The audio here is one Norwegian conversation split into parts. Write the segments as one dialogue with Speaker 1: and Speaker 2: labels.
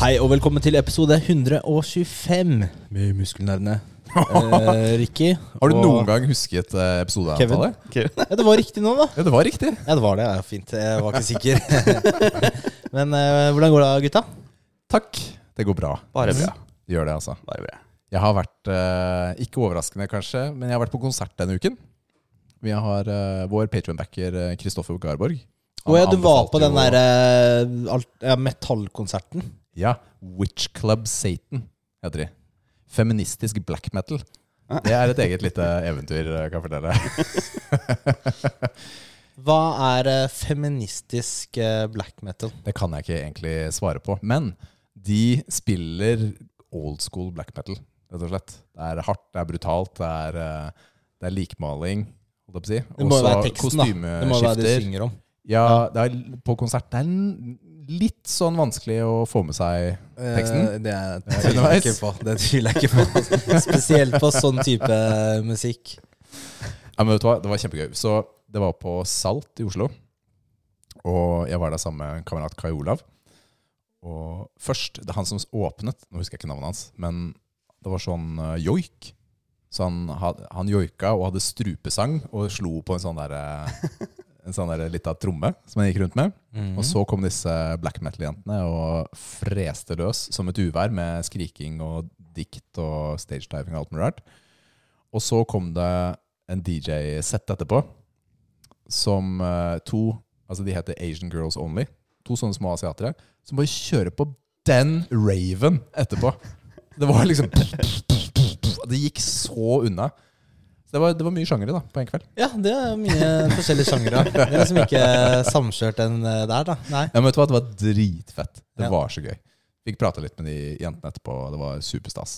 Speaker 1: Hei og velkommen til episode 125 med Muskelnerdene. Eh, Ricky
Speaker 2: Har du
Speaker 1: og-
Speaker 2: noen gang husket eh, episodeantallet?
Speaker 1: Ja, det var riktig nå, da.
Speaker 2: Ja, det var riktig.
Speaker 1: Ja, det var det. Ja, fint. Jeg var ikke sikker. Men eh, hvordan går det, gutta?
Speaker 2: Takk. Det går bra.
Speaker 3: Bare bra.
Speaker 2: Det gjør det, altså.
Speaker 3: Bare bra.
Speaker 2: Jeg har vært, eh, ikke overraskende kanskje, men jeg har vært på konsert denne uken. Vi har eh, vår patronbacker eh, Kristoffer Garborg. Han
Speaker 1: Å ja, du var
Speaker 2: anbefalte
Speaker 1: på den
Speaker 2: jo-
Speaker 1: der eh, alt- ja, metallkonserten.
Speaker 2: Ja. Witch Club Satan heter de. Feministisk black metal. Det er et eget lite eventyr, eh, kan jeg fortelle.
Speaker 1: Hva er eh, feministisk eh, black metal?
Speaker 2: Det kan jeg ikke egentlig svare på. Men de spiller old school black metal, rett og slett. Det er hardt, det er brutalt, det er, eh, det er likmaling, holdt jeg på å si.
Speaker 1: Det må jo være
Speaker 2: Og så
Speaker 1: teksten, da. Det må jo være det de
Speaker 2: kostymeskifter.
Speaker 1: synger om.
Speaker 2: Ja, det er, på konsert det er n- litt sånn vanskelig å få med seg teksten.
Speaker 1: Eh, Det, er- det tviler
Speaker 2: Underveis.
Speaker 1: jeg ikke på. Det tviler jeg ikke på. Spesielt på sånn type musikk.
Speaker 2: Ja, men vet du hva, det var kjempegøy. Så det var på Salt i Oslo. Og jeg var der sammen med en kamerat Kai Olav. Og først, det er han som åpnet, nå husker jeg ikke navnet hans, men det var sånn eh, joik. Så han, had- han joika og hadde strupesang og slo på en sånn der, eh, en sånn der lita tromme som han gikk rundt med. Og så kom disse black metal-jentene og freste løs som et uvær med skriking og dikt og stagediving og alt mulig rart. Og så kom det en DJ-sett etterpå som eh, to Altså de heter Asian Girls Only. To sånne små asiatere som bare kjører på den raven etterpå. Det var liksom Det gikk så unna. Så det var, det var mye sjangere da, på en kveld.
Speaker 1: Ja, det er mye forskjellige sjangere. Det er liksom ikke samkjørt enn eh, der, da. Nei.
Speaker 2: Ja, men vet du hva, Det var dritfett. Det
Speaker 1: Ja.
Speaker 2: var så gøy. Fikk prata litt med de jentene etterpå. og Det var superstas.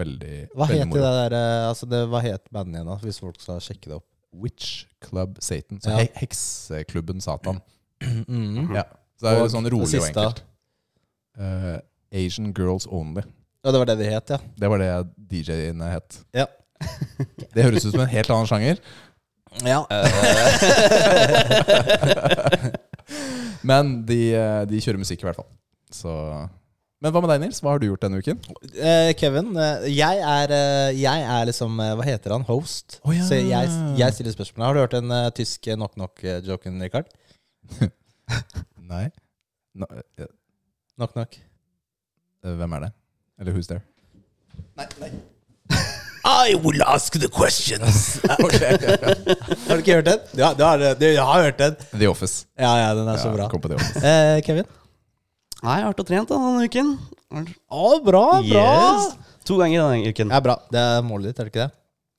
Speaker 2: Veldig,
Speaker 1: Hva
Speaker 2: veldig
Speaker 1: het det der eh, altså det, Hva het bandet igjen, da? Hvis folk skal sjekke det opp.
Speaker 2: Witch Club Satan. Så
Speaker 1: Ja.
Speaker 2: he- Hekseklubben Satan.
Speaker 1: Mm.
Speaker 2: Ja. Så det er
Speaker 1: Og
Speaker 2: jo sånn rolig
Speaker 1: det
Speaker 2: og
Speaker 1: siste?
Speaker 2: enkelt. Eh, Asian Girls Only.
Speaker 1: Ja, det var det de het, ja.
Speaker 2: Det var det DJ-ene het.
Speaker 1: Ja.
Speaker 2: Det høres ut som en helt annen sjanger. Eh. Men de, eh, de kjører musikk i hvert fall. Så Men hva med deg, Nils? Hva har du gjort denne uken?
Speaker 1: Eh, Kevin, eh, jeg er, eh, jeg er liksom eh, Hva heter han? Host.
Speaker 2: Å, ja.
Speaker 1: Så jeg, jeg stiller spørsmål. Har du hørt den eh, tyske knock knock-joken, Richard?
Speaker 2: Nei. Nå, eh,
Speaker 1: Knock knock.
Speaker 2: hvem er det? Eller who's there?
Speaker 1: I will ask the questions.
Speaker 2: Ok.
Speaker 1: har du ikke hørt den? Ja, du har, du har hørt den.
Speaker 2: The Office.
Speaker 1: Ja, ja, den er så
Speaker 2: Ja,
Speaker 1: bra.
Speaker 2: Kom på The Office.
Speaker 1: Eh, Kevin?
Speaker 3: Nei, jeg har vært og trent da, denne uken.
Speaker 1: Å, bra,
Speaker 3: Yes. To ganger denne uken.
Speaker 1: Ja, bra. Det er målet ditt, er det ikke det?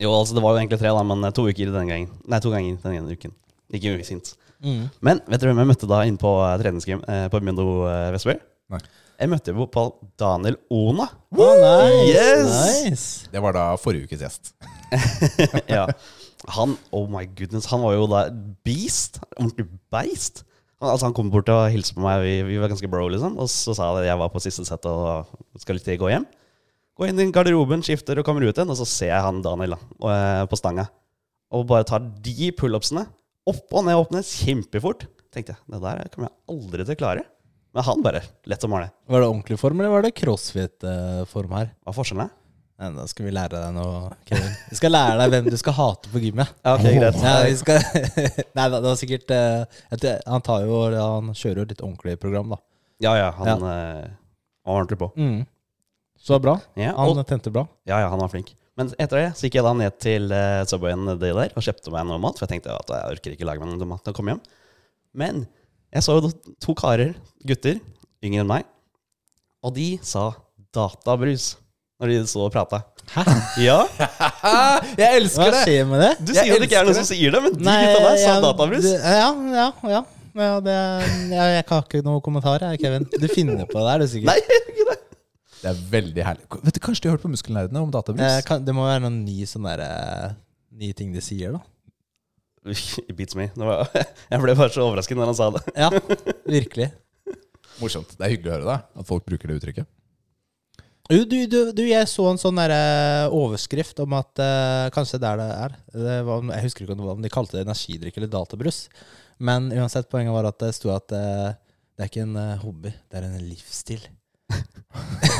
Speaker 3: Jo, altså det var jo egentlig tre, da, men eh, to uker denne gangen. Nei, to ganger denne uken. Ikke uvisint.
Speaker 1: Mm.
Speaker 3: Men vet dere hvem jeg møtte da inne på eh, treningsgym eh, på Mjøndo eh, Vestby?
Speaker 2: Nei.
Speaker 3: Jeg møtte jo på Daniel Ona.
Speaker 1: Å, Ah, nice,
Speaker 3: Yes!
Speaker 1: nice.
Speaker 2: Det var da forrige ukes gjest.
Speaker 3: ja. Han oh my goodness, han var jo da beast. Ordentlig beist. Han, altså, han kom bort og hilste på meg, vi, vi var ganske bro, liksom. Og så sa han at jeg var på siste sett og skal litt til gå hjem. Gå inn i garderoben, skifter og kommer ut igjen, og så ser jeg han Daniel da, og, eh, på stanga. Og bare tar de pullupsene opp og ned og opp og ned kjempefort. Tenkte jeg, det der kommer jeg aldri til å klare. Men han bare, lett som var det.
Speaker 1: Var det ordentlig form, eller var det crossfit-form her?
Speaker 3: Hva er forskjellen? da?
Speaker 1: Nei, da skal vi lære deg noe, Kevin. Vi skal lære deg hvem du skal hate på gymmet.
Speaker 3: Ja, ok, greit.
Speaker 1: Ja, vi skal... Nei, da, det var sikkert eh, jeg tror- han, tar jo, han kjører jo litt ordentlig program, da.
Speaker 3: Ja, ja, han eh, var ordentlig på.
Speaker 1: Mm. Så bra.
Speaker 3: Ja, og-
Speaker 1: Han tente bra.
Speaker 3: Ja, ja, han var flink. Men etter det så gikk jeg da ned til eh, Subwayen nedi der og kjøpte meg noe mat. For jeg tenkte at jeg orker ikke lage meg noe mat når jeg kommer hjem. Men jeg så jo to karer, gutter, yngre enn meg, og de sa databrus når de sto og prata.
Speaker 1: Hæ?
Speaker 3: Ja,
Speaker 2: Jeg
Speaker 1: Hva
Speaker 2: elsker
Speaker 1: skjer med det?
Speaker 3: du
Speaker 2: Jeg
Speaker 3: sier jo det ikke er
Speaker 2: elsker
Speaker 3: noen som sier det, men de
Speaker 1: Nei,
Speaker 3: gutta der sa
Speaker 1: jeg-
Speaker 3: databrus.
Speaker 1: det- Ja, ja, ja. ja det, jeg, jeg har ikke noen kommentar, jeg, Kevin. Du finner på det her, du sikkert.
Speaker 3: Nei, ikke det.
Speaker 2: Det er veldig herlig. Vet du, Kanskje de har hørt på Muskelnerdene om databrus?
Speaker 1: Eh, kan, det må være noen ny sånn der, eh, nye ting de sier, da.
Speaker 3: It beats me. Det var, jeg ble bare så overrasket når han sa det.
Speaker 1: Ja, virkelig.
Speaker 2: Morsomt. Det er hyggelig å høre da, at folk bruker det uttrykket.
Speaker 1: Du, du, du, du, jeg så en sånn der, eh, overskrift om at eh, kanskje der det er det var, Jeg husker ikke om det var- om de kalte det energidrikk eller databrus. Men uansett, poenget var at det sto at eh, det er ikke en eh, hobby, det er en livsstil.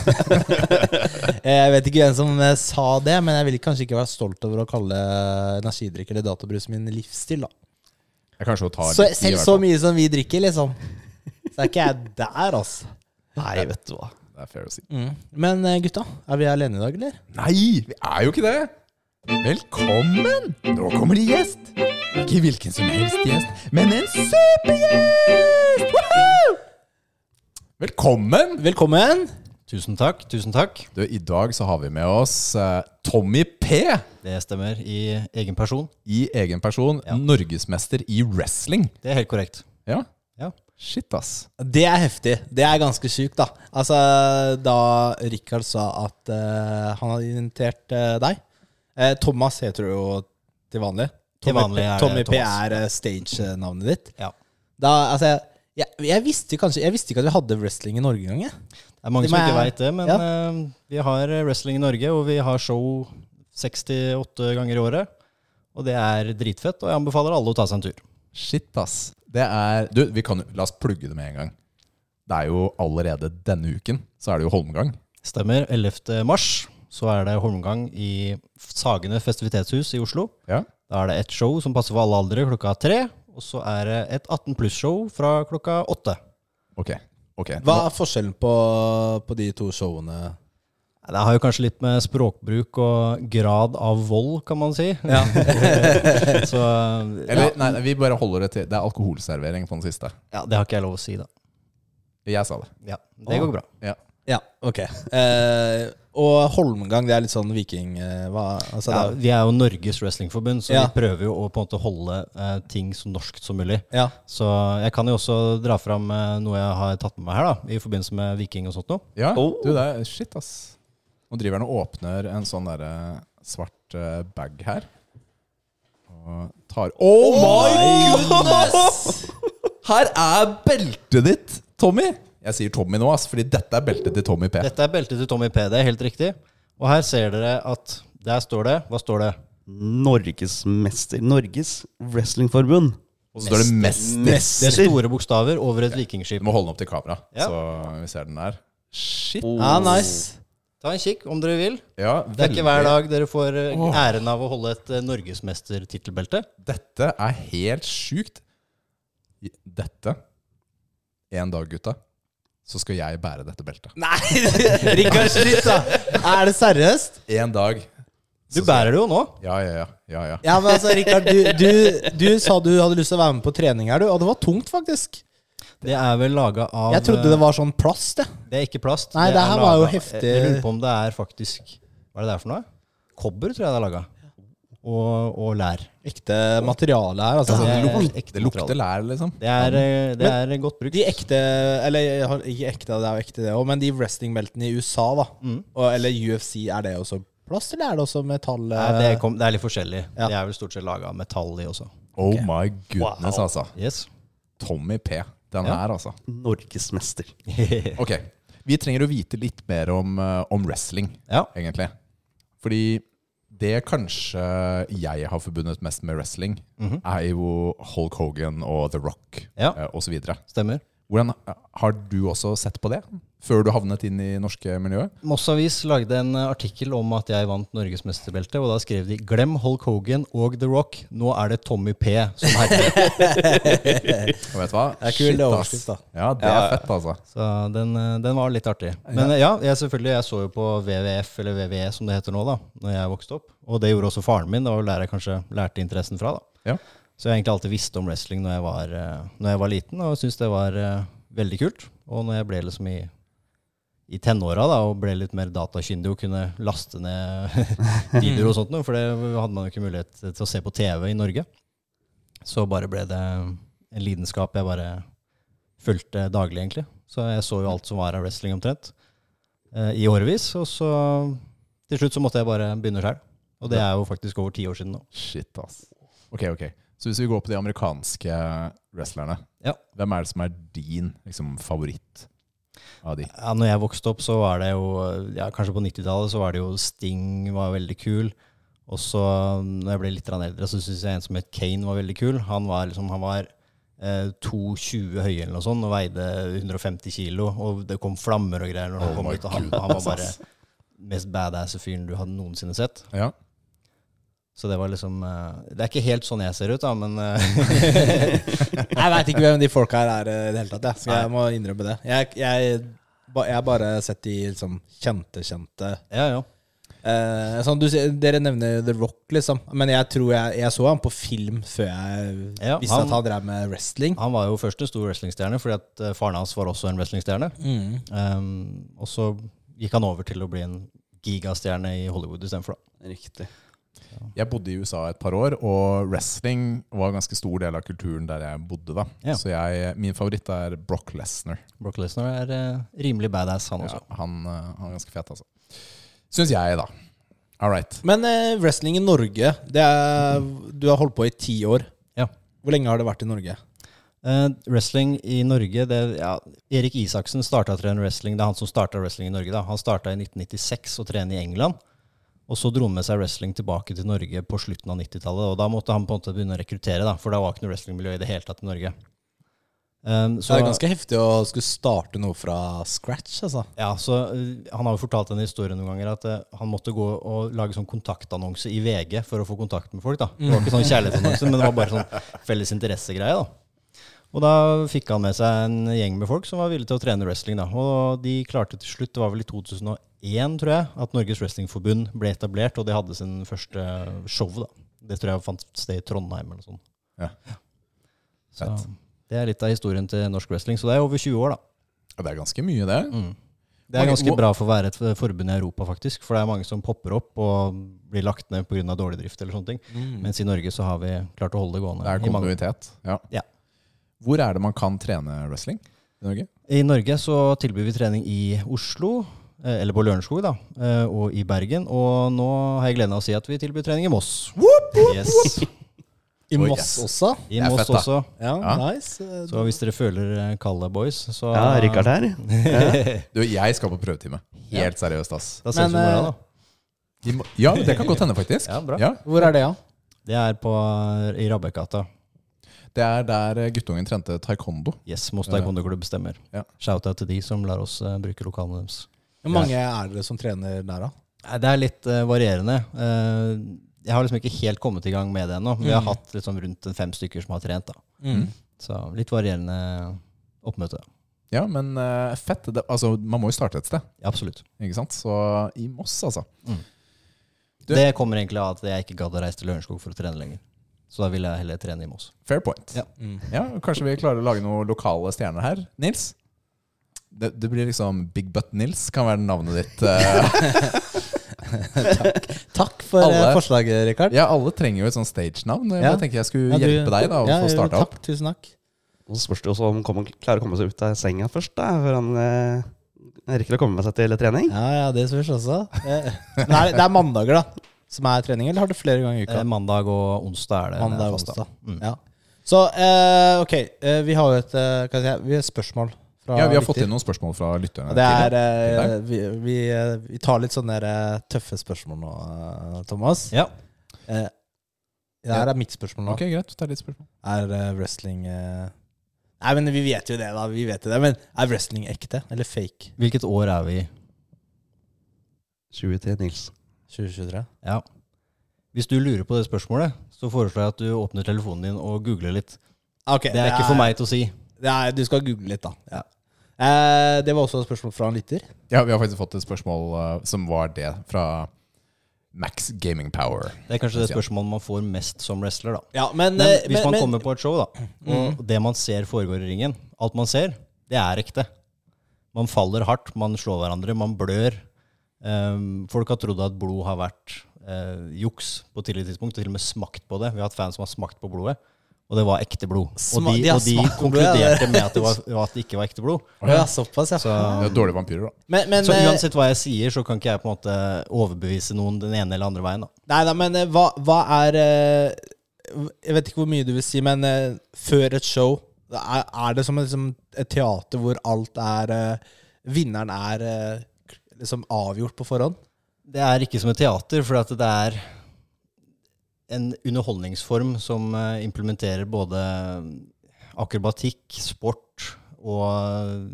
Speaker 1: Jeg vet ikke hvem som eh, sa det, men jeg vil kanskje ikke være stolt over å kalle eh, energidrikk eller databrus min livsstil, da.
Speaker 2: Jeg kanskje hun tar
Speaker 1: Så,
Speaker 2: litt i, i
Speaker 1: selv
Speaker 2: hvert
Speaker 1: så
Speaker 2: fall.
Speaker 1: mye som vi drikker, liksom. Så er ikke jeg der, altså.
Speaker 3: Nei, vet du hva.
Speaker 2: Det er fair å si.
Speaker 1: Men eh, gutta, er vi alene i dag, eller?
Speaker 2: Nei, vi er jo ikke det! Velkommen! Nå kommer det gjest. Ikke hvilken som helst gjest, men en supergjest! Woohoo! Velkommen!
Speaker 1: Velkommen!
Speaker 4: Tusen takk. tusen takk.
Speaker 2: Du, I dag så har vi med oss eh, Tommy P.
Speaker 4: Det stemmer i egen person.
Speaker 2: I egen person norgesmester i wrestling.
Speaker 4: Det er helt korrekt.
Speaker 2: Ja,
Speaker 4: Ja.
Speaker 2: shit ass.
Speaker 1: Det er heftig. Det er ganske sjukt, da. Altså, da Rikard sa at eh, han hadde invitert eh, deg eh, Thomas heter du jo til vanlig.
Speaker 4: Til
Speaker 1: Tommy
Speaker 4: vanlig
Speaker 1: P-
Speaker 4: er det
Speaker 1: Tommy P
Speaker 4: Thomas.
Speaker 1: er eh, stage-navnet ditt.
Speaker 4: ja.
Speaker 1: Da, altså, jeg, jeg, visste kanskje, jeg visste ikke at vi hadde wrestling i Norge engang. jeg.
Speaker 4: Det er mange
Speaker 1: Det
Speaker 4: som
Speaker 1: må
Speaker 4: ikke
Speaker 1: jeg-
Speaker 4: veit det, men eh, vi har wrestling i Norge, og vi har show 68 ganger i året. Og det er dritfett, og jeg anbefaler alle å ta seg en tur.
Speaker 2: Shit, ass. Det er Du, vi kan jo La oss plugge det med en gang. Det er jo allerede denne uken, så er det jo Holmgang.
Speaker 4: Stemmer. 11. mars så er det holmgang i Sagene festivitetshus i Oslo.
Speaker 2: Ja.
Speaker 4: Da er det et show som passer for alle aldre klokka tre. Og så er det et 18 pluss-show fra klokka åtte.
Speaker 2: Ok. ok.
Speaker 1: Hva er forskjellen på, på de to showene?
Speaker 4: Det har jo kanskje litt med språkbruk og grad av vold, kan man si. så
Speaker 2: Eller, nei, nei, vi bare holder det til Det er alkoholservering på den siste.
Speaker 4: ja, det har ikke jeg lov å si, da.
Speaker 2: Jeg sa det.
Speaker 4: Ja, Det går bra.
Speaker 2: Ja.
Speaker 1: Ja, ok. Eh, og Holmgang, det er litt sånn viking... eh, hva, altså,
Speaker 4: Ja,
Speaker 1: det
Speaker 4: vi er jo Norges Wrestlingforbund, så
Speaker 1: Ja.
Speaker 4: vi prøver jo å på en måte holde eh, ting så norskt som mulig.
Speaker 1: er, ja.
Speaker 4: Så jeg kan jo også dra fram eh, noe jeg har tatt med meg her, da, i forbindelse med viking og sånt noe.
Speaker 2: Ja,
Speaker 3: Oh.
Speaker 2: du, det er shit, ass. Nå driver han og åpner en sånn derre svart eh, bag her. Og tar Oh my goodness! Her er beltet ditt, Tommy! Jeg sier Tommy nå, ass, fordi dette er beltet til Tommy P.
Speaker 4: Dette er beltet til Tommy P, det er helt riktig. Og her ser dere at der står det Hva står det?
Speaker 3: Norgesmester. Norges Wrestlingforbund.
Speaker 2: Og så står det Mester.
Speaker 4: Det er store bokstaver over et vikingskip.
Speaker 2: Du må holde den opp til kamera,
Speaker 4: Ja.
Speaker 2: så vi ser den der. Shit.
Speaker 1: ja, Ah, nice.
Speaker 4: Ta en kikk om dere vil.
Speaker 2: Ja,
Speaker 4: Det er ikke hver dag dere får eh,
Speaker 2: Åh.
Speaker 4: æren av å holde et eh, norgesmestertittelbelte.
Speaker 2: Dette er helt sjukt. I- Dette En dag, gutta, så skal jeg bære dette beltet.
Speaker 1: Nei, Rikard, slutt, da! Er det seriøst?
Speaker 2: En dag.
Speaker 4: Du
Speaker 2: så skal-
Speaker 4: bærer det jo nå.
Speaker 2: Ja, ja, ja. ja, ja.
Speaker 1: Ja, men altså, Rikard, du, du, du sa du hadde lyst til å være med på trening her, du. Og det var tungt, faktisk.
Speaker 4: Det er vel laga av eh,
Speaker 1: Jeg trodde det var sånn plast, jeg.
Speaker 4: Det er ikke plast.
Speaker 1: Nei, det
Speaker 4: er
Speaker 1: her var jo
Speaker 4: laget-
Speaker 1: heftig.
Speaker 4: Jeg lurer på om det er faktisk Hva er det det er for noe? Kobber, tror jeg det er laga. Og, og lær.
Speaker 1: Ekte materiale her,
Speaker 2: Altså,
Speaker 1: altså.
Speaker 2: det,
Speaker 4: det er
Speaker 2: lukter,
Speaker 4: ekte
Speaker 2: det lukter lær, liksom.
Speaker 4: Det er, eh, det er godt brukt.
Speaker 1: De ekte Eller jeg har- ikke ekte, det er jo ekte det òg, men de wrestingbeltene i USA, da.
Speaker 4: Mm.
Speaker 1: Og, eller UFC, er det også plast, eller er det også metall? eh,
Speaker 4: Nei, det, kom, det er litt forskjellig.
Speaker 1: Ja.
Speaker 4: Det er vel stort sett laga av metall i også.
Speaker 2: Oh my goodness,
Speaker 3: Wow.
Speaker 2: altså.
Speaker 4: Yes.
Speaker 2: Tommy P. Den
Speaker 4: Ja.
Speaker 2: her, altså.
Speaker 3: Norgesmester.
Speaker 2: Ok, vi trenger å vite litt mer om, eh, om wrestling,
Speaker 4: Ja.
Speaker 2: egentlig. Fordi det kanskje jeg har forbundet mest med wrestling,
Speaker 1: Mhm.
Speaker 2: er jo Hulk Hogan og The Rock
Speaker 4: Ja.
Speaker 2: eh, og så videre
Speaker 4: Stemmer.
Speaker 2: Hvordan eh, Har du også sett på det før du havnet inn i norske miljøet?
Speaker 4: Moss Avis lagde en eh, artikkel om at jeg vant norgesmesterbelte, og da skrev de 'Glem Hulk Hogan og The Rock, nå er det Tommy P som herjer'.
Speaker 2: Og vet du hva?
Speaker 1: Det er kul
Speaker 2: Shit, ass.
Speaker 1: overskrift, da.
Speaker 2: Ja, det er fett, altså.
Speaker 4: Så den, eh, den var litt artig. Men eh, ja, jeg selvfølgelig, jeg så jo på WWF, eller VVE som det heter nå, da når jeg vokste opp. Og det gjorde også faren min. Det var jo der jeg kanskje lærte interessen fra. da.
Speaker 2: Ja.
Speaker 4: Så jeg egentlig alltid visste om wrestling når jeg var, eh, når jeg var liten, og syntes det var eh, veldig kult. Og når jeg ble liksom i, i tenåra da, og ble litt mer datakyndig og kunne laste ned videoer og sånt noe, for det hadde man jo ikke mulighet til å se på TV i Norge. Så bare ble det en lidenskap jeg bare fulgte daglig, egentlig. Så jeg så jo alt som var av wrestling omtrent eh, i årevis. Og så til slutt så måtte jeg bare begynne sjøl. Og det er jo faktisk over ti år siden nå.
Speaker 2: Shit, ass. Ok, ok. Så hvis vi går på de amerikanske wrestlerne,
Speaker 4: Ja.
Speaker 2: hvem er det som er din liksom, favoritt av de?
Speaker 4: Ja, når jeg vokste opp, så var det jo ja, Kanskje på 90-tallet så var det jo Sting var veldig kul. Og så, når jeg ble litt grann eldre, så syntes jeg en som het Kane var veldig kul. Han var liksom, han var eh, 2,20 høy eller noe sånt og veide 150 kilo, og det kom flammer og greier når han
Speaker 2: Oh
Speaker 4: kom
Speaker 2: my
Speaker 4: ut. Og han,
Speaker 2: God.
Speaker 4: han var bare mest badass fyren du hadde noensinne sett.
Speaker 1: Eh,
Speaker 2: Ja.
Speaker 4: Så det var liksom eh, Det er ikke helt sånn jeg ser ut, da, men eh,
Speaker 1: Jeg veit ikke hvem de folka her er eh, i det hele tatt, jeg. så jeg må innrømme det. Jeg, jeg, ba- jeg har bare sett de liksom kjente-kjente
Speaker 4: ja, ja.
Speaker 1: eh, sånn, du, sier- Dere nevner The Rock, liksom. Men jeg tror jeg, jeg så han på film før jeg
Speaker 4: Ja,
Speaker 1: visste
Speaker 4: han-
Speaker 1: at han drev med wrestling.
Speaker 4: Han var jo først en stor wrestlingstjerne, fordi at eh, faren hans var også en wrestlingstjerne.
Speaker 1: Mm.
Speaker 4: Um, og så gikk han over til å bli en gigastjerne i Hollywood istedenfor. da.
Speaker 3: Riktig.
Speaker 2: Jeg bodde i USA et par år, og wrestling var en ganske stor del av kulturen der jeg bodde. da.
Speaker 4: Ja.
Speaker 2: Så jeg, min favoritt er Brock Lesnar.
Speaker 4: Brock Lesnar er eh, rimelig badass, han
Speaker 2: Ja,
Speaker 4: også.
Speaker 2: han, eh, han er ganske fet, altså. Syns jeg, da. All right.
Speaker 1: Men eh, wrestling i Norge, det er, du har holdt på i ti år.
Speaker 4: Ja.
Speaker 1: Hvor lenge har det vært i Norge?
Speaker 4: Eh, wrestling i Norge det, ja, Erik Isaksen starta Trend Wrestling. Det er han som starta wrestling i Norge. da. Han starta i 1996 og trener i England. Og så dro han med seg wrestling tilbake til Norge på slutten av 90-tallet. Og da måtte han på en måte begynne å rekruttere, da, for da var ikke noe wrestlingmiljø i det hele tatt i Norge. Um,
Speaker 1: Så det er ganske heftig å skulle starte noe fra scratch, altså.
Speaker 4: Ja, så eh, Han har jo fortalt denne historien noen ganger at eh, han måtte gå og lage sånn kontaktannonse i VG for å få kontakt med folk. da. Det var ikke sånn kjærlighetsannonse, men det var bare sånn felles interessegreie. da. Og da fikk han med seg en gjeng med folk som var villige til å trene wrestling. da. Og de klarte til slutt, det var vel i 2001, tror jeg, at Norges Wrestlingforbund ble etablert, og de hadde sin første eh, show. da. Det tror jeg fant sted i Trondheim eller noe sånt.
Speaker 2: Ja.
Speaker 4: Så det er litt av historien til norsk wrestling. Så det er over 20 år, da.
Speaker 2: Ja, Det er ganske mye, det.
Speaker 4: Mm, Det er
Speaker 2: Mange-
Speaker 4: ganske
Speaker 2: hvor-
Speaker 4: bra for å være et forbund i Europa, faktisk. For det er mange som popper opp og blir lagt ned pga. dårlig drift eller sånne ting. Mens i Norge så har vi klart å holde det gående.
Speaker 2: Det er
Speaker 4: i, mange.
Speaker 2: kontinuitet. Ja.
Speaker 4: Ja.
Speaker 2: Hvor er det man kan trene wrestling i Norge?
Speaker 4: I Norge så tilbyr vi trening i Oslo, eh, eller på Lørenskog, da, eh, og i Bergen. Og nå har jeg gleden av å si at vi tilbyr trening i Moss. Yes.
Speaker 1: I
Speaker 2: Oi,
Speaker 1: Moss
Speaker 2: yes.
Speaker 1: også.
Speaker 4: I
Speaker 2: Det er
Speaker 4: Moss
Speaker 2: fett, da.
Speaker 4: også.
Speaker 1: Ja,
Speaker 2: Ja.
Speaker 1: nice. Eh,
Speaker 4: Så hvis dere føler eh, kallet, boys, så
Speaker 3: Ja, Rikard her.
Speaker 2: Du, jeg skal på prøvetime. Helt seriøst, ass.
Speaker 4: Da
Speaker 1: Men,
Speaker 4: ses vi i morgen,
Speaker 1: eh,
Speaker 4: da.
Speaker 2: Vi må- Ja, det kan godt hende, faktisk.
Speaker 4: Ja, bra.
Speaker 1: Hvor er det, da?
Speaker 4: Det er på, i Rabbegata.
Speaker 2: Det er der eh, guttungen trente taekwondo.
Speaker 4: Yes, Moss Taekwondo-klubb stemmer.
Speaker 2: Ja.
Speaker 4: Shout-out til de som lar oss eh, bruke lokalene deres.
Speaker 1: Hvor mange er dere som trener der, da?
Speaker 4: Nei, Det er litt eh, varierende. Eh, jeg har liksom ikke helt kommet i gang med det ennå. men
Speaker 1: Mm.
Speaker 4: Vi har hatt liksom rundt en fem stykker som har trent. da.
Speaker 2: Mm.
Speaker 4: Så litt varierende oppmøte.
Speaker 2: Ja, men eh, fett. Det, altså, man må jo starte et sted,
Speaker 4: Ja, absolutt.
Speaker 2: ikke sant? Så i Moss, altså. Du-
Speaker 4: Det kommer egentlig av at jeg ikke gadd å reise til Lørenskog for å trene lenger. Så da ville jeg heller trene i Moss.
Speaker 2: Fair point.
Speaker 4: Ja.
Speaker 2: Ja, kanskje vi klarer å lage noen lokale stjerner her. Nils? Det, det blir liksom Big Butt Nils kan være navnet ditt. eh.
Speaker 1: Takk for
Speaker 2: Alle.
Speaker 1: eh, forslaget, Rikard.
Speaker 2: Ja, alle trenger jo et sånt stage-navn. Jeg
Speaker 1: Ja.
Speaker 2: bare tenkte jeg skulle hjelpe deg da å få starta opp.
Speaker 1: Takk, tusen takk.
Speaker 3: Og så spørs det jo også om han kommer- klarer å komme seg ut av senga først, da, før han eh, rekker å komme med seg til trening.
Speaker 1: Ja, ja, det spørs også. Eh, Det er, det er mandager, da, som er trening, eller har du flere ganger i uka?
Speaker 4: Eh, mandag og onsdag er det.
Speaker 1: Mandag og
Speaker 4: fast, da. Mm.
Speaker 1: onsdag. Ja. Så eh, ok, eh, vi har jo et eh, hva skal jeg si, vi har et spørsmål fra
Speaker 2: Ja, Vi har fått
Speaker 1: lytter.
Speaker 2: inn noen spørsmål fra lytterne.
Speaker 1: Og Det er,
Speaker 2: tidligere.
Speaker 1: eh, vi, vi, eh, vi tar litt sånne der, eh, tøffe spørsmål nå, eh, Thomas.
Speaker 4: Ja.
Speaker 1: Eh, det her er mitt spørsmål nå.
Speaker 2: Ok, greit. Vi tar litt spørsmål.
Speaker 1: Er eh, wrestling eh, Nei, men vi vet jo det, da. Vi vet jo det. Men er wrestling ekte eller fake?
Speaker 4: Hvilket år er vi i?
Speaker 3: 20 til Nils.
Speaker 1: 2023?
Speaker 4: Ja. Hvis du lurer på det spørsmålet, så foreslår jeg at du åpner telefonen din og googler litt.
Speaker 1: Ah, Ok,
Speaker 4: Det er ikke for meg til å si.
Speaker 1: det er- du skal google litt, da. Ja. Eh, det var også et spørsmål fra en lytter.
Speaker 2: Ja, Vi har faktisk fått et spørsmål eh, som var det, fra Max Gaming Power.
Speaker 4: Det er kanskje det spørsmålet man får mest som wrestler, da.
Speaker 1: Ja, men,
Speaker 4: Men
Speaker 1: eh,
Speaker 4: hvis
Speaker 1: men-
Speaker 4: man
Speaker 1: men- Mm.
Speaker 4: kommer på et show, da, og det man ser foregår i ringen Alt man ser, det er ekte. Man faller hardt, man slår hverandre, man blør. Ehm, folk har trodd at blod har vært eh, juks på tidligere tidspunkt, og til og med smakt på det. Vi har hatt fans som har smakt på blodet, og det var ekte blod. Og
Speaker 1: Sma-
Speaker 4: de,
Speaker 1: de har
Speaker 4: og de
Speaker 1: smakt på blodet, ja,
Speaker 4: konkluderte
Speaker 1: det-
Speaker 4: med at det, var, at det ikke var ekte blod.
Speaker 1: ja, Såpass, ja.
Speaker 2: Det er dårlige vampyrer, da.
Speaker 1: men, men,
Speaker 4: Så
Speaker 1: eh,
Speaker 4: uansett hva jeg sier, så kan ikke jeg på en måte overbevise noen den ene eller andre veien. da.
Speaker 1: Nei da, men eh, hva, hva er eh, Jeg vet ikke hvor mye du vil si, men eh, før et show da er, er det som et, liksom, et teater hvor alt er eh, Vinneren er eh, liksom avgjort på forhånd?
Speaker 4: Det er ikke som et teater, for at det er en underholdningsform som eh, implementerer både akrobatikk, sport og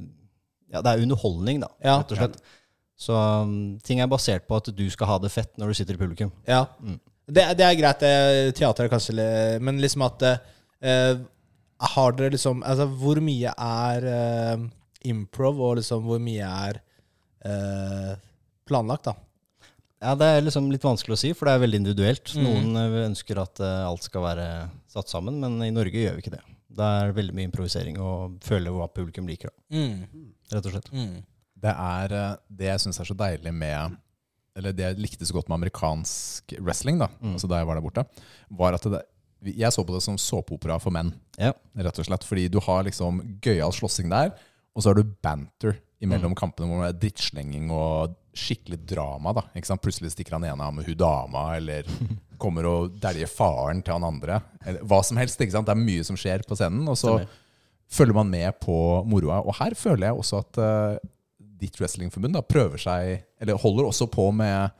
Speaker 4: Ja, det er underholdning, da,
Speaker 1: Ja.
Speaker 4: rett og slett. Så um, ting er basert på at du skal ha det fett når du sitter i publikum.
Speaker 1: Ja. Det, er- det er greit, det teater er kanskje litt Men liksom at eh, Har dere liksom Altså, hvor mye er eh, improv, og liksom hvor mye er eh, planlagt, da?
Speaker 4: Ja, Det er liksom litt vanskelig å si, for det er veldig individuelt.
Speaker 1: Mm.
Speaker 4: Noen eh, ønsker at eh, alt skal være satt sammen, men i Norge gjør vi ikke det. Det er veldig mye improvisering og føle hva publikum liker, da,
Speaker 1: Mm.
Speaker 4: rett og slett.
Speaker 2: Det er eh, det jeg syns er så deilig med Eller det jeg likte så godt med amerikansk wrestling, da, altså da jeg var der borte, var at det, jeg så på det som såpeopera for menn.
Speaker 4: Ja.
Speaker 2: rett og slett. Fordi du har liksom gøyal slåssing der, og så har du banter imellom kampene hvor det er drittslenging og skikkelig drama. da, ikke sant? Plutselig stikker han ene av med hun dama, eller kommer og dæljer faren til han andre. Eller hva som helst. ikke sant? Det er mye som skjer på scenen, og så følger man med på moroa. Og her føler jeg også at eh, ditt wrestlingforbund da prøver seg, eller holder også på med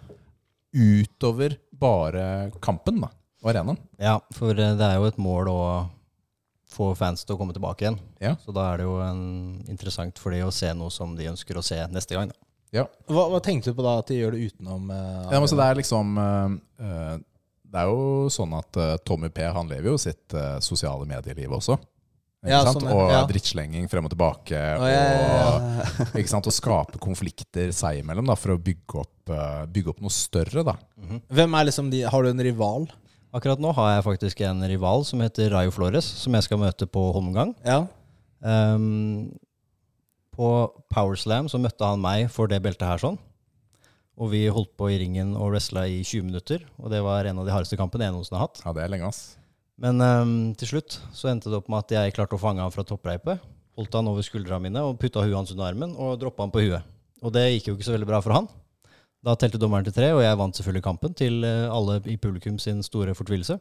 Speaker 2: utover bare kampen da, og arenaen.
Speaker 4: Ja, for eh, det er jo et mål å få fans til å komme tilbake igjen.
Speaker 2: Ja.
Speaker 4: Så da er det jo en, interessant for de å se noe som de ønsker å se neste gang. Da.
Speaker 2: Ja.
Speaker 1: Hva, hva tenkte du på da, at de gjør det utenom eh,
Speaker 2: Ja, men så det er liksom eh, eh, Det er jo sånn at eh, Tommy P han lever jo sitt eh, sosiale medieliv også. Ikke
Speaker 1: Ja,
Speaker 2: sant?
Speaker 1: sånn, ja.
Speaker 2: og
Speaker 1: Ja.
Speaker 2: drittslenging frem og tilbake.
Speaker 1: ja, ja,
Speaker 2: Og, ikke sant? og skape konflikter seg imellom da, for å bygge opp, eh, bygge opp noe større. Da.
Speaker 1: Hvem er liksom de Har du en rival?
Speaker 4: Akkurat nå har jeg faktisk en rival som heter Rayo Flores, som jeg skal møte på Holmgang.
Speaker 1: Ja.
Speaker 4: Ehm, på Powerslam så møtte han meg for det beltet her sånn. Og vi holdt på i ringen og wrestla i 20 minutter, og det var en av de hardeste kampene jeg noensinne har hatt.
Speaker 2: Ja, det er lenge, ass.
Speaker 4: Men ehm, til slutt så endte det opp med at jeg klarte å fange han fra toppreipe. Holdt han over skuldra mine og putta huet hans under armen og droppa han på huet. Og det gikk jo ikke så veldig bra for han. Da telte dommeren til tre, og jeg vant selvfølgelig kampen til eh, alle i publikum sin store fortvilelse.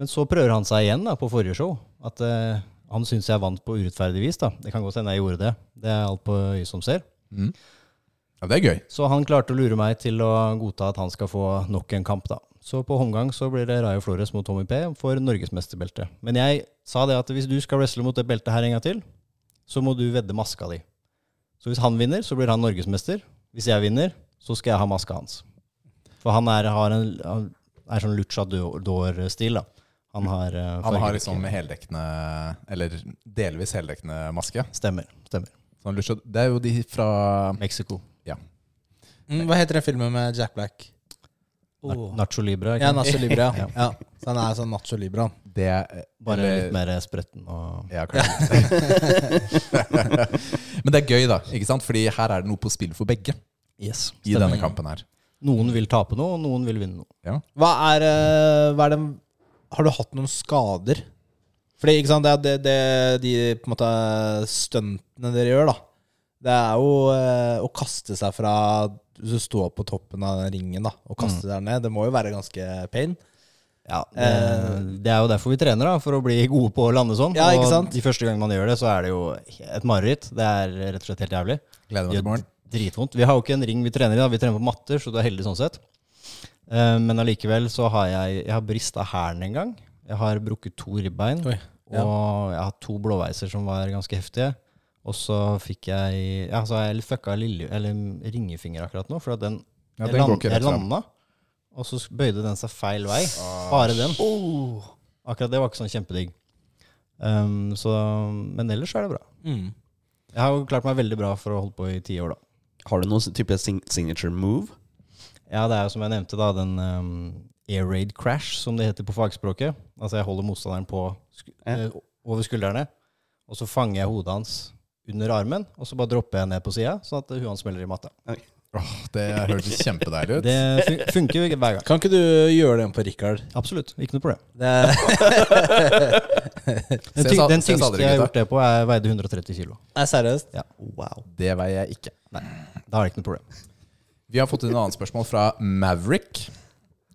Speaker 4: Men så prøver han seg igjen da, på forrige show. At eh, han syns jeg vant på urettferdig vis. da. Det kan godt hende jeg gjorde det. Det er alt på øyet som ser.
Speaker 2: Ja, det er gøy.
Speaker 4: Så han klarte å lure meg til å godta at han skal få nok en kamp, da. Så på omgang så blir det Rayo Flores mot Tommy P for norgesmesterbeltet. Men jeg sa det at hvis du skal wrestle mot det beltet her en gang til, så må du vedde maska di. Så hvis han vinner, så blir han norgesmester. Hvis jeg vinner, så skal jeg ha maska hans. For han er, har en han er sånn luchador-stil, da. Han har eh,
Speaker 2: Han har
Speaker 4: fargerik-
Speaker 2: liksom heldekkende, eller delvis heldekkende maske.
Speaker 4: Stemmer. stemmer.
Speaker 2: Sånn lutsj- det er jo de fra
Speaker 4: Mexico.
Speaker 2: Ja.
Speaker 1: Mm, hva heter den filmen med Jack Black?
Speaker 4: Na- Nacho Libre.
Speaker 1: Ja,
Speaker 4: ikke sant?
Speaker 1: Nacho Libra. ja. ja. Så han er sånn Nacho Libra.
Speaker 2: Det er-
Speaker 4: Bare
Speaker 2: eller-
Speaker 4: litt mer spretten og
Speaker 2: Ja, kanskje. Men det er gøy, da. ikke sant? Fordi her er det noe på spill for begge
Speaker 4: Yes.
Speaker 2: i denne kampen her.
Speaker 4: Noen vil tape noe, og noen vil vinne noe.
Speaker 2: Ja.
Speaker 1: Hva er, eh, hva er det, Har du hatt noen skader? Fordi ikke sant, det, er det, det de på en måte stuntene dere gjør, da. Det er jo eh, å kaste seg fra Hvis du står på toppen av den ringen da, og kaster deg ned, det må jo være ganske pain.
Speaker 4: Ja, det, Eh, det er jo derfor vi trener, da, for å bli gode på å lande sånn.
Speaker 1: Ja, ikke sant?
Speaker 4: Og de første gangene man gjør det, så er det jo et mareritt. Det er rett og slett helt jævlig.
Speaker 2: Gleder meg
Speaker 4: Det
Speaker 2: til
Speaker 4: gjør
Speaker 2: morgen.
Speaker 4: dritvondt. Vi har jo ikke en ring vi trener i, da. vi trener på matter, så du er heldig sånn sett. Eh, Men allikevel så har jeg, jeg har brista hælen en gang. Jeg har brukket to ribbein.
Speaker 1: Oi, ja.
Speaker 4: Og jeg har to blåveiser som var ganske heftige. Og så fikk jeg Ja, så har jeg fucka lille, eller ringefinger akkurat nå, for at den,
Speaker 2: Ja,
Speaker 4: jeg,
Speaker 2: den går
Speaker 4: land,
Speaker 2: ikke rett
Speaker 4: jeg
Speaker 2: frem. Ah,
Speaker 4: landa, og så bøyde den seg feil vei. Bare den.
Speaker 3: Uh.
Speaker 4: Akkurat det var ikke sånn kjempedigg. Um, så, men ellers så er det bra.
Speaker 2: Mm.
Speaker 4: Jeg har jo klart meg veldig bra for å holde på i ti år, da.
Speaker 3: Har du noen type sing- signature move?
Speaker 4: Ja, det er jo som jeg nevnte, da, den um, air raid crash, som det heter på fagspråket. Altså, jeg holder motstanderen på sku
Speaker 3: Ja.
Speaker 4: eh, over skuldrene, og så fanger jeg hodet hans under armen, og så bare dropper jeg ned på sida, sånn at huet hans smeller i matta.
Speaker 2: Åh, det hørtes kjempedeilig ut.
Speaker 4: Det fun funker jo hver gang.
Speaker 1: Kan ikke du gjøre den på Richard?
Speaker 4: Absolutt. Ikke noe problem.
Speaker 1: Det,
Speaker 4: Den,
Speaker 2: Ses
Speaker 4: tyng
Speaker 2: al-
Speaker 4: den
Speaker 2: ses
Speaker 4: tyngste
Speaker 2: aldri,
Speaker 4: jeg har
Speaker 2: gutta.
Speaker 4: gjort det på, er veide 130 kilo.
Speaker 1: nei, seriøst?
Speaker 3: Wow.
Speaker 2: Det veier jeg ikke.
Speaker 4: Da er det ikke noe problem.
Speaker 2: Vi har fått inn et annet spørsmål fra Maverick.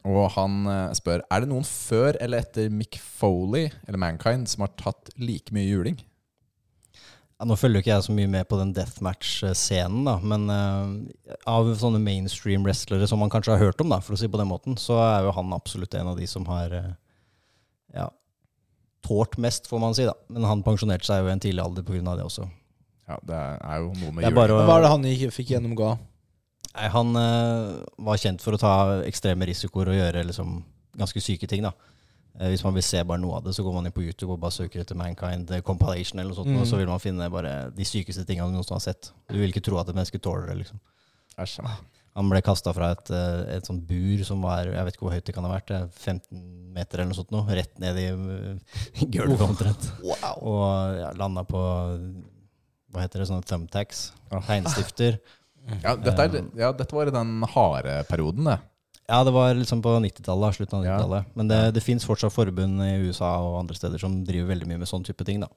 Speaker 2: Og han eh, spør Er det noen før eller etter Mick Foley eller Mankind som har tatt like mye juling.
Speaker 4: Ja, nå følger jo ikke jeg så mye med på den deathmatch-scenen, da, men eh, av sånne mainstream wrestlere som man kanskje har hørt om, da, for å si på den måten, så er jo han absolutt en av de som har eh, ja, tålt mest, får man si. da. Men han pensjonerte seg jo i en tidlig alder pga. det også.
Speaker 2: Ja, det er jo noe med
Speaker 4: Det er
Speaker 2: juling.
Speaker 4: bare å-
Speaker 1: Hva er det han gikk- fikk gjennomgå?
Speaker 4: Nei, han eh, var kjent for å ta ekstreme risikoer og gjøre liksom, ganske syke ting. da. Eh, hvis man vil se bare noe av det, så går man inn på YouTube og bare søker etter Mankind eh, compilation, eller noe sånt,
Speaker 1: Mm.
Speaker 4: og så vil man finne bare de sykeste tingene du noensinne har sett. Du vil ikke tro at et menneske tåler det. liksom.
Speaker 2: Æsj, ja.
Speaker 4: Han ble kasta fra et, eh, et sånt bur som var jeg vet ikke hvor høyt det kan ha vært, eh, 15 meter eller noe sånt, nå, rett ned i eh, gulvet omtrent.
Speaker 3: Wow.
Speaker 4: Og ja, landa på hva heter det, sånne thumbtacks,
Speaker 2: Ah.
Speaker 4: tegnstifter.
Speaker 2: Ja, dette, er, ja, dette var i den harde perioden, det.
Speaker 4: Ja, det var liksom på 90-tallet, slutten av
Speaker 2: Ja.
Speaker 4: 90-tallet. Men det, det fins fortsatt forbund i USA og andre steder som driver veldig mye med sånn type ting, da.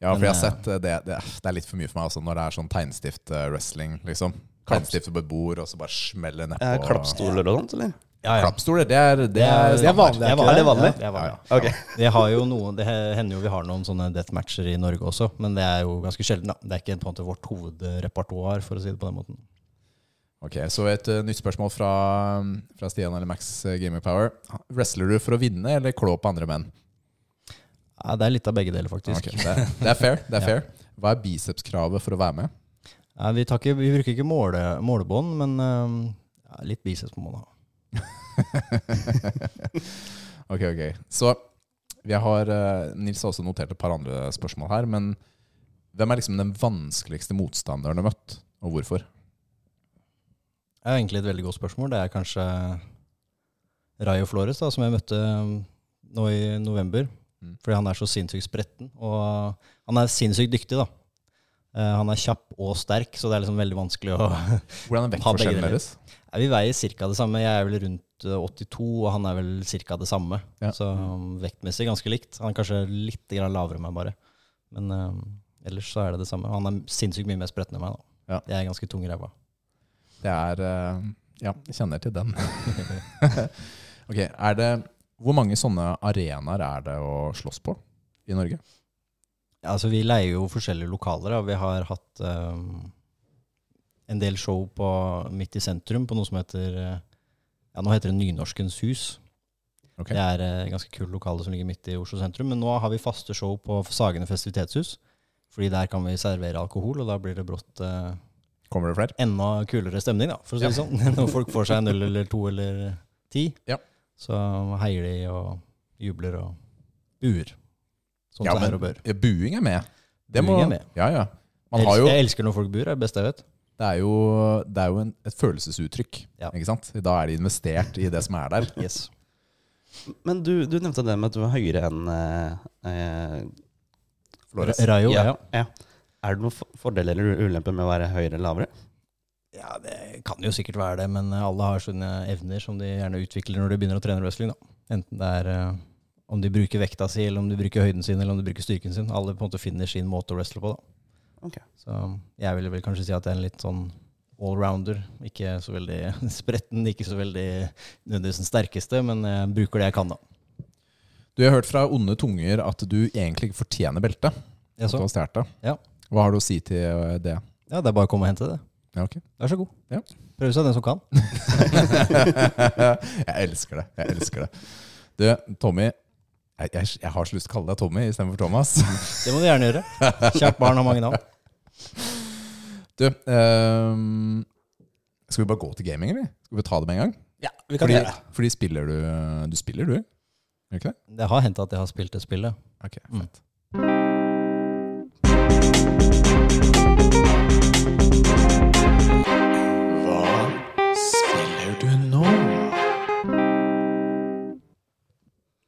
Speaker 2: Ja, for jeg
Speaker 4: Men,
Speaker 2: har
Speaker 4: eh,
Speaker 2: sett eh, det, det, det er litt for mye for meg altså, når det er sånn tegnstift-wrestling, liksom. Tegnstift på et bord, og så bare smelle nedpå.
Speaker 3: Eh, Klappstoler og sånt, eller?
Speaker 4: Ja,
Speaker 2: Klappstoler, det er, det er,
Speaker 1: Det er vanlig, er ikke
Speaker 3: det? Er det vanlig?
Speaker 4: Ja, det er vanlig.
Speaker 3: Ok.
Speaker 4: Det, har jo noen, det hender jo vi har noen sånne deathmatcher i Norge også, men det er jo ganske sjelden. da. Det er ikke på en måte vårt hovedrepertoar, for å si det på den måten.
Speaker 2: Ok, Så et eh, nytt spørsmål fra, mm, fra Stian eller Max eh, Gaming Power. Wrestler du for å vinne eller klå på andre menn?
Speaker 4: Ja, det er litt av begge deler, faktisk.
Speaker 2: Ok, det, det er fair. det er fair Hva er bicepskravet for å være med?
Speaker 4: Ja, vi, tar ikke, vi bruker ikke måle, målebånd, men øhm, ja, litt biceps må man ha.
Speaker 2: Ok, ok Så jeg har eh, Nils har også notert et par andre spørsmål her, men hvem er liksom den vanskeligste motstanderen du har møtt, og hvorfor?
Speaker 4: Det er egentlig et veldig godt spørsmål. Det er kanskje Rayo Flores, da, som jeg møtte um, nå i november.
Speaker 2: Mm.
Speaker 4: Fordi han er så sinnssykt spretten. Og han er sinnssykt dyktig, da. Eh, Han er kjapp og sterk, så det er liksom veldig vanskelig å
Speaker 2: Hvordan er
Speaker 4: Ha begge
Speaker 2: vektforskjellen
Speaker 4: deler.
Speaker 2: deres?
Speaker 4: Nei, Vi veier ca. det samme. Jeg er vel rundt eh, 82, og han er vel ca. det samme.
Speaker 2: Ja. Mm.
Speaker 4: Så um, vektmessig ganske likt. Han er kanskje litt grann lavere enn meg, bare. Men eh, ellers så er det det samme. Han er sinnssykt mye mer spretten enn meg, da.
Speaker 2: Ja.
Speaker 4: Jeg er ganske tung i ræva.
Speaker 2: Det er eh, Ja, jeg kjenner til den. ok, er det Hvor mange sånne arenaer er det å slåss på i Norge?
Speaker 4: Ja, altså Vi leier jo forskjellige lokaler. Da. Vi har hatt ehm, en del show på, midt i sentrum på noe som heter eh, Ja, nå heter det Nynorskens hus.
Speaker 2: Ok.
Speaker 4: Det er eh, ganske kult lokale som ligger midt i Oslo sentrum. Men nå har vi faste show på Sagene festivitetshus. Fordi der kan vi servere alkohol, og da blir det brått eh,
Speaker 2: Kommer det flere?
Speaker 4: enda kulere stemning, da, for å si det sånn. Når folk får seg en øl eller to eller ti,
Speaker 2: Ja.
Speaker 4: så heier de og jubler og buer. Sånn
Speaker 2: Ja,
Speaker 4: som det er
Speaker 2: men-
Speaker 4: og bør.
Speaker 2: Ja, buing er med.
Speaker 4: Buing er med.
Speaker 2: Ja, ja. Man
Speaker 4: Jeg
Speaker 2: har
Speaker 4: elsker,
Speaker 2: jo,
Speaker 4: jeg elsker når folk bor, det er det beste jeg vet.
Speaker 2: det er jo, det er jo en, et følelsesuttrykk.
Speaker 4: Ja.
Speaker 2: Ikke sant? Da er de investert i det som er der.
Speaker 3: Men du, du nevnte det med at du var høyere enn eh, eh,
Speaker 2: Flores.
Speaker 4: Ra- Rayo, ja.
Speaker 3: ja. ja. Er det noen for- fordeler eller ulemper med å være høyere eller lavere?
Speaker 4: ja, det kan jo sikkert være det, men eh, alle har sånne evner som de gjerne utvikler når de begynner å trene wrestling. Da. Enten det er eh, om de bruker vekta si, eller om de bruker høyden sin, eller om de bruker styrken sin. Alle på en måte finner sin måte å wrestle på. Da.
Speaker 3: Ok.
Speaker 4: Så jeg ville vel kanskje si at jeg er en litt sånn allrounder. Ikke så veldig spretten, ikke så veldig nødvendigvis den sterkeste, men jeg bruker det jeg kan, da.
Speaker 2: Du jeg har hørt fra onde tunger at du egentlig ikke fortjener beltet.
Speaker 4: Jeg
Speaker 2: at Du
Speaker 4: så.
Speaker 2: har stjålet det.
Speaker 4: Ja.
Speaker 2: Hva har du å si til eh, det?
Speaker 4: Ja, det er bare å komme og hente det.
Speaker 2: Ja, ok.
Speaker 4: Vær så god.
Speaker 2: Ja.
Speaker 4: Prøve seg den som kan.
Speaker 2: jeg elsker det. Jeg elsker det. Du, Tommy. Jeg, jeg, jeg har så lyst til å kalle deg Tommy istedenfor Thomas.
Speaker 4: Det må du gjerne gjøre. Kjært barn har mange navn.
Speaker 2: Du, ehm, skal vi bare gå til gaming, eller? Skal vi ta det med en gang?
Speaker 1: Ja, vi kan
Speaker 2: Fordi,
Speaker 1: gjøre det.
Speaker 2: fordi spiller du Du spiller, du? Gjør du ikke det?
Speaker 4: Det har hendt at jeg har spilt det spillet.
Speaker 2: Ok,
Speaker 4: Mm.
Speaker 2: fett.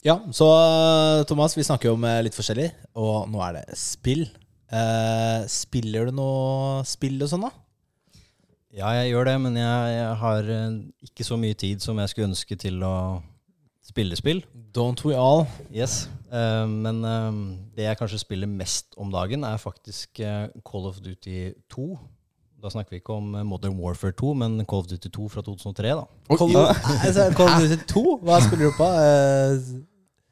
Speaker 1: Ja, så eh, Thomas, vi snakker jo om eh, litt forskjellig, og nå er det spill. Eh, spiller du noe spill og sånn, da?
Speaker 4: Ja, jeg gjør det, men jeg, jeg har eh, ikke så mye tid som jeg skulle ønske til å spille spill.
Speaker 1: Don't we all?
Speaker 4: Yes. Eh, men eh, det jeg kanskje spiller mest om dagen, er faktisk eh, Call of Duty 2. Da snakker vi ikke om eh, Modern Warfare 2, men Call of Duty 2 fra 2003, da.
Speaker 2: Oi,
Speaker 1: Call, altså, Call of Duty 2? Hva spiller du på? Eh,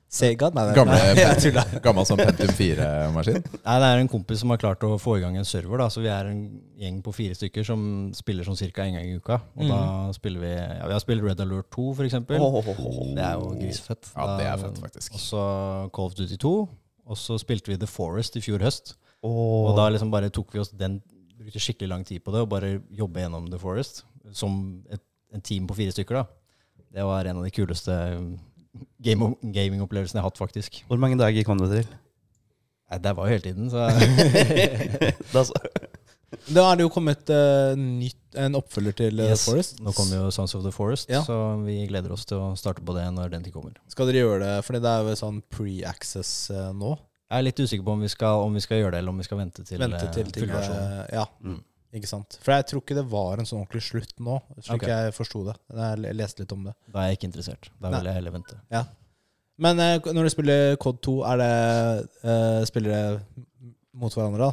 Speaker 1: Sega? Nei, nei,
Speaker 2: Gamle-
Speaker 1: nei, jeg tulla.
Speaker 2: Gammel som Pentium 4-maskin.
Speaker 4: Nei, det er en kompis som har klart å få i gang en server. da, Så vi er en gjeng på fire stykker som spiller sånn cirka en gang i uka. Og da
Speaker 2: Mm.
Speaker 4: spiller vi ja, Vi har spilt Red Alert 2, for eksempel. Det er jo grisefett.
Speaker 2: Ja, det er
Speaker 4: Da-
Speaker 2: fett, faktisk.
Speaker 4: Og så Call of Duty 2. Og så spilte vi The Forest i fjor høst. Og da liksom bare tok vi oss den Brukte skikkelig lang tid på det, og bare jobbe gjennom The Forest. Som et, en team på fire stykker, da. Det var en av de kuleste um, game, gamingopplevelsene jeg har hatt, faktisk.
Speaker 3: Hvor mange dager kom du til?
Speaker 4: Nei, Det var jo hele tiden, så
Speaker 3: Da så-
Speaker 1: Da er det jo kommet eh, nytt, en oppfølger til eh,
Speaker 4: Yes.
Speaker 1: Forest.
Speaker 4: Nå kommer jo Sons of the Forest,
Speaker 1: Ja.
Speaker 4: så vi gleder oss til å starte på det når den tid kommer.
Speaker 1: Skal dere gjøre det? Fordi det er jo sånn pre-access eh, nå.
Speaker 4: Jeg er litt usikker på om vi skal, om vi skal gjøre det, eller om vi skal vente til,
Speaker 1: Vente
Speaker 4: eh,
Speaker 1: til ting eh,
Speaker 4: fullversjonen.
Speaker 1: Ja,
Speaker 3: Mm.
Speaker 1: ikke sant. For jeg tror ikke det var en sånn ordentlig slutt nå, slik
Speaker 4: Ok.
Speaker 1: jeg forsto det. Jeg le- leste litt om det.
Speaker 4: Da er jeg ikke interessert. Da
Speaker 1: Nei.
Speaker 4: vil jeg heller vente.
Speaker 1: Men eh, når du spiller Cod 2, er det eh, Spiller det mot hverandre, da?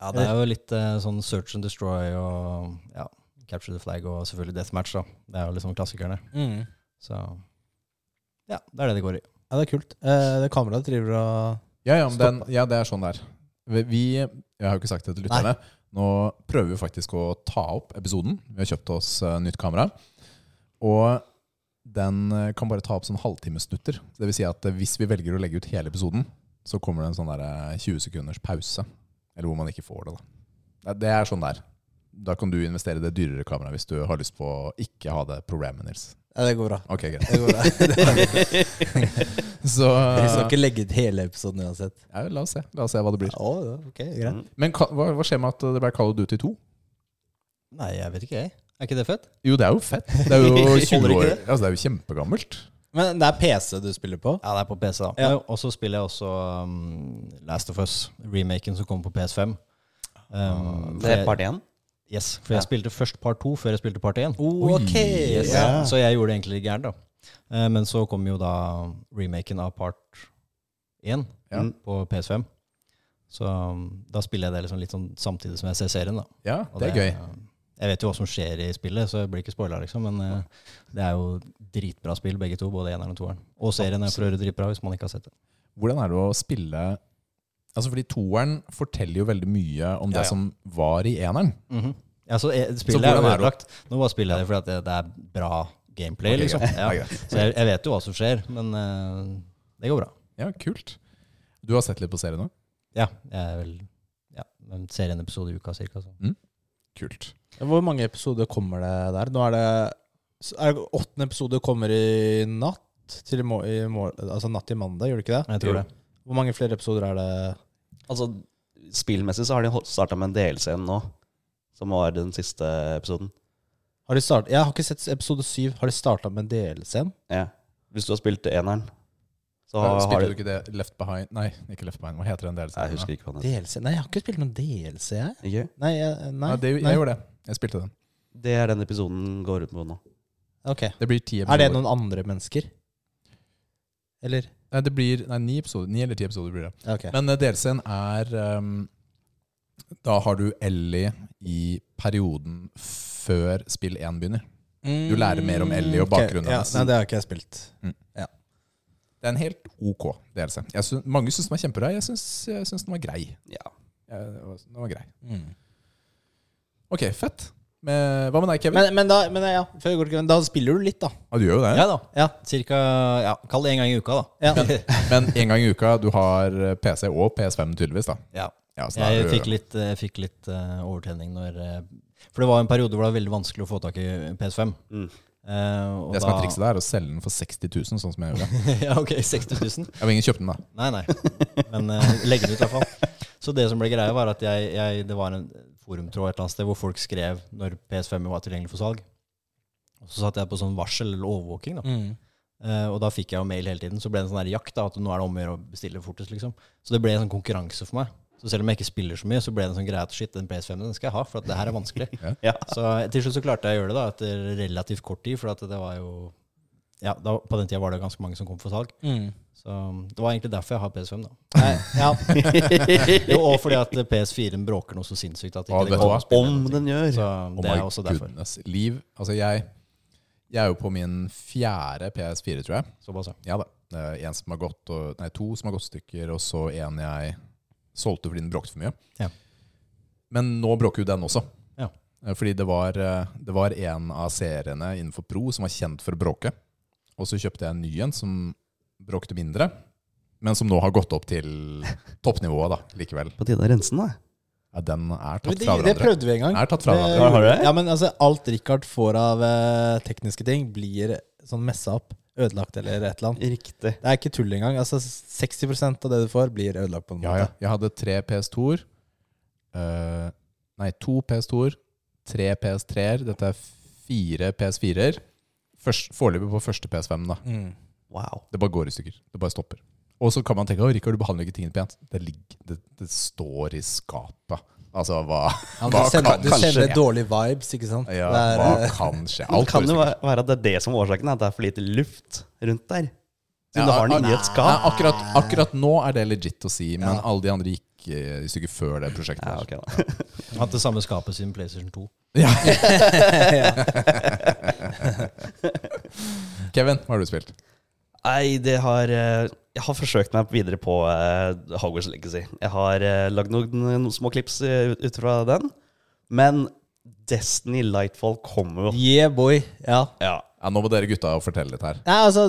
Speaker 4: Ja, det er jo litt eh, sånn search and destroy og ja, capture the flag og selvfølgelig deathmatch, da. Det er jo liksom klassikerne. Så ja, det er det det går i.
Speaker 1: Ja, det er kult. Eh, det kameraet driver og
Speaker 2: Ja, ja, men
Speaker 1: Stopp,
Speaker 2: den, ja, det er sånn det er. Vi- Vi, jeg har jo ikke sagt det til lytterne, nå prøver vi faktisk å ta opp episoden. Vi har kjøpt oss eh, nytt kamera. Og den eh, kan bare ta opp sånn halvtimesnutter. Det vil si at eh, hvis vi velger å legge ut hele episoden, så kommer det en sånn der eh, 20 sekunders pause. Eller hvor man ikke får det, da. Nei, Det er sånn det er. Da kan du investere i det dyrere kameraet hvis du har lyst på å ikke ha det problemet, Nils.
Speaker 1: Ja, det går bra.
Speaker 2: Ok, greit.
Speaker 1: Det går bra.
Speaker 2: Så eh,
Speaker 1: Vi skal ikke legge ut hele episoden uansett.
Speaker 2: ja, la oss se. La oss se hva det blir.
Speaker 1: Å, ja, ok, greit.
Speaker 3: Mm.
Speaker 2: Men ka- hva, hva skjer med at det ble Call of Duty 2?
Speaker 4: Nei, jeg vet ikke, jeg. Er ikke det fett?
Speaker 2: Jo, det er jo fett. Det er jo 20
Speaker 3: Holder ikke
Speaker 2: år.
Speaker 3: det?
Speaker 2: Altså, det er jo kjempegammelt.
Speaker 1: Men det er PC du spiller på?
Speaker 4: Ja, det er på PC, da.
Speaker 1: Ja.
Speaker 4: Og så spiller jeg også um, Last of Us, remaken som kommer på PS5. Um,
Speaker 3: Det er part én.
Speaker 4: Yes, for jeg
Speaker 3: Ja.
Speaker 4: spilte først part to før jeg spilte part én.
Speaker 1: Oh, ok!
Speaker 4: Yes.
Speaker 1: Ja.
Speaker 4: Så jeg gjorde det egentlig litt gærent, da. Eh, Men så kom jo da remaken av part én Mm.
Speaker 2: Ja.
Speaker 4: på PS5. Så um, da spiller jeg det liksom litt sånn samtidig som jeg ser serien, da.
Speaker 2: Ja,
Speaker 4: Og
Speaker 2: det er gøy.
Speaker 4: eh, Jeg vet jo hva som skjer i spillet, så jeg blir ikke spoila, liksom. Men eh, det er jo dritbra spill, begge to. Både eneren og toeren. Og serien er for øvrig dritbra, hvis man ikke har sett det.
Speaker 2: Hvordan er det å spille Altså, fordi toeren forteller jo veldig mye om det
Speaker 4: Ja, ja.
Speaker 2: som var i eneren.
Speaker 4: Ja, så eh,
Speaker 2: Så
Speaker 4: spillet er jo
Speaker 2: hvordan er det å-
Speaker 4: ødelagt. Nå bare spiller jeg det fordi at det, det er bra gameplay,
Speaker 2: Ok,
Speaker 4: liksom.
Speaker 2: greit.
Speaker 4: Ja.
Speaker 2: Ja, greit.
Speaker 4: Så jeg, jeg vet jo hva som skjer, men eh, det går bra.
Speaker 2: Ja, kult. Du har sett litt på serien nå?
Speaker 4: Ja, jeg er vel ja, men ser en episode i uka cirka. Så.
Speaker 2: Kult.
Speaker 1: Hvor mange episoder kommer det der? Nå er det, så er det Åttende episode kommer i natt. Til i mor i mor altså natt til mandag, gjør det ikke det?
Speaker 4: Jeg tror det.
Speaker 1: Hvor mange flere episoder er det?
Speaker 3: Altså, spillmessig så har de starta med en DLC nå, som var den siste episoden.
Speaker 1: Har de start, jeg har ikke sett episode syv. Har de starta med DLC-en?
Speaker 3: Ja. Hvis du har spilt eneren, så har, har
Speaker 2: Spilte du
Speaker 3: du
Speaker 2: ikke det Left Behind Nei, ikke Left Behind. Hva heter den delen?
Speaker 3: Jeg husker ikke hva den heter.
Speaker 1: DLC? Nei, jeg har ikke spilt noen DLC, jeg.
Speaker 3: Ikke?
Speaker 1: Nei, jeg, nei,
Speaker 2: Nei, det, jeg
Speaker 1: nei.
Speaker 2: gjorde det. Jeg spilte den.
Speaker 3: Det er den episoden går ut på nå.
Speaker 1: Ok.
Speaker 2: Det blir ti
Speaker 1: Er
Speaker 2: episoder.
Speaker 1: det noen andre mennesker? Eller?
Speaker 2: Nei, det blir nei, ni episoder. Ni eller ti episoder blir det.
Speaker 1: Ja, Ok.
Speaker 2: Men eh, DLC-en er ehm, Da har du Ellie i perioden før spill 1 begynner. du lærer mer om Ellie
Speaker 1: Mm.
Speaker 2: og
Speaker 1: ok,
Speaker 2: bakgrunnen
Speaker 1: ja,
Speaker 2: hennes.
Speaker 1: Nei, det har ikke jeg spilt.
Speaker 2: Det er en helt ok DLC. Jeg syn- mange syns den var kjempebra. Jeg syns, jeg syns den var grei.
Speaker 3: Ja.
Speaker 2: Jeg, den var grei. Ok, fett. Men, hva med deg, Kevin?
Speaker 1: Men, men, da, men ja, før vi går til Kevin, da spiller du litt, da.
Speaker 2: ja, du gjør jo det.
Speaker 4: Ja da.
Speaker 1: Ja.
Speaker 4: Cirka, ja, kall det en gang i uka, da.
Speaker 1: Ja.
Speaker 2: Men en gang i uka. Du har eh, PC og PS5, tydeligvis. da
Speaker 4: Ja.
Speaker 2: ja, så da er
Speaker 4: Jeg
Speaker 2: du-
Speaker 4: fikk litt, eh, fikk litt eh, overtenning når eh, For det var en periode hvor det var veldig vanskelig å få tak i PS5.
Speaker 3: Mm.
Speaker 4: Eh, og
Speaker 2: Det som er
Speaker 4: da-
Speaker 2: trikset der, er å selge den for 60 000, sånn som jeg gjorde.
Speaker 4: ja, ok, 60 000.
Speaker 2: Jeg vil ingen kjøpe den, da.
Speaker 4: Nei, nei. Men eh, legge den ut, i hvert fall. Så det som ble greia, var at jeg, jeg, det var en forumtråd et eller annet sted hvor folk skrev når PS5 var tilgjengelig for salg. Og så satt jeg på sånn varsel eller overvåking. da.
Speaker 1: Mm.
Speaker 4: Eh, og da fikk jeg jo mail hele tiden. Så ble det en sånn her jakt da, at nå er det om å gjøre å bestille fortest. liksom. Så det ble en sånn konkurranse for meg. Så selv om jeg ikke spiller så mye, så ble det en sånn greie at shit, den PS5-en den skal jeg ha, for at det her er vanskelig.
Speaker 3: Ja.
Speaker 4: Så til slutt så klarte jeg å gjøre det da, etter relativt kort tid, for at det var jo Ja, da, på den tida var det ganske mange som kom for salg.
Speaker 1: Mm.
Speaker 4: Så um, det var egentlig derfor jeg har PS5, da.
Speaker 1: Nei, ja.
Speaker 4: Jo, og fordi at PS4-en bråker noe så sinnssykt at
Speaker 2: Ja,
Speaker 4: ikke
Speaker 2: vet du
Speaker 4: det går
Speaker 2: hva?
Speaker 4: an å spille.
Speaker 3: Om
Speaker 4: noe.
Speaker 3: den gjør.
Speaker 4: Så
Speaker 2: Oh
Speaker 4: det
Speaker 2: my
Speaker 4: er også derfor.
Speaker 2: goodness. Liv. Altså, jeg, jeg er jo på min fjerde PS4, tror jeg.
Speaker 4: Såpass, ja.
Speaker 2: Ja da. eh, en som har gått, og, nei, to som har gått stykker, og så en jeg solgte fordi den bråkte for mye.
Speaker 4: Ja.
Speaker 2: Men nå bråker jo den også.
Speaker 4: Ja.
Speaker 2: Eh, Fordi det var, eh, det var en av seriene innenfor Pro som var kjent for å bråke. Og så kjøpte jeg en ny en som bråkte mindre, men som nå har gått opp til toppnivået da, likevel.
Speaker 3: På tide å rense den, da.
Speaker 2: Ja, den
Speaker 1: Men
Speaker 2: er tatt
Speaker 1: det,
Speaker 2: fra
Speaker 1: det
Speaker 2: hverandre.
Speaker 1: prøvde vi en gang.
Speaker 2: Er tatt fra hverandre.
Speaker 3: Har du det?
Speaker 1: Ja, men altså, alt Richard får av eh, tekniske ting, blir sånn messa opp, ødelagt eller et eller annet. Det
Speaker 3: Riktig.
Speaker 1: er ikke tull engang. Altså, 60 av det du får, blir ødelagt på en
Speaker 2: Ja,
Speaker 1: måte.
Speaker 2: ja. Jeg hadde tre PS2-er. eh, nei, to PS2-er, tre PS3-er. Dette er fire PS4-er. Først- Foreløpig på første PS5. da
Speaker 1: Mm.
Speaker 3: Wow.
Speaker 2: Det bare går i stykker. Det bare stopper. Og så kan man tenke at Rikard, du behandler ikke tingene pent. Det, ligger, det, det står i skapet. Altså, hva,
Speaker 1: Ja,
Speaker 2: hva
Speaker 1: du sender,
Speaker 2: kan
Speaker 1: du sender
Speaker 2: skje?
Speaker 1: dårlige vibes, ikke sant?
Speaker 2: Ja,
Speaker 1: det er,
Speaker 2: hva
Speaker 1: eh,
Speaker 2: kan skje?
Speaker 3: Men
Speaker 2: Alt
Speaker 3: det kan
Speaker 2: går i
Speaker 3: jo
Speaker 2: stykker.
Speaker 3: være være at det er det som er årsaken, at det er for lite luft rundt der. Så
Speaker 2: Ja,
Speaker 3: du har den
Speaker 2: nei,
Speaker 3: inni et skap.
Speaker 2: Nei, akkurat, akkurat nå er det legit å si, men
Speaker 1: Ja.
Speaker 2: alle de andre gikk eh, i stykker før det prosjektet.
Speaker 3: Ja,
Speaker 2: der.
Speaker 3: ok da.
Speaker 4: Hatt det samme skapet siden PlayStation 2.
Speaker 2: Kevin, hva har du spilt?
Speaker 3: Nei, det har eh, Jeg har forsøkt meg videre på eh, Hogwarts Legacy. Jeg har eh, lagd noen, noen små klips eh, ut, ut fra den. Men Destiny Lightfall kommer jo.
Speaker 1: eh, Yeah, boy. Ja.
Speaker 3: Ja.
Speaker 2: Ja, nå må dere gutta fortelle litt her.
Speaker 1: Nei, altså,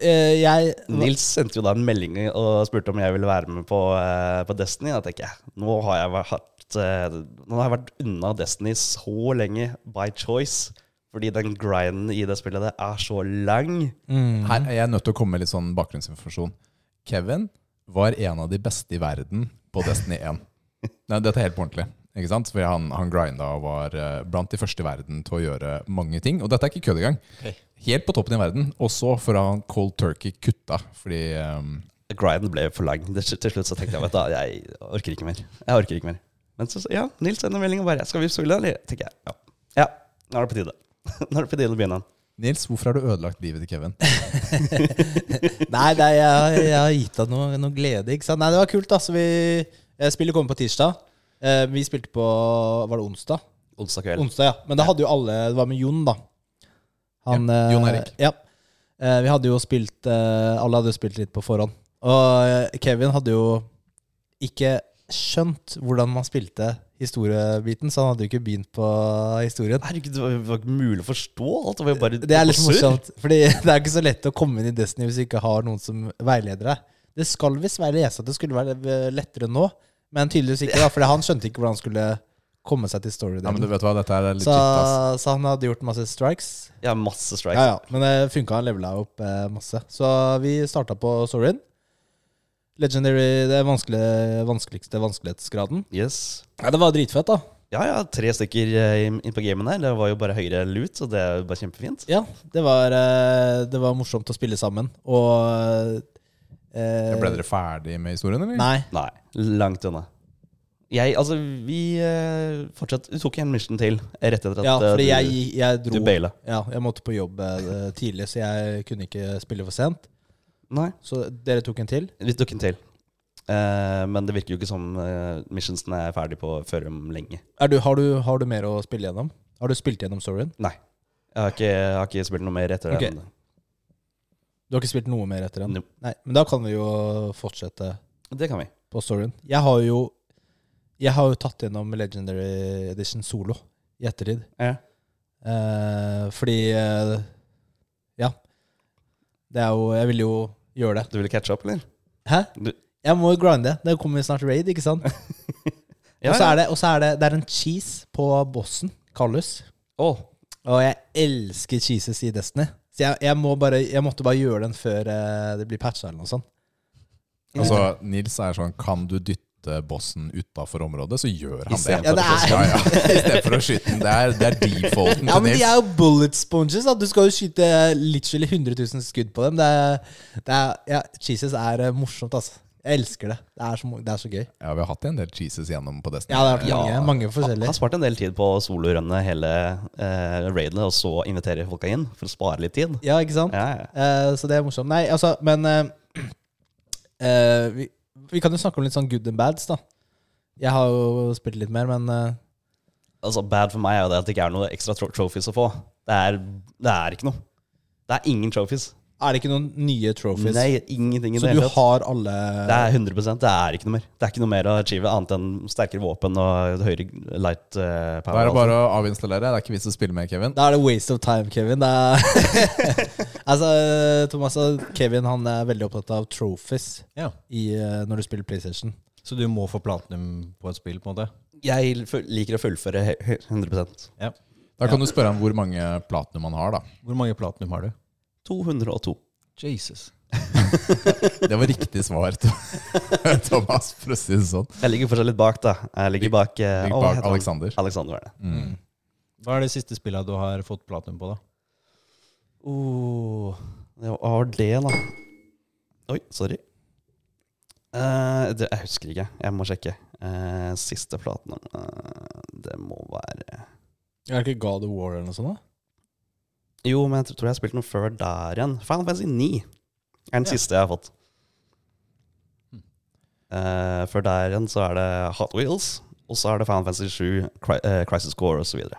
Speaker 1: eh, jeg
Speaker 3: Nils sendte jo da en melding og spurte om jeg ville være med på, eh, på Destiny. Da tenker jeg nå har jeg vært, eh, nå har jeg vært unna Destiny så lenge by choice. Fordi den grinden i det spillet der er så lang.
Speaker 2: Her er jeg nødt til å komme med litt sånn bakgrunnsinformasjon. Kevin var en av de beste i verden på Destiny 1. Nei, dette er helt på ordentlig. Ikke sant? For han, han grinda og var eh, blant de første i verden til å gjøre mange ting. Og dette er ikke kødd engang.
Speaker 4: Ok.
Speaker 2: Helt på toppen i verden. Og så får han cold turkey kutta fordi eh,
Speaker 3: Grinden ble for lang. Det, til slutt så tenkte jeg vet du, hva, jeg orker ikke mer. Jeg orker ikke mer. Men så, ja, Nils sender melding og bare 'Skal vi spille, eller?' tenker jeg. Ja. ja, nå er det på tide. Nå er det på tide å begynne.
Speaker 2: Nils, hvorfor har du ødelagt livet til Kevin?
Speaker 1: Nei, det er, jeg, jeg har gitt deg noe, noe glede. Ikke sant? Nei, det var kult. Altså, vi, eh, spillet kom på tirsdag. Eh, vi spilte på Var det onsdag?
Speaker 3: Onsdag kveld.
Speaker 1: Onsdag, ja. Men da hadde jo alle Det var med Jon, da. Han,
Speaker 2: Ja, Jon
Speaker 1: eh,
Speaker 2: Erik.
Speaker 1: Ja. Eh, Vi hadde jo spilt eh, Alle hadde jo spilt litt på forhånd. Og eh, Kevin hadde jo ikke skjønt hvordan man spilte historiebiten, så han hadde jo ikke begynt på historien.
Speaker 3: Herregud, det var- det var ikke mulig å forstå alt. Det var jo bare
Speaker 1: Det er litt
Speaker 3: surr.
Speaker 1: morsomt, Fordi det er ikke så lett å komme inn i Destiny hvis du ikke har noen som veileder deg. Det skal visst være lese at det skulle være eh, lettere nå, men tydeligvis ikke, da, for han skjønte ikke hvordan han skulle komme seg til
Speaker 2: Ja, men du
Speaker 1: storydelen.
Speaker 2: vet hva, dette her er legit,
Speaker 1: så,
Speaker 2: ass.
Speaker 1: så han hadde gjort masse strikes.
Speaker 3: Ja, masse strikes.
Speaker 1: Ja, ja, men det funka. Han levela opp eh, masse. Så vi starta på storyen. Legendary, det vanskelig, vanskeligste vanskelighetsgraden.
Speaker 3: Yes.
Speaker 1: Ja, det var dritfett, da.
Speaker 3: Ja, ja, tre stykker eh, inn inn på gamen der. Det var jo bare høyere lut, så det er jo bare kjempefint.
Speaker 1: Ja, det var, eh, det var morsomt å spille sammen. Og eh,
Speaker 2: Ble dere ferdig med historien, eller?
Speaker 1: Nei.
Speaker 3: Nei, langt unna. Jeg, altså, vi eh, fortsatt Du tok en mission til rett etter at
Speaker 1: Ja,
Speaker 3: eh,
Speaker 1: fordi
Speaker 3: du,
Speaker 1: jeg, jeg dro
Speaker 3: du baila.
Speaker 1: Ja, jeg måtte på jobb eh, tidlig, så jeg kunne ikke spille for sent.
Speaker 3: Nei.
Speaker 1: Så dere tok en til?
Speaker 3: Vi tok en til. Eh, men det virker jo ikke som eh, missionsen er ferdig på før om lenge.
Speaker 1: Er du, har, du, har du mer å spille gjennom? Har du spilt gjennom storyen?
Speaker 3: Nei. Jeg har ikke, jeg har ikke spilt noe mer etter
Speaker 1: Ok.
Speaker 3: det.
Speaker 1: Du har ikke spilt noe mer etter den?
Speaker 3: No.
Speaker 1: Nei, men da kan vi jo fortsette.
Speaker 3: Det kan vi.
Speaker 1: på storyen. Jeg har jo Jeg har jo tatt gjennom Legendary Edition solo i ettertid.
Speaker 3: Ja.
Speaker 1: Eh, fordi eh, Ja. Det er jo Jeg vil jo gjøre det.
Speaker 3: Du ville catche opp, eller?
Speaker 1: Hæ?
Speaker 3: Du-
Speaker 1: Jeg må jo grinde. Det kommer jo snart raid, ikke sant? Og så er det, og så er det, det er en cheese på bossen, Kallus.
Speaker 3: Åh,
Speaker 1: Og jeg elsker cheeses i Destiny. Så jeg, jeg, må bare, jeg måtte bare gjøre den før eh, det blir patcha eller noe sånt.
Speaker 2: Altså, Nils er sånn Kan du dytte bossen utafor området, så gjør han det.
Speaker 1: for å Ja,
Speaker 3: stedet
Speaker 1: det er-
Speaker 2: ja, ja. I stedet for å skyte den. Det er, det er defaulten
Speaker 1: Ja,
Speaker 2: til
Speaker 1: men de
Speaker 2: Nils.
Speaker 1: er jo bullet sponges. Da. Du skal jo skyte literally 100 000 skudd på dem. Det er, det er, ja, Jesus er eh, morsomt, altså. Jeg elsker det. Det er så, mo- det er så gøy.
Speaker 2: Ja, vi har hatt en del cheeses gjennom på Destiny.
Speaker 1: Ja, det har vært
Speaker 3: Ja.
Speaker 1: mange, mange
Speaker 3: har
Speaker 1: forskjellige.
Speaker 3: spart en del tid på å solorunne hele eh, raidet, og så invitere folka inn for å spare litt tid.
Speaker 1: Ja, ikke sant?
Speaker 3: Ja, ja.
Speaker 1: Eh, så det er morsomt. Nei, altså, men eh, eh, vi, vi kan jo snakke om litt sånn good and bads, da. Jeg har jo spilt litt mer, men eh,
Speaker 3: Altså, bad for meg er jo det at det ikke er noe ekstra tro trophies å få. Det er, det er ikke noe. Det er ingen trophies.
Speaker 1: Er det ikke noen nye trophies?
Speaker 3: Nei, ingenting i
Speaker 1: så du
Speaker 3: det hele tatt.
Speaker 1: har alle
Speaker 3: Det er 100 Det er ikke noe mer. Det er ikke noe mer å achieve annet enn sterkere våpen og høyere light eh,
Speaker 2: Da er
Speaker 3: power.
Speaker 2: det bare å avinstallere. Det er ikke vits å spille med, Kevin.
Speaker 1: Da er det waste of time, Kevin. Det er altså, Thomas og Kevin han er veldig opptatt av trophies
Speaker 4: Ja.
Speaker 1: i, eh, når du spiller PlayStation.
Speaker 4: Så du må få platinum på et spill, på en måte?
Speaker 3: Jeg fu- liker å fullføre he- he- 100
Speaker 4: Ja.
Speaker 2: Da kan du spørre om hvor mange platinum han har, da.
Speaker 4: Hvor mange platinum har du?
Speaker 3: 202.
Speaker 4: Jesus.
Speaker 2: Det var riktig svar, Thomas, for å si det sånn.
Speaker 3: Jeg ligger fortsatt litt bak, da. Jeg ligger bak, eh,
Speaker 2: Ligger
Speaker 3: å, hva
Speaker 2: bak
Speaker 3: heter han?
Speaker 2: Alexander.
Speaker 3: Alexander er det.
Speaker 2: Mm.
Speaker 4: Hva er det siste spillet du har fått platinum på, da?
Speaker 3: Oh, det var- hva var det, da? Oi, sorry. Eh, det, jeg husker ikke. Jeg må sjekke. Eh, siste platen eh, Det må være
Speaker 1: Er det ikke God of War eller noe sånt? da?
Speaker 3: Jo, men jeg tror- tror jeg har spilt noe før der igjen. Final Fantasy 9 er den
Speaker 4: Ja.
Speaker 3: siste jeg har fått. Eh, før der igjen så er det Hot Wheels, og så er det Final Fantasy 7, Cry eh, Crisis Core osv. Det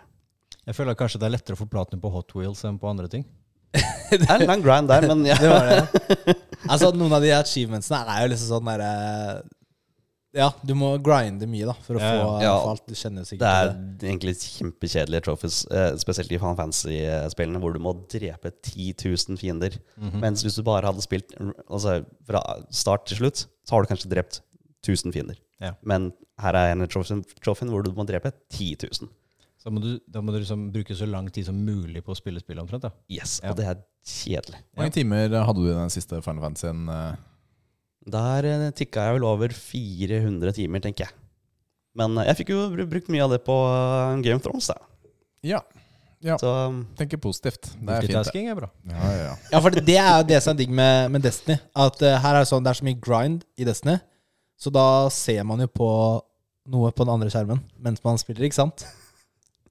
Speaker 4: Jeg føler kanskje det er lettere å få platinum på Hot Wheels enn på andre ting.
Speaker 3: er en lang grind der, men
Speaker 1: Det
Speaker 3: ja.
Speaker 1: var det. Altså, noen av de achievementsene er jo liksom sånn derre Ja, du må grinde mye da for å
Speaker 4: Ja, ja.
Speaker 1: få
Speaker 3: Ja.
Speaker 1: for alt. Du kjenner jo
Speaker 3: Det
Speaker 1: sikkert
Speaker 3: er
Speaker 1: det.
Speaker 3: egentlig kjempekjedelige trophies, eh, spesielt i Final Fantasy-spillene, hvor du må drepe 10 000 fiender.
Speaker 2: Mhm.
Speaker 3: Mens hvis du bare hadde spilt r- altså, fra start til slutt, så har du kanskje drept 1000 fiender.
Speaker 4: Ja.
Speaker 3: Men her er en trophy, trophyen hvor du må drepe 10 000.
Speaker 4: Så må du, da må du liksom bruke så lang tid som mulig på å spille spillet, omtrent. da.
Speaker 3: Yes,
Speaker 4: Ja.
Speaker 3: Og det er kjedelig.
Speaker 2: Hvor mange timer hadde du i den siste Final Fantasy-en? eh?
Speaker 3: Der tikka jeg vel over 400 timer, tenker jeg. Men eh, jeg fikk jo br- brukt mye av det på eh, Game of Thrones, da.
Speaker 2: Ja. ja.
Speaker 3: Så um,
Speaker 2: Tenker positivt. Det er fint. det.
Speaker 4: Multitasking er bra.
Speaker 2: Ja, ja, ja.
Speaker 1: Ja, for det er jo det som er digg med, med Destiny. At eh, her er det sånn, det er så mye grind i Destiny, så da ser man jo på noe på den andre skjermen mens man spiller, ikke sant?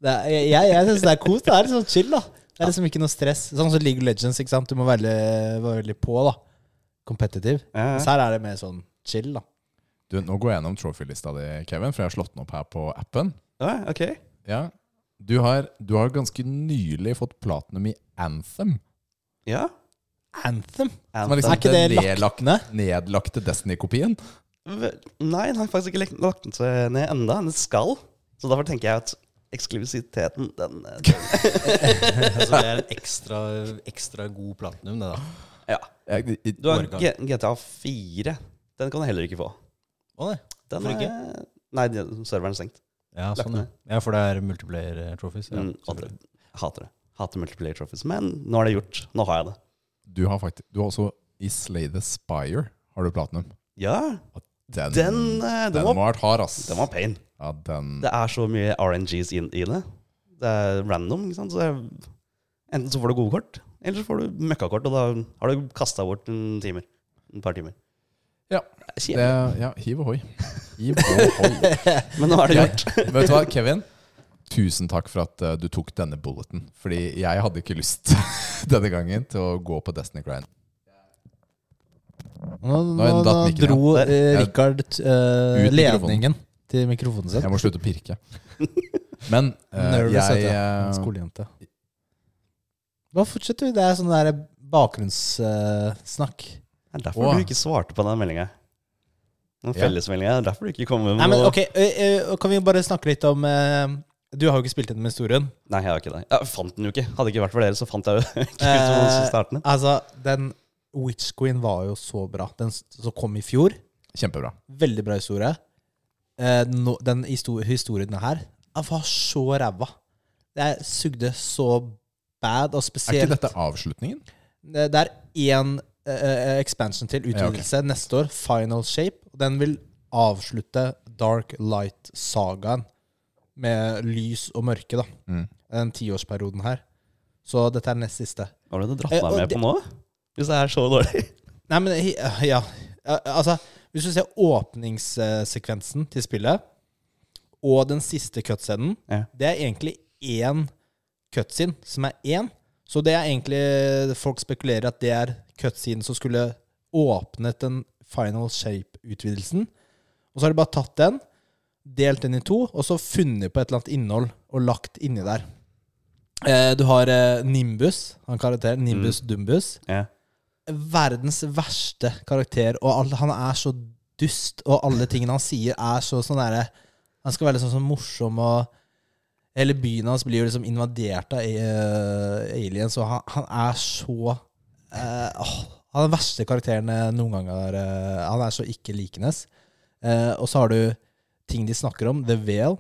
Speaker 1: Det er, jeg jeg, jeg syns det er kos. Det er liksom chill, da. Det er liksom ikke noe stress. Sånn som League of Legends, ikke sant. Du må være veldig, være veldig på, da. Competitive.
Speaker 3: ja,
Speaker 1: Mens
Speaker 3: ja.
Speaker 1: her er det mer sånn chill, da.
Speaker 2: Du, nå går jeg gjennom trophy-lista di, Kevin, for jeg har slått den opp her på appen.
Speaker 3: Ja, ok.
Speaker 2: Ja. Du, har, du har ganske nylig fått platinum i Anthem.
Speaker 3: Ja.
Speaker 1: Anthem?
Speaker 2: Som er
Speaker 1: Er
Speaker 2: liksom
Speaker 1: ikke det
Speaker 2: den
Speaker 1: lagt
Speaker 2: nedlagt,
Speaker 1: ned?
Speaker 2: nedlagte Destiny-kopien.
Speaker 3: Vel, Nei, den har faktisk ikke lagt- lagt den seg ned enda Den skal. Så derfor tenker jeg at eksklusiviteten, den eh,
Speaker 4: Altså, det er en ekstra, ekstra god platinum, det da.
Speaker 3: Ja.
Speaker 2: Jeg, i-
Speaker 3: Du har
Speaker 4: Organ.
Speaker 3: G- GTA 4. Den kan du heller ikke få.
Speaker 4: Å, nei.
Speaker 3: Den
Speaker 4: Hvorfor
Speaker 3: er, nei, den- serveren er stengt.
Speaker 4: Ja,
Speaker 3: Lagt
Speaker 4: sånn, ja.
Speaker 3: ned.
Speaker 4: ja, for det er multiplayer eh, trophies. Ja,
Speaker 3: Mm, og det-
Speaker 4: selvfølgelig.
Speaker 3: hater det. Hater multiplayer trophies. Men nå er det gjort. Nå har jeg det.
Speaker 2: du, har faktisk, du har også i Slay the Spire har du platinum.
Speaker 3: Ja,
Speaker 2: Den,
Speaker 3: den, eh, den,
Speaker 2: den må
Speaker 3: var,
Speaker 2: ha vært hard, ass.
Speaker 3: den var pain.
Speaker 2: ja, den,
Speaker 3: Det er så mye RNGs inn i det. Det er random, ikke sant. Så jeg, enten så får du gode kort, eller så får du møkkakort, og da har du kasta bort en timer. Et par timer.
Speaker 2: Ja,
Speaker 3: Det er
Speaker 2: det, ja hiv ohoi. Hiv ohoi.
Speaker 3: Men nå er det
Speaker 2: Ja.
Speaker 3: gjort.
Speaker 2: Vet du hva, Kevin? Tusen takk for at eh, du tok denne bulleten. Fordi jeg hadde ikke lyst denne gangen til å gå på Destiny Grind.
Speaker 1: Nå, nå,
Speaker 2: Nå
Speaker 1: nå
Speaker 2: datt mikken, ja.
Speaker 1: dro eh,
Speaker 2: Ja.
Speaker 1: Richard eh,
Speaker 2: Ut mikrofonen.
Speaker 1: ledningen til mikrofonen sin.
Speaker 2: Jeg må slutte å pirke. Men eh,
Speaker 1: Nervous,
Speaker 2: jeg
Speaker 1: heter det.
Speaker 2: eh,
Speaker 1: Skolejente. Hva fortsetter vi? Det er sånn der bakgrunnssnakk.
Speaker 3: Det er derfor
Speaker 2: Åh.
Speaker 3: du ikke svarte på den meldinga. Den
Speaker 2: Ja.
Speaker 3: fellesmeldinga. Det er derfor du ikke kom med
Speaker 1: Nei, men
Speaker 3: noe-
Speaker 1: ok, ø, ø, Kan vi bare snakke litt om eh, Du har jo ikke spilt gjennom historien.
Speaker 3: Nei, jeg har ikke det. Jeg fant den jo ikke. Hadde det ikke vært for dere, så fant jeg jo ikke ut noen som
Speaker 1: Eh,
Speaker 3: starten.
Speaker 1: altså, den Witch Queen var jo så bra. Den s- som kom i fjor.
Speaker 2: Kjempebra.
Speaker 1: Veldig bra historie. Eh, nå- den histo- historien her den var så ræva. Jeg sugde så bad, og
Speaker 2: Er
Speaker 1: spesielt
Speaker 2: ikke dette avslutningen?
Speaker 1: Det det er én eh, expansion til, utvidelse, neste år. Final Shape. Og Den vil avslutte Dark Light-sagaen med lys og mørke, da.
Speaker 2: Mm.
Speaker 1: Den tiårsperioden her. Så dette er nest siste.
Speaker 3: Har du dratt
Speaker 1: eh,
Speaker 3: meg
Speaker 1: og
Speaker 3: med
Speaker 1: det-
Speaker 3: på nå? Hvis det er så dårlig.
Speaker 1: Nei, men hi- Ja. Eh, Altså, hvis du ser åpningssekvensen til spillet, og den siste cutscenen,
Speaker 3: Ja.
Speaker 1: det er egentlig én cutscene som er én. Så det er egentlig Folk spekulerer at det er cutscenen som skulle åpnet den Final Shape-utvidelsen. Og så har de bare tatt den, delt den i to, og så funnet på et eller annet innhold og lagt inni der. Eh, Du har eh, Nimbus, han karakteren. Nimbus Dumbus.
Speaker 3: Ja.
Speaker 1: verdens verste karakter, og alle, han er så dust, og alle tingene han sier, er så sånn derre Han skal være litt sånn, sånn morsom og Hele byen hans blir jo liksom invadert av eh, aliens, og han, han er så eh, åh, Han er den verste karakteren jeg noen gang har eh, Han er så ikke likende. Eh, og så har du ting de snakker om. The Veil.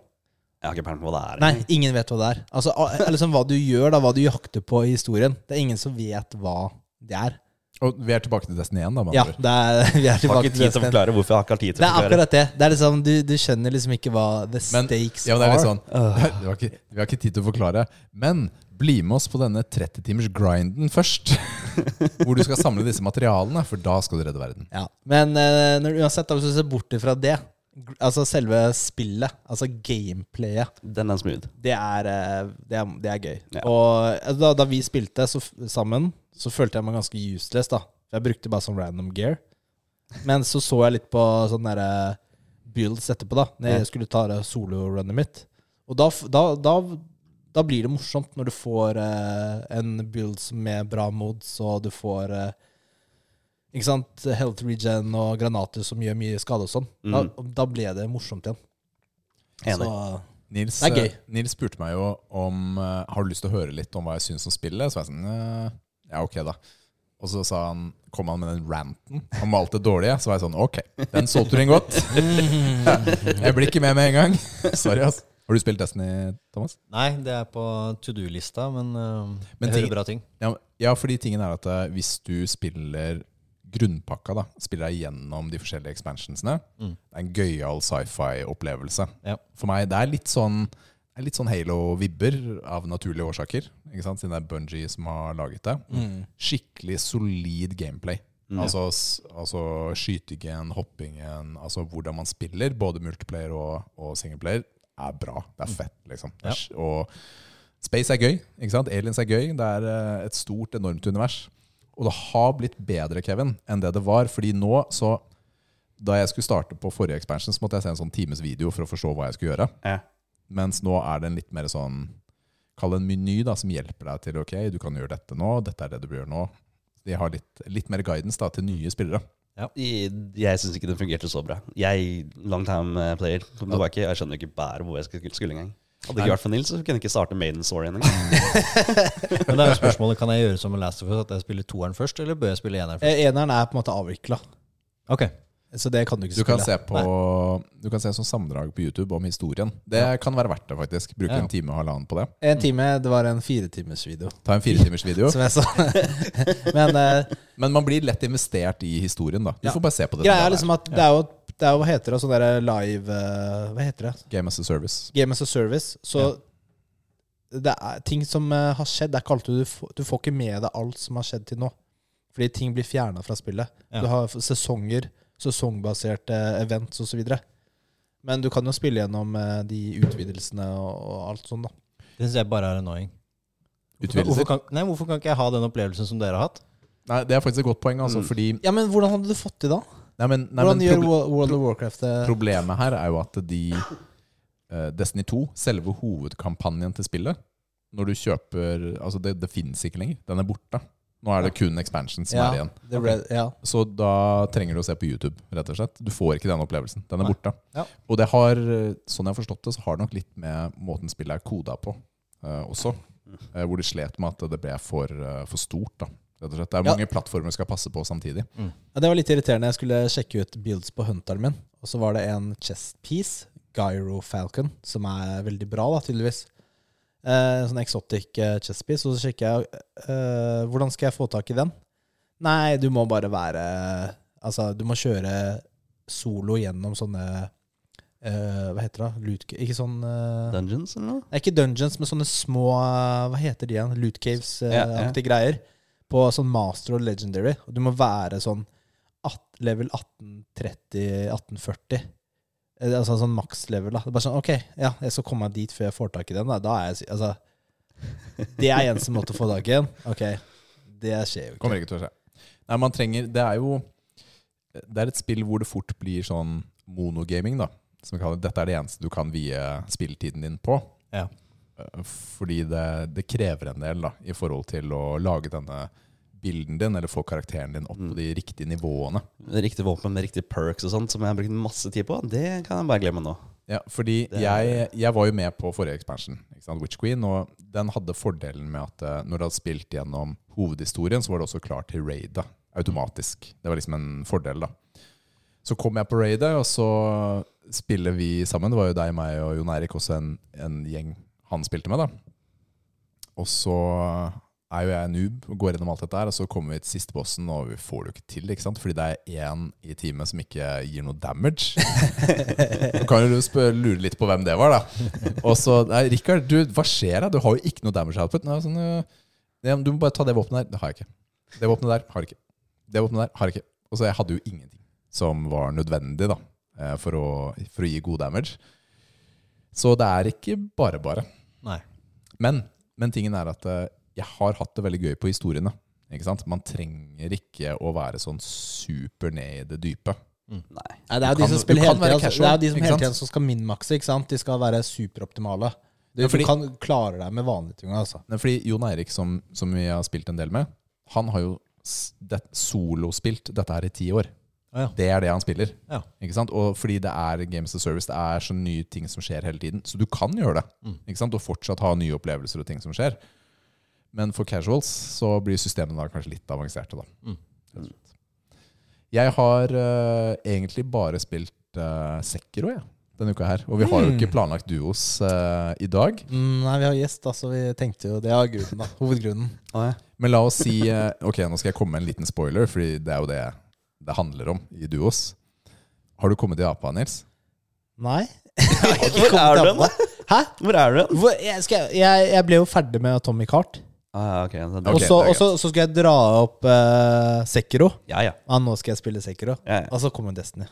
Speaker 3: Jeg har ikke peiling på hva det er.
Speaker 1: Nei, ingen vet hva det er. Altså, a- eller sånn hva du gjør, da, hva du jakter på i historien. Det er ingen som vet hva det er.
Speaker 2: Og vi er tilbake til Destiny 1, da. med
Speaker 1: Ja,
Speaker 2: andre ord.
Speaker 1: det er, vi er
Speaker 3: Jeg har
Speaker 1: tilbake
Speaker 3: ikke tid til å
Speaker 1: det.
Speaker 3: forklare hvorfor jeg har ikke hatt tid til
Speaker 1: Det
Speaker 3: å
Speaker 1: er
Speaker 3: forklare.
Speaker 1: akkurat det. Det er liksom, du, du skjønner liksom ikke hva the
Speaker 2: Men-
Speaker 1: stakes
Speaker 2: Ja, men det er litt
Speaker 1: are.
Speaker 2: sånn det var ikke, Vi har ikke tid til å forklare. Men bli med oss på denne 30-timers grinden først. Hvor du skal samle disse materialene, for da skal du redde verden.
Speaker 1: Ja. Men eh, når, uansett, da, hvis du ser bort ifra det, gr- altså selve spillet, altså gameplayet,
Speaker 3: Den er smooth.
Speaker 1: det er, eh, det er, det er gøy.
Speaker 3: Ja.
Speaker 1: Og eh, da, da vi spilte så, f- sammen, så følte jeg meg ganske useless, da. Jeg brukte bare sånn random gear. Men så så jeg litt på sånn derre builds etterpå, da. Når jeg skulle ta det solorunnet mitt. Og da, f- da, da, da blir det morsomt når du får eh, en build som med bra mods, og du får eh, ikke sant, health regen og granater som gjør mye skade og sånn. Da, da ble det morsomt igjen.
Speaker 3: Mm. Enig.
Speaker 1: Så
Speaker 2: Nils,
Speaker 1: Det er gøy.
Speaker 2: eh, Nils spurte meg jo om eh, Har du lyst til å høre litt om hva jeg syns om spillet. Så var jeg sånn eh, Ja, ok, da. Og så sa han, kom han med den ranten om alt det dårlige. Så var jeg sånn Ok, den solgte du inn godt. Jeg blir ikke med med en gang. Sorry, ass. Har du spilt Destiny, Thomas?
Speaker 4: Nei, det er på to do-lista, men, eh,
Speaker 2: Men
Speaker 4: jeg
Speaker 2: ting-
Speaker 4: hører bra ting.
Speaker 2: Ja, ja, fordi tingen er at eh, hvis du spiller grunnpakka, da, spiller deg gjennom de forskjellige expansionsene,
Speaker 4: Mm.
Speaker 2: det er en gøyal sci-fi-opplevelse.
Speaker 4: Ja.
Speaker 2: For meg, det er litt sånn det er litt sånn Halo-vibber av naturlige årsaker. Ikke sant? Siden det er Bungie som har laget det. Skikkelig solid gameplay. Altså, s- altså skytingen, hoppingen, altså hvordan man spiller, både multiplayer og, og singleplayer, er bra. Det er fett, liksom. Det er
Speaker 4: Ja.
Speaker 2: s- Og Space er gøy. ikke sant? Aliens er gøy. Det er eh, et stort, enormt univers. Og det har blitt bedre, Kevin, enn det det var. Fordi nå, så Da jeg skulle starte på forrige expansion, så måtte jeg se en sånn times video for å forstå hva jeg skulle gjøre.
Speaker 3: Ja.
Speaker 2: Mens nå er det en litt mer sånn Kall det en meny da, som hjelper deg til Ok, du kan gjøre dette nå, dette er det du bør gjøre nå. De har litt, litt mer guidance da, til nye spillere.
Speaker 3: I- Jeg syns ikke den fungerte så bra. Jeg, long time eh, player, kom tilbake. Jeg skjønner ikke bare hvor jeg skulle skulle engang. Hadde det ikke vært for Nils, så kunne jeg ikke starte Maiden Story engang.
Speaker 4: Men det er jo spørsmålet, kan jeg gjøre som en Last of Us, at jeg spiller toeren først, eller bør jeg spille eneren først?
Speaker 1: Eh, Eneren er på en måte avvikla,
Speaker 4: Ok,
Speaker 1: så det kan du ikke
Speaker 2: Du kan se på
Speaker 1: Nei.
Speaker 2: Du kan se sånn sammendrag på YouTube om historien. Det kan være verdt det, faktisk. Bruke
Speaker 4: Ja.
Speaker 2: en time og halvannen på det.
Speaker 1: En time, det var en firetimersvideo,
Speaker 2: Ta en firetimersvideo.
Speaker 1: som jeg sa. Men eh,
Speaker 2: Men man blir lett investert i historien, da. Du
Speaker 1: Ja.
Speaker 2: får bare se på det. som
Speaker 1: greia
Speaker 2: det
Speaker 1: er liksom at det er jo, det er jo hva heter det, sånn derre live eh, Hva heter det?
Speaker 2: Game as a service.
Speaker 1: Game as a service. Så det er ting som eh, har skjedd, det er kalt du, f- du får ikke med deg alt som har skjedd til nå. Fordi ting blir fjerna fra spillet.
Speaker 4: Ja.
Speaker 1: Du har f- sesonger, sesongbaserte events osv. Men du kan jo spille gjennom eh, de utvidelsene og, og alt sånn, da.
Speaker 4: det synes jeg bare er annoying. Hvorfor
Speaker 2: Utvidelser.
Speaker 4: kan, nei, hvorfor kan ikke jeg ha den opplevelsen som dere har hatt?
Speaker 2: Nei, det er faktisk et godt poeng, altså,
Speaker 3: Mm.
Speaker 2: fordi
Speaker 1: Ja, men hvordan hadde du fått det da?
Speaker 2: Nei, men, nei,
Speaker 1: Hvordan
Speaker 2: men
Speaker 1: gjør
Speaker 2: proble-
Speaker 1: Wo- World of Warcraft eh? det?
Speaker 2: Problemet her er jo at de eh, Destiny 2, selve hovedkampanjen til spillet Når du kjøper Altså, det, det finnes ikke lenger. Den er borte. Nå er det kun expansion som
Speaker 1: ja,
Speaker 2: er igjen.
Speaker 1: det ble, ja.
Speaker 2: Så da trenger du å se på YouTube, rett og slett. Du får ikke den opplevelsen. Den er
Speaker 4: Nei.
Speaker 2: borte.
Speaker 4: Ja.
Speaker 2: Og det har, eh, sånn jeg har forstått det, så har det nok litt med måten spillet er koda på eh, også.
Speaker 1: Mm.
Speaker 2: Eh, hvor de slet med at det ble for, eh, for stort, da. Rett og slett. Det
Speaker 1: Ja.
Speaker 2: er mange plattformer du skal passe på samtidig.
Speaker 1: Ja, det var litt irriterende. Jeg skulle sjekke ut builds på hunteren min, og så var det en chest piece, Gyro Falcon, som er veldig bra, da, tydeligvis. Eh, sånn exotic eh, chest piece. Og så sjekker jeg eh, hvordan skal jeg få tak i den. Nei, du må bare være Altså, du må kjøre solo gjennom sånne eh, Hva heter det? da? Loot, ca- ikke sånn eh,
Speaker 3: Dungeons eller noe?
Speaker 1: Nei, ikke dungeons, men sånne små eh, Hva heter de igjen? Loot
Speaker 3: Ja, ja.
Speaker 1: caves-aktige greier. På sånn master og legendary. Og du må være sånn at- level 1830-1840. Altså sånn maks-level. da. Det er bare sånn OK, ja, jeg skal komme meg dit før jeg får tak i den. Da, da er jeg si- Altså Det er eneste måte å få tak i den. OK. Det skjer jo ikke.
Speaker 2: Kommer ikke til å skje. Nei, man trenger Det er jo Det er et spill hvor det fort blir sånn monogaming, da. Som vi kaller det. Dette er det eneste du kan vie spilletiden din på.
Speaker 4: Ja.
Speaker 2: Eh, Fordi det, det krever en del, da, i forhold til å lage denne bilden din, eller få karakteren din
Speaker 1: Mm.
Speaker 2: opp på de riktige nivåene.
Speaker 3: Riktig våpen med riktige perks og sånt, som jeg har brukt masse tid på, det kan jeg bare glemme nå.
Speaker 2: Ja, fordi
Speaker 3: Det er-
Speaker 2: jeg, jeg var jo med på forrige expansion, ikke sant? Witch Queen, og den hadde fordelen med at eh, når du hadde spilt gjennom hovedhistorien, så var det også klart til raidet automatisk. Det var liksom en fordel, da. Så kom jeg på raidet, og så spiller vi sammen. Det var jo deg, meg og Jon Erik, også en, en gjeng han spilte med, da. Og så er jo jeg noob og går gjennom alt dette her, og så kommer vi til siste bossen, og vi får det jo ikke til, ikke sant? Fordi det er én i teamet som ikke gir noe damage. Du kan jo spør- lure litt på hvem det var, da. Og så Nei, Rikard, du, hva skjer da? Du har jo ikke noe damage output. Nei, sånn, øh, «Nei, men du må bare ta det våpenet der. Det har jeg ikke. Det våpenet der har jeg ikke. Det våpenet der har jeg ikke. Og så jeg hadde jo ingenting som var nødvendig da, eh, for å, for å gi god damage. Så det er ikke bare bare.
Speaker 4: Nei.
Speaker 2: Men, men tingen er at eh, jeg har hatt det veldig gøy på historiene. Ikke sant? Man trenger ikke å være sånn super ned i det dype.
Speaker 3: Nei.
Speaker 1: Nei, det er
Speaker 2: Du
Speaker 1: jo de
Speaker 2: kan-
Speaker 1: som spiller
Speaker 2: du kan
Speaker 1: hele
Speaker 2: være
Speaker 1: tiden, altså.
Speaker 2: casual,
Speaker 1: Det er jo de som
Speaker 2: ikke
Speaker 1: hele
Speaker 2: sant?
Speaker 1: tiden som skal minmakse, ikke sant? De skal være superoptimale. Du,
Speaker 2: Ja, fordi-
Speaker 1: du kan klare deg med vanlige ting, altså.
Speaker 2: Nei, fordi Jon Eirik, som, som vi har spilt en del med, han har jo s- det, solospilt dette her i ti år.
Speaker 4: Ah, ja.
Speaker 2: Det er det han spiller.
Speaker 4: Ja.
Speaker 2: Ikke sant? Og fordi det er Games of Service, det er så nye ting som skjer hele tiden. Så du kan gjøre det,
Speaker 4: Mm.
Speaker 2: ikke sant? og fortsatt ha nye opplevelser og ting som skjer. Men for casuals så blir systemene da kanskje litt avanserte, da.
Speaker 4: Mm.
Speaker 2: Rett og slett. Jeg har eh, egentlig bare spilt uh, Sekiro, jeg, denne uka her. Og vi
Speaker 4: Mm.
Speaker 2: har jo ikke planlagt duos eh, i dag.
Speaker 1: Mm, nei, vi har gjest, altså. Vi tenkte jo Det er grunnen, da. Hovedgrunnen.
Speaker 3: Å, ja.
Speaker 2: Men la oss si eh, Ok, nå skal jeg komme med en liten spoiler, Fordi det er jo det det handler om i duos. Har du kommet til Japan, Nils?
Speaker 1: Nei?
Speaker 3: Hvor er du hen, da?
Speaker 1: Hæ?
Speaker 3: Hvor er du hen?
Speaker 1: Hvor, jeg, skal, jeg- jeg, jeg ble jo ferdig med Atomic Heart.
Speaker 3: Ah, ja, ok. så det-
Speaker 1: Og
Speaker 2: Ok.
Speaker 1: så,
Speaker 2: det er
Speaker 1: og så, så skal jeg dra opp eh, Sekiro.
Speaker 3: Ja, ja.
Speaker 1: Ja, nå skal jeg spille Sekiro.
Speaker 3: Ja, ja.
Speaker 1: Og så kommer Destiny.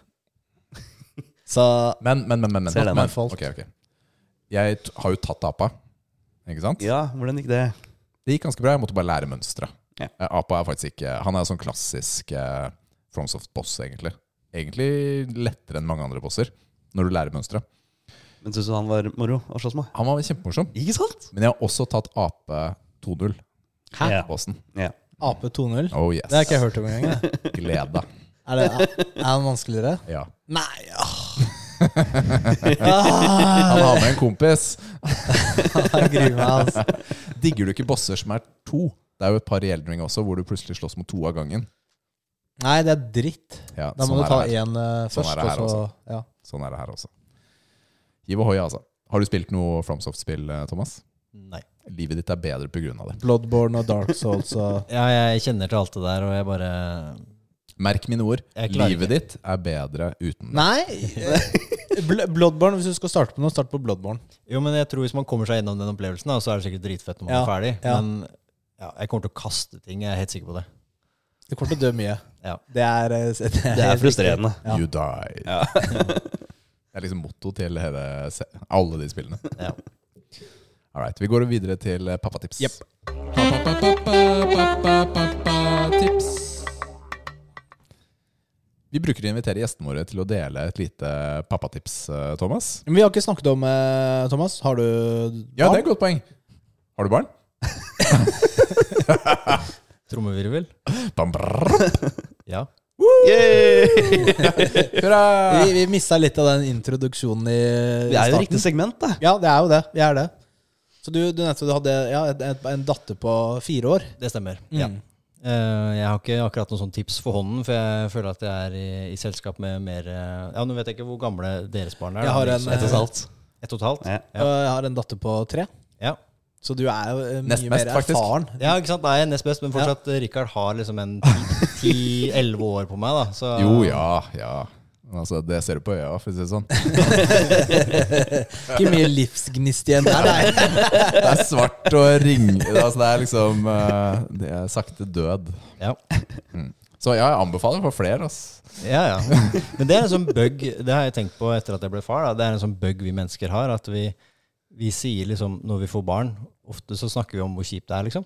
Speaker 1: Så
Speaker 2: Men, men, men, men, men,
Speaker 3: Ser den.
Speaker 2: men ok, ok. Jeg t har jo tatt apa. Ikke sant?
Speaker 3: ja, hvordan gikk det?
Speaker 2: Det gikk ganske bra. Jeg måtte bare lære mønsteret.
Speaker 3: Ja.
Speaker 2: Eh, Apa er faktisk ikke Han er sånn klassisk eh, Fromsoft-boss, egentlig. Egentlig lettere enn mange andre bosser når du lærer mønsteret.
Speaker 3: Men synes du han var moro å slåss med?
Speaker 2: Han var kjempemorsom.
Speaker 3: Ikke sant?
Speaker 2: Men jeg har også tatt Ape 2.0-bossen.
Speaker 1: Hæ?
Speaker 3: Ja. Ja.
Speaker 1: AP 2.0?
Speaker 2: Oh yes.
Speaker 1: Det har ikke jeg hørt om engang. jeg.
Speaker 2: Gleda.
Speaker 1: Er, det- er er han vanskeligere?
Speaker 2: Ja.
Speaker 1: Nei, åh.
Speaker 2: Han har med en kompis.
Speaker 1: Jeg gruer meg, altså.
Speaker 2: Digger du ikke bosser som er to? Det er jo et par i Eldring også, hvor du plutselig slåss mot to av gangen.
Speaker 1: Nei, det er dritt.
Speaker 2: Ja,
Speaker 1: Da må
Speaker 2: sånn
Speaker 1: du ta
Speaker 2: er det her.
Speaker 1: én eh,
Speaker 2: Sånn
Speaker 1: først,
Speaker 2: er det her
Speaker 1: og så
Speaker 2: også.
Speaker 1: ja.
Speaker 2: Sånn er det her også. Hiv ohoi, altså. Har du spilt noe Fromsoft-spill, eh, Thomas?
Speaker 4: Nei.
Speaker 2: Livet ditt er bedre pga. det.
Speaker 1: Bloodborne og Dark Souls og
Speaker 4: Ja, jeg kjenner til alt det der, og jeg bare
Speaker 2: Merk mine ord.
Speaker 4: Jeg klarer
Speaker 2: Livet ditt er bedre uten det.
Speaker 1: Nei! Bl- Bloodborne, hvis du skal starte på noe, start på Bloodborne.
Speaker 4: Jo, men jeg tror hvis man kommer seg gjennom den opplevelsen, da, så er det sikkert dritfett når man
Speaker 1: Ja,
Speaker 4: er ferdig.
Speaker 1: ja.
Speaker 4: Men ja, jeg kommer til å kaste ting, jeg er helt sikker på det.
Speaker 1: Du kommer til å dø mye.
Speaker 4: Ja.
Speaker 1: Det er, eh, s- det
Speaker 3: Det er
Speaker 1: helt riktig.
Speaker 3: frustrerende.
Speaker 1: Ja.
Speaker 2: You die.
Speaker 3: Ja.
Speaker 2: Det er liksom motto til hele, se- alle de spillene.
Speaker 4: Ja.
Speaker 2: All right, vi går videre til eh, pappatips.
Speaker 1: Jepp.
Speaker 2: Pappatips. Vi bruker å invitere gjestene våre til å dele et lite pappatips, eh, Thomas.
Speaker 1: Men vi har ikke snakket om eh, Thomas. Har du
Speaker 2: Ja, det er et godt poeng. Har du barn?
Speaker 4: Trommevirvel?
Speaker 2: Bam, brrr.
Speaker 4: Ja.
Speaker 3: Yay!
Speaker 2: Hurra!
Speaker 1: Vi, vi mista litt av den introduksjonen i, i
Speaker 3: Det er jo
Speaker 1: starten.
Speaker 3: riktig segment, da.
Speaker 1: Ja, det er jo det. Vi er det. Så du, du nevnte du hadde ja, et, et, en datter på fire år.
Speaker 4: Det stemmer.
Speaker 1: Mm.
Speaker 4: Ja. Eh, jeg har ikke akkurat noen sånn tips for hånden, for jeg føler at jeg er i, i selskap med mer eh, Ja, nå vet jeg ikke hvor gamle deres barn er.
Speaker 1: Jeg har
Speaker 4: men
Speaker 1: en, eh,
Speaker 4: ikke så- Ett og et halvt. Ett og et halvt?
Speaker 3: Ja.
Speaker 1: Og jeg har en datter på tre.
Speaker 4: Ja.
Speaker 1: Så du er jo eh, mye
Speaker 2: Nest mest,
Speaker 1: mer
Speaker 2: faktisk.
Speaker 1: erfaren.
Speaker 4: ja, ikke sant. Da er jeg nest best, men fortsatt eh, Rikard har liksom en ti-elleve år på meg, da. Så,
Speaker 2: Jo, ja, ja. Altså, det ser du på øya, for å si det sånn.
Speaker 1: Ikke mye livsgnist igjen der. Nei.
Speaker 2: Det er svart og ring... Altså, det er liksom eh, Det er sakte død.
Speaker 4: Ja.
Speaker 2: Så ja, jeg anbefaler for flere, ass.
Speaker 4: Ja, ja. Men det er en sånn bug Det har jeg tenkt på etter at jeg ble far. Da. Det er en sånn bug vi mennesker har. At vi, vi sier liksom når vi får barn Ofte så snakker vi om hvor kjipt det er, liksom.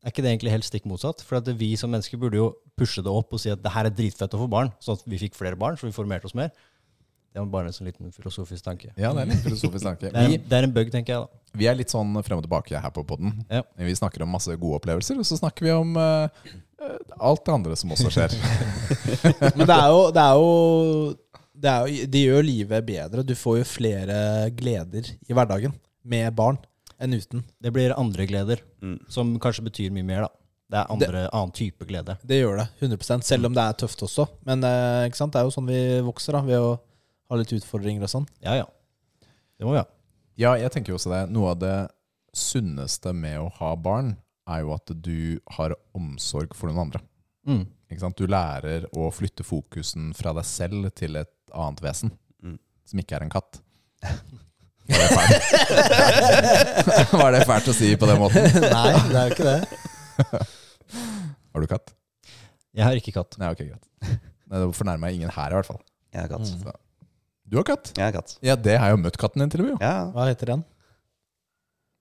Speaker 4: Er ikke det egentlig helt stikk motsatt? For at vi som mennesker burde jo pushe det opp og si at det her er dritfett å få barn. Sånn at vi fikk flere barn, så vi formerte oss mer. Det var bare en sånn liten filosofisk tanke.
Speaker 2: Ja, det er litt filosofisk tanke.
Speaker 4: Det er,
Speaker 2: Vi,
Speaker 4: det er en bug, tenker jeg, da.
Speaker 2: Vi er litt sånn frem og tilbake her på podden.
Speaker 4: Ja.
Speaker 2: Vi snakker om masse gode opplevelser, og så snakker vi om eh, eh, alt det andre som også skjer.
Speaker 1: Men det er jo, det er jo, det er jo De gjør livet bedre. Du får jo flere gleder i hverdagen med barn enn uten.
Speaker 4: Det blir andre gleder,
Speaker 3: Mm.
Speaker 4: som kanskje betyr mye mer, da. Det er andre, annen type glede.
Speaker 1: Det gjør det, 100 selv om det er tøft også. Men eh, ikke sant? det er jo sånn vi vokser, da, ved å ha litt utfordringer og sånn.
Speaker 4: Ja, ja. Det må vi ha.
Speaker 2: Ja, jeg tenker jo også det. Noe av det sunneste med å ha barn, er jo at du har omsorg for noen andre.
Speaker 4: Mm.
Speaker 2: Ikke sant? Du lærer å flytte fokusen fra deg selv til et annet vesen,
Speaker 3: Mm.
Speaker 2: som ikke er en katt. Var det fælt? Var det fælt å si på den måten?
Speaker 1: Nei, det er jo ikke det.
Speaker 2: Har du katt?
Speaker 4: Jeg har ikke katt.
Speaker 2: Nei, ok, greit. Nei, Det fornærmer jeg ingen her, i hvert fall.
Speaker 3: Jeg er katt.
Speaker 2: Så. Du har katt?
Speaker 3: Mm. Jeg er katt.
Speaker 2: Ja, det har jeg jo møtt katten din til og med. jo.
Speaker 3: Ja.
Speaker 1: Hva heter den?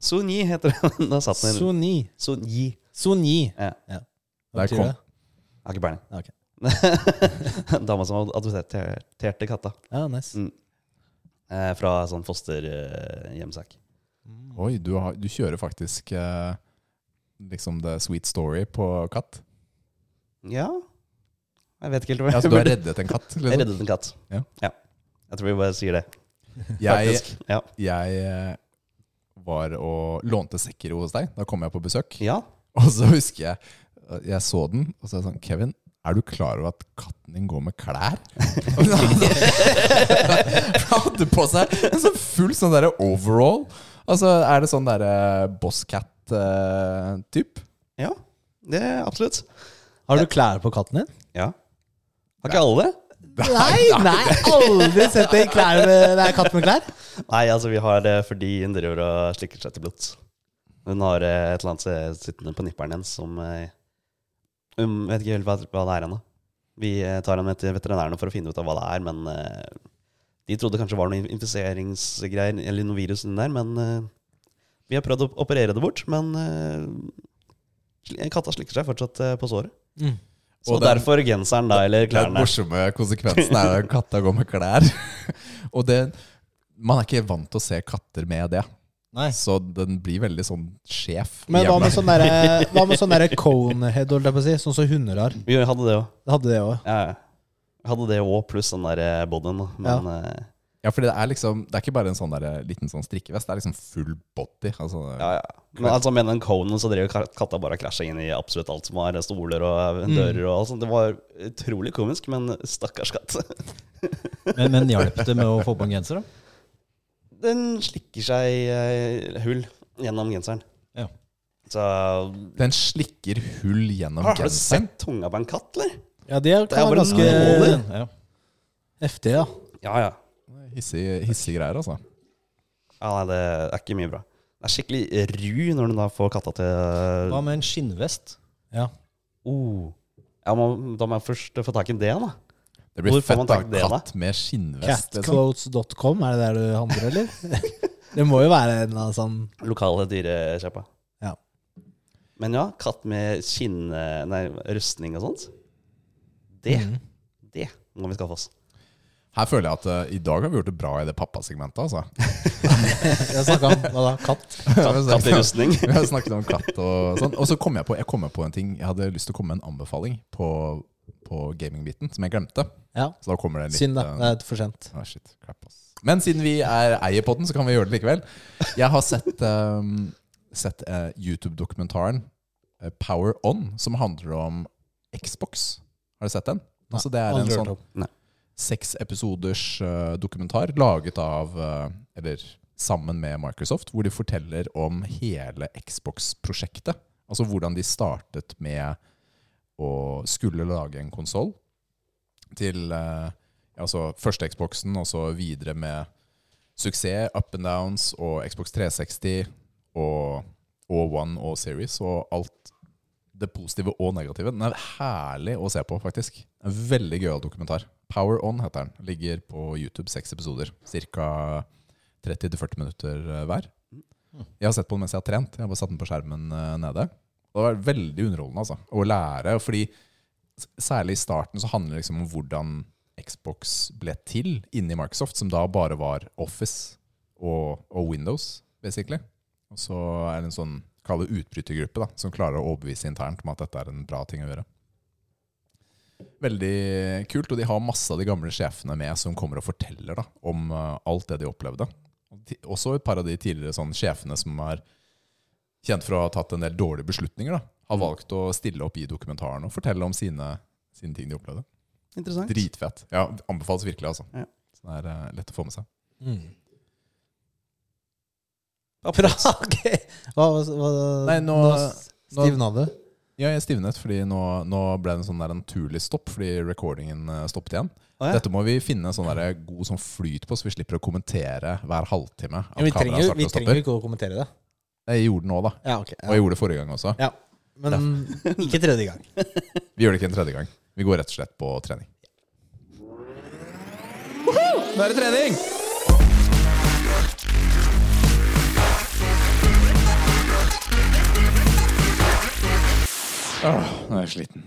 Speaker 3: Sunyi heter den. Da satt den.
Speaker 1: Soni.
Speaker 3: Sunyi.
Speaker 1: Soni.
Speaker 3: Ja.
Speaker 1: Hva
Speaker 2: Der
Speaker 1: betyr
Speaker 2: kom-
Speaker 1: det?
Speaker 3: Jeg har ikke peiling.
Speaker 1: Ok.
Speaker 3: Dama som adopterte katta.
Speaker 1: Ja, nice.
Speaker 3: Eh, fra sånn eh, fosterhjemsak.
Speaker 1: Mm.
Speaker 2: Oi, du, har, du kjører faktisk eh, liksom the sweet story på katt.
Speaker 3: ja. Jeg vet ikke helt hva
Speaker 2: Ja, så du har reddet en katt?
Speaker 3: Jeg
Speaker 2: Liksom.
Speaker 3: reddet en katt.
Speaker 2: Ja.
Speaker 3: Jeg tror vi bare sier det.
Speaker 2: Jeg,
Speaker 3: Faktisk. Ja.
Speaker 2: jeg eh, var og lånte sekker hos deg. Da kom jeg på besøk.
Speaker 3: ja.
Speaker 2: Og så husker jeg jeg så den, og så er jeg sånn Kevin, er du klar over at katten din går med klær? Og så- For Han hadde på seg en sånn full sånn derre overall. Altså, er det sånn derre eh, bosscat-typ?
Speaker 3: ja. Det er absolutt.
Speaker 1: Har du klær på katten din?
Speaker 3: Ja. Har ikke alle det?
Speaker 1: Nei, nei, aldri sett en klær med, nei, katt med klær.
Speaker 3: Nei, altså vi har det fordi hun driver og slikker seg til blods. Hun har eh, et eller annet eh, sittende på nipperen hennes som eh, Hun vet ikke helt hva, hva det er ennå. Vi eh, tar henne med til veterinærene for å finne ut av hva det er, men eh, de trodde kanskje det var noen infiseringsgreier eller noe virus inni der, men eh, vi har prøvd å operere det bort. Men eh, katta slikker seg fortsatt eh, på såret.
Speaker 1: Mm.
Speaker 3: Så
Speaker 2: Og den-
Speaker 3: derfor genseren, da, eller
Speaker 2: Den
Speaker 3: klærne.
Speaker 2: morsomme konsekvensen er at katta går med klær. Og det, man er ikke vant til å se katter med det,
Speaker 4: Nei.
Speaker 2: så den blir veldig sånn skjev.
Speaker 1: Men hva med
Speaker 2: Jævla-
Speaker 1: sånn derre hva med sånn derre conehead, holdt jeg på å si? Sånn som hunder har.
Speaker 3: Vi hadde det òg.
Speaker 1: Det hadde det òg.
Speaker 3: Ja, ja. Jeg hadde det òg, pluss den der eh, bodyen. da. Men eh,
Speaker 2: Ja, for det er liksom Det er ikke bare en sånn der, liten sånn strikkevest, det er liksom full body. Altså,
Speaker 3: ja, ja. Men altså, med den conen så drev jo ka- katta bare og krasja inn i absolutt alt som var. Stoler og
Speaker 4: Mm.
Speaker 3: dører og alt sånt. Det var utrolig komisk, men stakkars katt.
Speaker 4: Men, men hjalp det med å få på en genser, da?
Speaker 3: Den slikker seg eh, hull gjennom genseren.
Speaker 4: Ja.
Speaker 3: Så
Speaker 2: Den slikker hull gjennom
Speaker 3: Har du
Speaker 2: genseren.
Speaker 3: sett tunga på en katt, eller?
Speaker 1: Ja, de er,
Speaker 3: er
Speaker 1: kan være
Speaker 3: bare
Speaker 1: ganske
Speaker 3: nåler.
Speaker 4: Ja.
Speaker 1: heftige, ja.
Speaker 3: Ja, ja.
Speaker 2: Hissige hissig greier, altså.
Speaker 3: ja nei, det er ikke mye bra. Det er skikkelig ru når du da får katta til
Speaker 4: Hva med en skinnvest?
Speaker 3: oh. ja, må, Da må jeg først få tak i det, da.
Speaker 2: Det blir
Speaker 3: Hvor får
Speaker 2: fett,
Speaker 3: man
Speaker 2: da.
Speaker 3: tak i det, da?
Speaker 2: Katt med skinnvest. Liksom.
Speaker 1: Catclothes.com, er det der du handler, eller? Det må jo være en eller annen sånn
Speaker 3: lokale dyrekjappa.
Speaker 1: Ja.
Speaker 3: Men ja, katt med skinn... eh, Nei, rustning og sånt. Det,
Speaker 1: Mhm.
Speaker 3: det må vi skaffe oss.
Speaker 2: Her føler jeg at eh, i dag har vi gjort det bra i det pappasegmentet, altså.
Speaker 1: Jeg snakka om hva da? Katt?
Speaker 3: Katt, katt i rustning.
Speaker 2: Vi har snakket om katt og sånn. Og så kom jeg på, jeg kom på en ting. Jeg hadde lyst til å komme med en anbefaling på, på gamingbiten, som jeg glemte.
Speaker 1: Ja.
Speaker 2: Så da kommer det litt
Speaker 1: Synd, da.
Speaker 2: eh,
Speaker 1: Det er for sent.
Speaker 2: Ah, shit, crap, ass. Men siden vi er eier på den, så kan vi gjøre det likevel. Jeg har sett, ehm, sett eh, YouTube-dokumentaren eh, Power On, som handler om Xbox. Har du sett den? Altså, det er en
Speaker 1: Aldri hørt
Speaker 2: sånn
Speaker 1: om.
Speaker 2: seks episoders eh, dokumentar laget av eh, Eller sammen med Microsoft, hvor de forteller om hele Xbox-prosjektet. Altså hvordan de startet med å skulle lage en konsoll til eh, altså første Xboxen, og så videre med suksess, up and downs og Xbox 360 og, og One og Series og alt det positive og negative. Den er herlig å se på, faktisk. En veldig gøyal dokumentar. Power On heter den. Ligger på YouTube seks episoder. Ca. 30-40 minutter eh, hver. Jeg har sett på den mens jeg har trent. Jeg har bare satt den på skjermen eh, nede. Og det har vært veldig underholdende altså, å lære. Fordi s- særlig i starten så handler det liksom om hvordan Xbox ble til inni Microsoft, som da bare var Office og, og Windows, basically. Og så er det en sånn kall det utbrytergruppe da, som klarer å overbevise internt om at dette er en bra ting å gjøre. Veldig kult, og de har masse av de gamle sjefene med som kommer og forteller da, om eh, alt det de opplevde. Og ti- Også et par av de tidligere sånn, sjefene som er kjent for å ha tatt en del dårlige beslutninger, da, har valgt å stille opp i dokumentaren og fortelle om sine, sine ting de opplevde.
Speaker 3: Interessant.
Speaker 2: Dritfett. Ja, Anbefales virkelig, altså.
Speaker 3: Ja.
Speaker 2: Så det er eh, lett å få med seg.
Speaker 1: Mm. Bra, ok. Hva, hva,
Speaker 2: Nei, nå- nå-
Speaker 1: stivna det.
Speaker 2: Ja, jeg stivnet, fordi nå, nå ble det en sånn der naturlig stopp, fordi recordingen eh, stoppet igjen.
Speaker 3: Å, ja.
Speaker 2: Dette må vi finne en sånn der god sånn flyt på, så vi slipper å kommentere hver halvtime. at
Speaker 1: Ja, vi
Speaker 2: kameraet
Speaker 1: trenger, jo-
Speaker 2: starter
Speaker 1: vi
Speaker 2: og
Speaker 1: trenger
Speaker 2: stopper.
Speaker 1: jo ikke å kommentere det.
Speaker 2: Jeg gjorde den nå, da.
Speaker 1: Ja, ok.
Speaker 2: Og jeg
Speaker 1: Ja.
Speaker 2: gjorde det forrige gang også.
Speaker 1: Ja. Men mm, ikke tredje gang.
Speaker 2: Vi gjør det ikke en tredje gang. Vi går rett og slett på trening. Nå er det trening! Åh, nå er jeg sliten.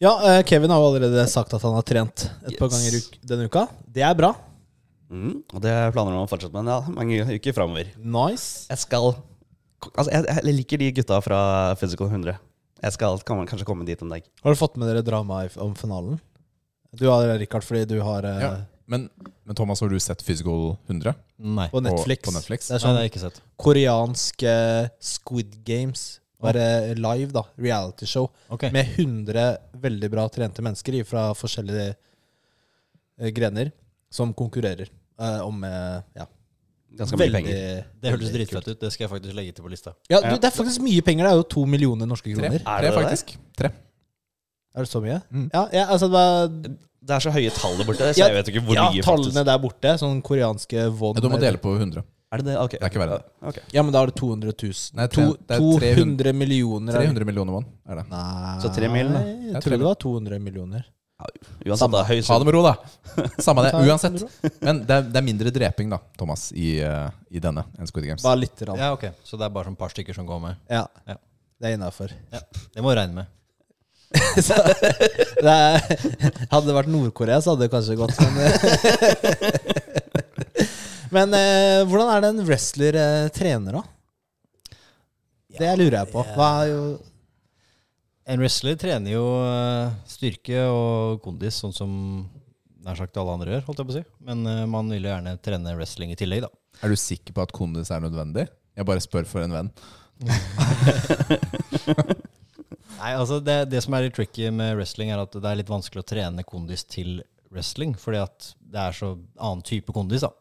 Speaker 1: Ja, eh, Kevin har jo allerede sagt at han har trent et par
Speaker 3: Yes.
Speaker 1: ganger uk- denne uka. Det er bra.
Speaker 3: Mm, og det planer jeg om å fortsette med ja, mange uker framover.
Speaker 1: Nice.
Speaker 3: Jeg skal Altså, jeg, jeg liker de gutta fra Physical 100. Jeg skal kan- kanskje komme dit en dag.
Speaker 1: Har du fått med dere dramaet om finalen? Du har det, Richard, fordi du har eh,
Speaker 2: Ja. Men, men Thomas, har du sett Physical 100?
Speaker 4: Nei.
Speaker 1: på, Netflix.
Speaker 2: på Netflix?
Speaker 1: Det er
Speaker 4: Nei,
Speaker 1: sånn
Speaker 4: det har jeg ikke sett.
Speaker 1: koreansk eh, Squid Games. Bare live, da. Realityshow.
Speaker 4: Ok.
Speaker 1: Med 100 veldig bra trente mennesker i- fra forskjellige eh, grener som konkurrerer eh, om eh, ja,
Speaker 3: Ganske mye
Speaker 1: veldig-
Speaker 3: penger.
Speaker 4: Det hørtes
Speaker 1: veldig
Speaker 4: dritfett ut. Det skal jeg faktisk legge til på lista.
Speaker 1: Ja, du, det er faktisk mye penger. Det er jo to millioner norske
Speaker 2: Tre,
Speaker 1: kroner.
Speaker 3: Er
Speaker 2: tre
Speaker 3: det det?
Speaker 2: faktisk. Tre.
Speaker 1: Er det så mye?
Speaker 2: Mm.
Speaker 1: Ja, ja, altså det var
Speaker 3: Det er så høye tall der borte, så
Speaker 1: Ja,
Speaker 3: jeg vet ikke hvor
Speaker 1: ja,
Speaker 3: mye
Speaker 1: tallene
Speaker 3: faktisk
Speaker 1: der borte. Sånn koreanske won.
Speaker 2: Ja, du må dele på 100.
Speaker 3: Er det det? Ok.
Speaker 2: Det er ikke verre.
Speaker 3: Ok.
Speaker 1: Ja, men da er det 200 000.
Speaker 2: Nei,
Speaker 1: to,
Speaker 2: det er
Speaker 1: 200 millioner. er det.
Speaker 2: 300 millioner mann er det.
Speaker 1: Nei
Speaker 3: Så tre mil, da.
Speaker 2: Ja,
Speaker 1: Jeg
Speaker 2: tre
Speaker 1: tror det var 200 millioner.
Speaker 3: Uansett, det er
Speaker 2: Ha
Speaker 3: høy
Speaker 2: det
Speaker 3: sum.
Speaker 2: med ro, da. Samme det, uansett. Men det er, det er mindre dreping, da, Thomas, i, eh, i denne enn Squid Games.
Speaker 1: Bare litt. Rann. Ja.
Speaker 4: Ja, ok. Så det er bare sånn par stykker som går med. Ja.
Speaker 1: Det er innafor.
Speaker 4: Ja. Det må jeg regne med.
Speaker 1: hadde det vært Nord-Korea, så hadde det kanskje gått. Men, men eh, hvordan er det en wrestler eh, trener, da? Det lurer jeg på. Hva er jo
Speaker 4: En wrestler trener jo eh, styrke og kondis, sånn som nær sagt alle andre gjør, holdt jeg på å si. Men eh, man vil jo gjerne trene wrestling i tillegg, da.
Speaker 2: Er du sikker på at kondis er nødvendig? Jeg bare spør for en venn.
Speaker 4: Nei, altså det, det som er litt tricky med wrestling, er at det er litt vanskelig å trene kondis til wrestling, fordi at det er så annen type kondis, da.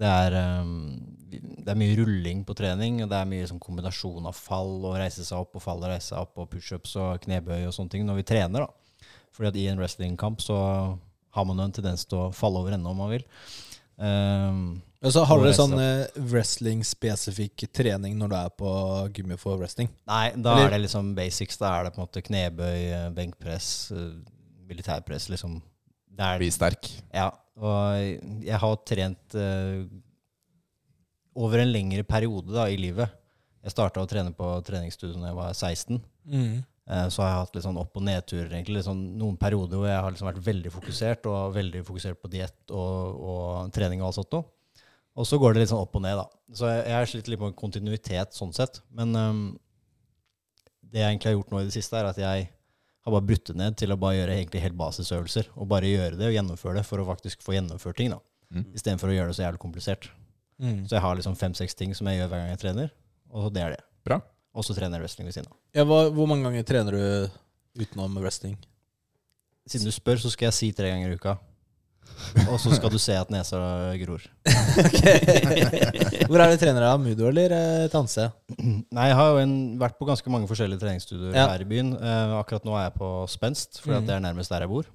Speaker 4: Det er, eh, det er mye rulling på trening, og det er mye sånn kombinasjon av fall og reise seg opp og fall og reise seg opp og pushups og knebøy og sånne ting når vi trener. da. Fordi at i en wrestlingkamp så har man jo en tendens til å falle over ende om man vil. Eh,
Speaker 1: Og så har
Speaker 4: Må
Speaker 1: dere
Speaker 4: reise
Speaker 1: sånn eh, wrestling-spesifikk trening når du er på gymmet for wrestling?
Speaker 4: Nei, da
Speaker 1: Eller-
Speaker 4: er det liksom basics. Da er det på en måte knebøy, eh, benkpress, eh, militærpress, liksom. Det er,
Speaker 2: Bli sterk.
Speaker 4: ja, og jeg har trent eh, over en lengre periode da, i livet. Jeg starta å trene på treningsstudio da jeg var 16.
Speaker 1: Mm.
Speaker 4: Eh, Så har jeg hatt litt sånn opp- og nedturer. egentlig, litt sånn Noen perioder hvor jeg har liksom vært veldig fokusert og veldig fokusert på diett og, og trening. Og alt sånt noe. Og så går det litt sånn opp og ned. da. Så jeg, jeg har slitt litt med kontinuitet sånn sett. Men øhm, det jeg egentlig har gjort nå i det siste, er at jeg har bare brutt det ned til å bare gjøre egentlig helt basisøvelser. Og bare gjøre det og gjennomføre det for å faktisk få gjennomført ting. da.
Speaker 2: Mm.
Speaker 4: Istedenfor å gjøre det så jævlig komplisert.
Speaker 1: Mm.
Speaker 4: Så jeg har liksom fem-seks ting som jeg gjør hver gang jeg trener, og det er det.
Speaker 2: Bra.
Speaker 4: Og så trener jeg wrestling ved siden av.
Speaker 1: Ja, hva, hvor mange ganger trener du utenom wrestling?
Speaker 4: Siden du spør, så skal jeg si tre ganger i uka. Og så skal du se at nesa gror.
Speaker 1: Hvor er det trener av? Mudo eller eh, Tanse?
Speaker 4: Nei, jeg har jo en, vært på ganske mange forskjellige treningsstudioer
Speaker 1: Ja.
Speaker 4: her i byen. Eh, akkurat nå er jeg på Spenst, for
Speaker 1: Mhm.
Speaker 4: det er nærmest der jeg bor.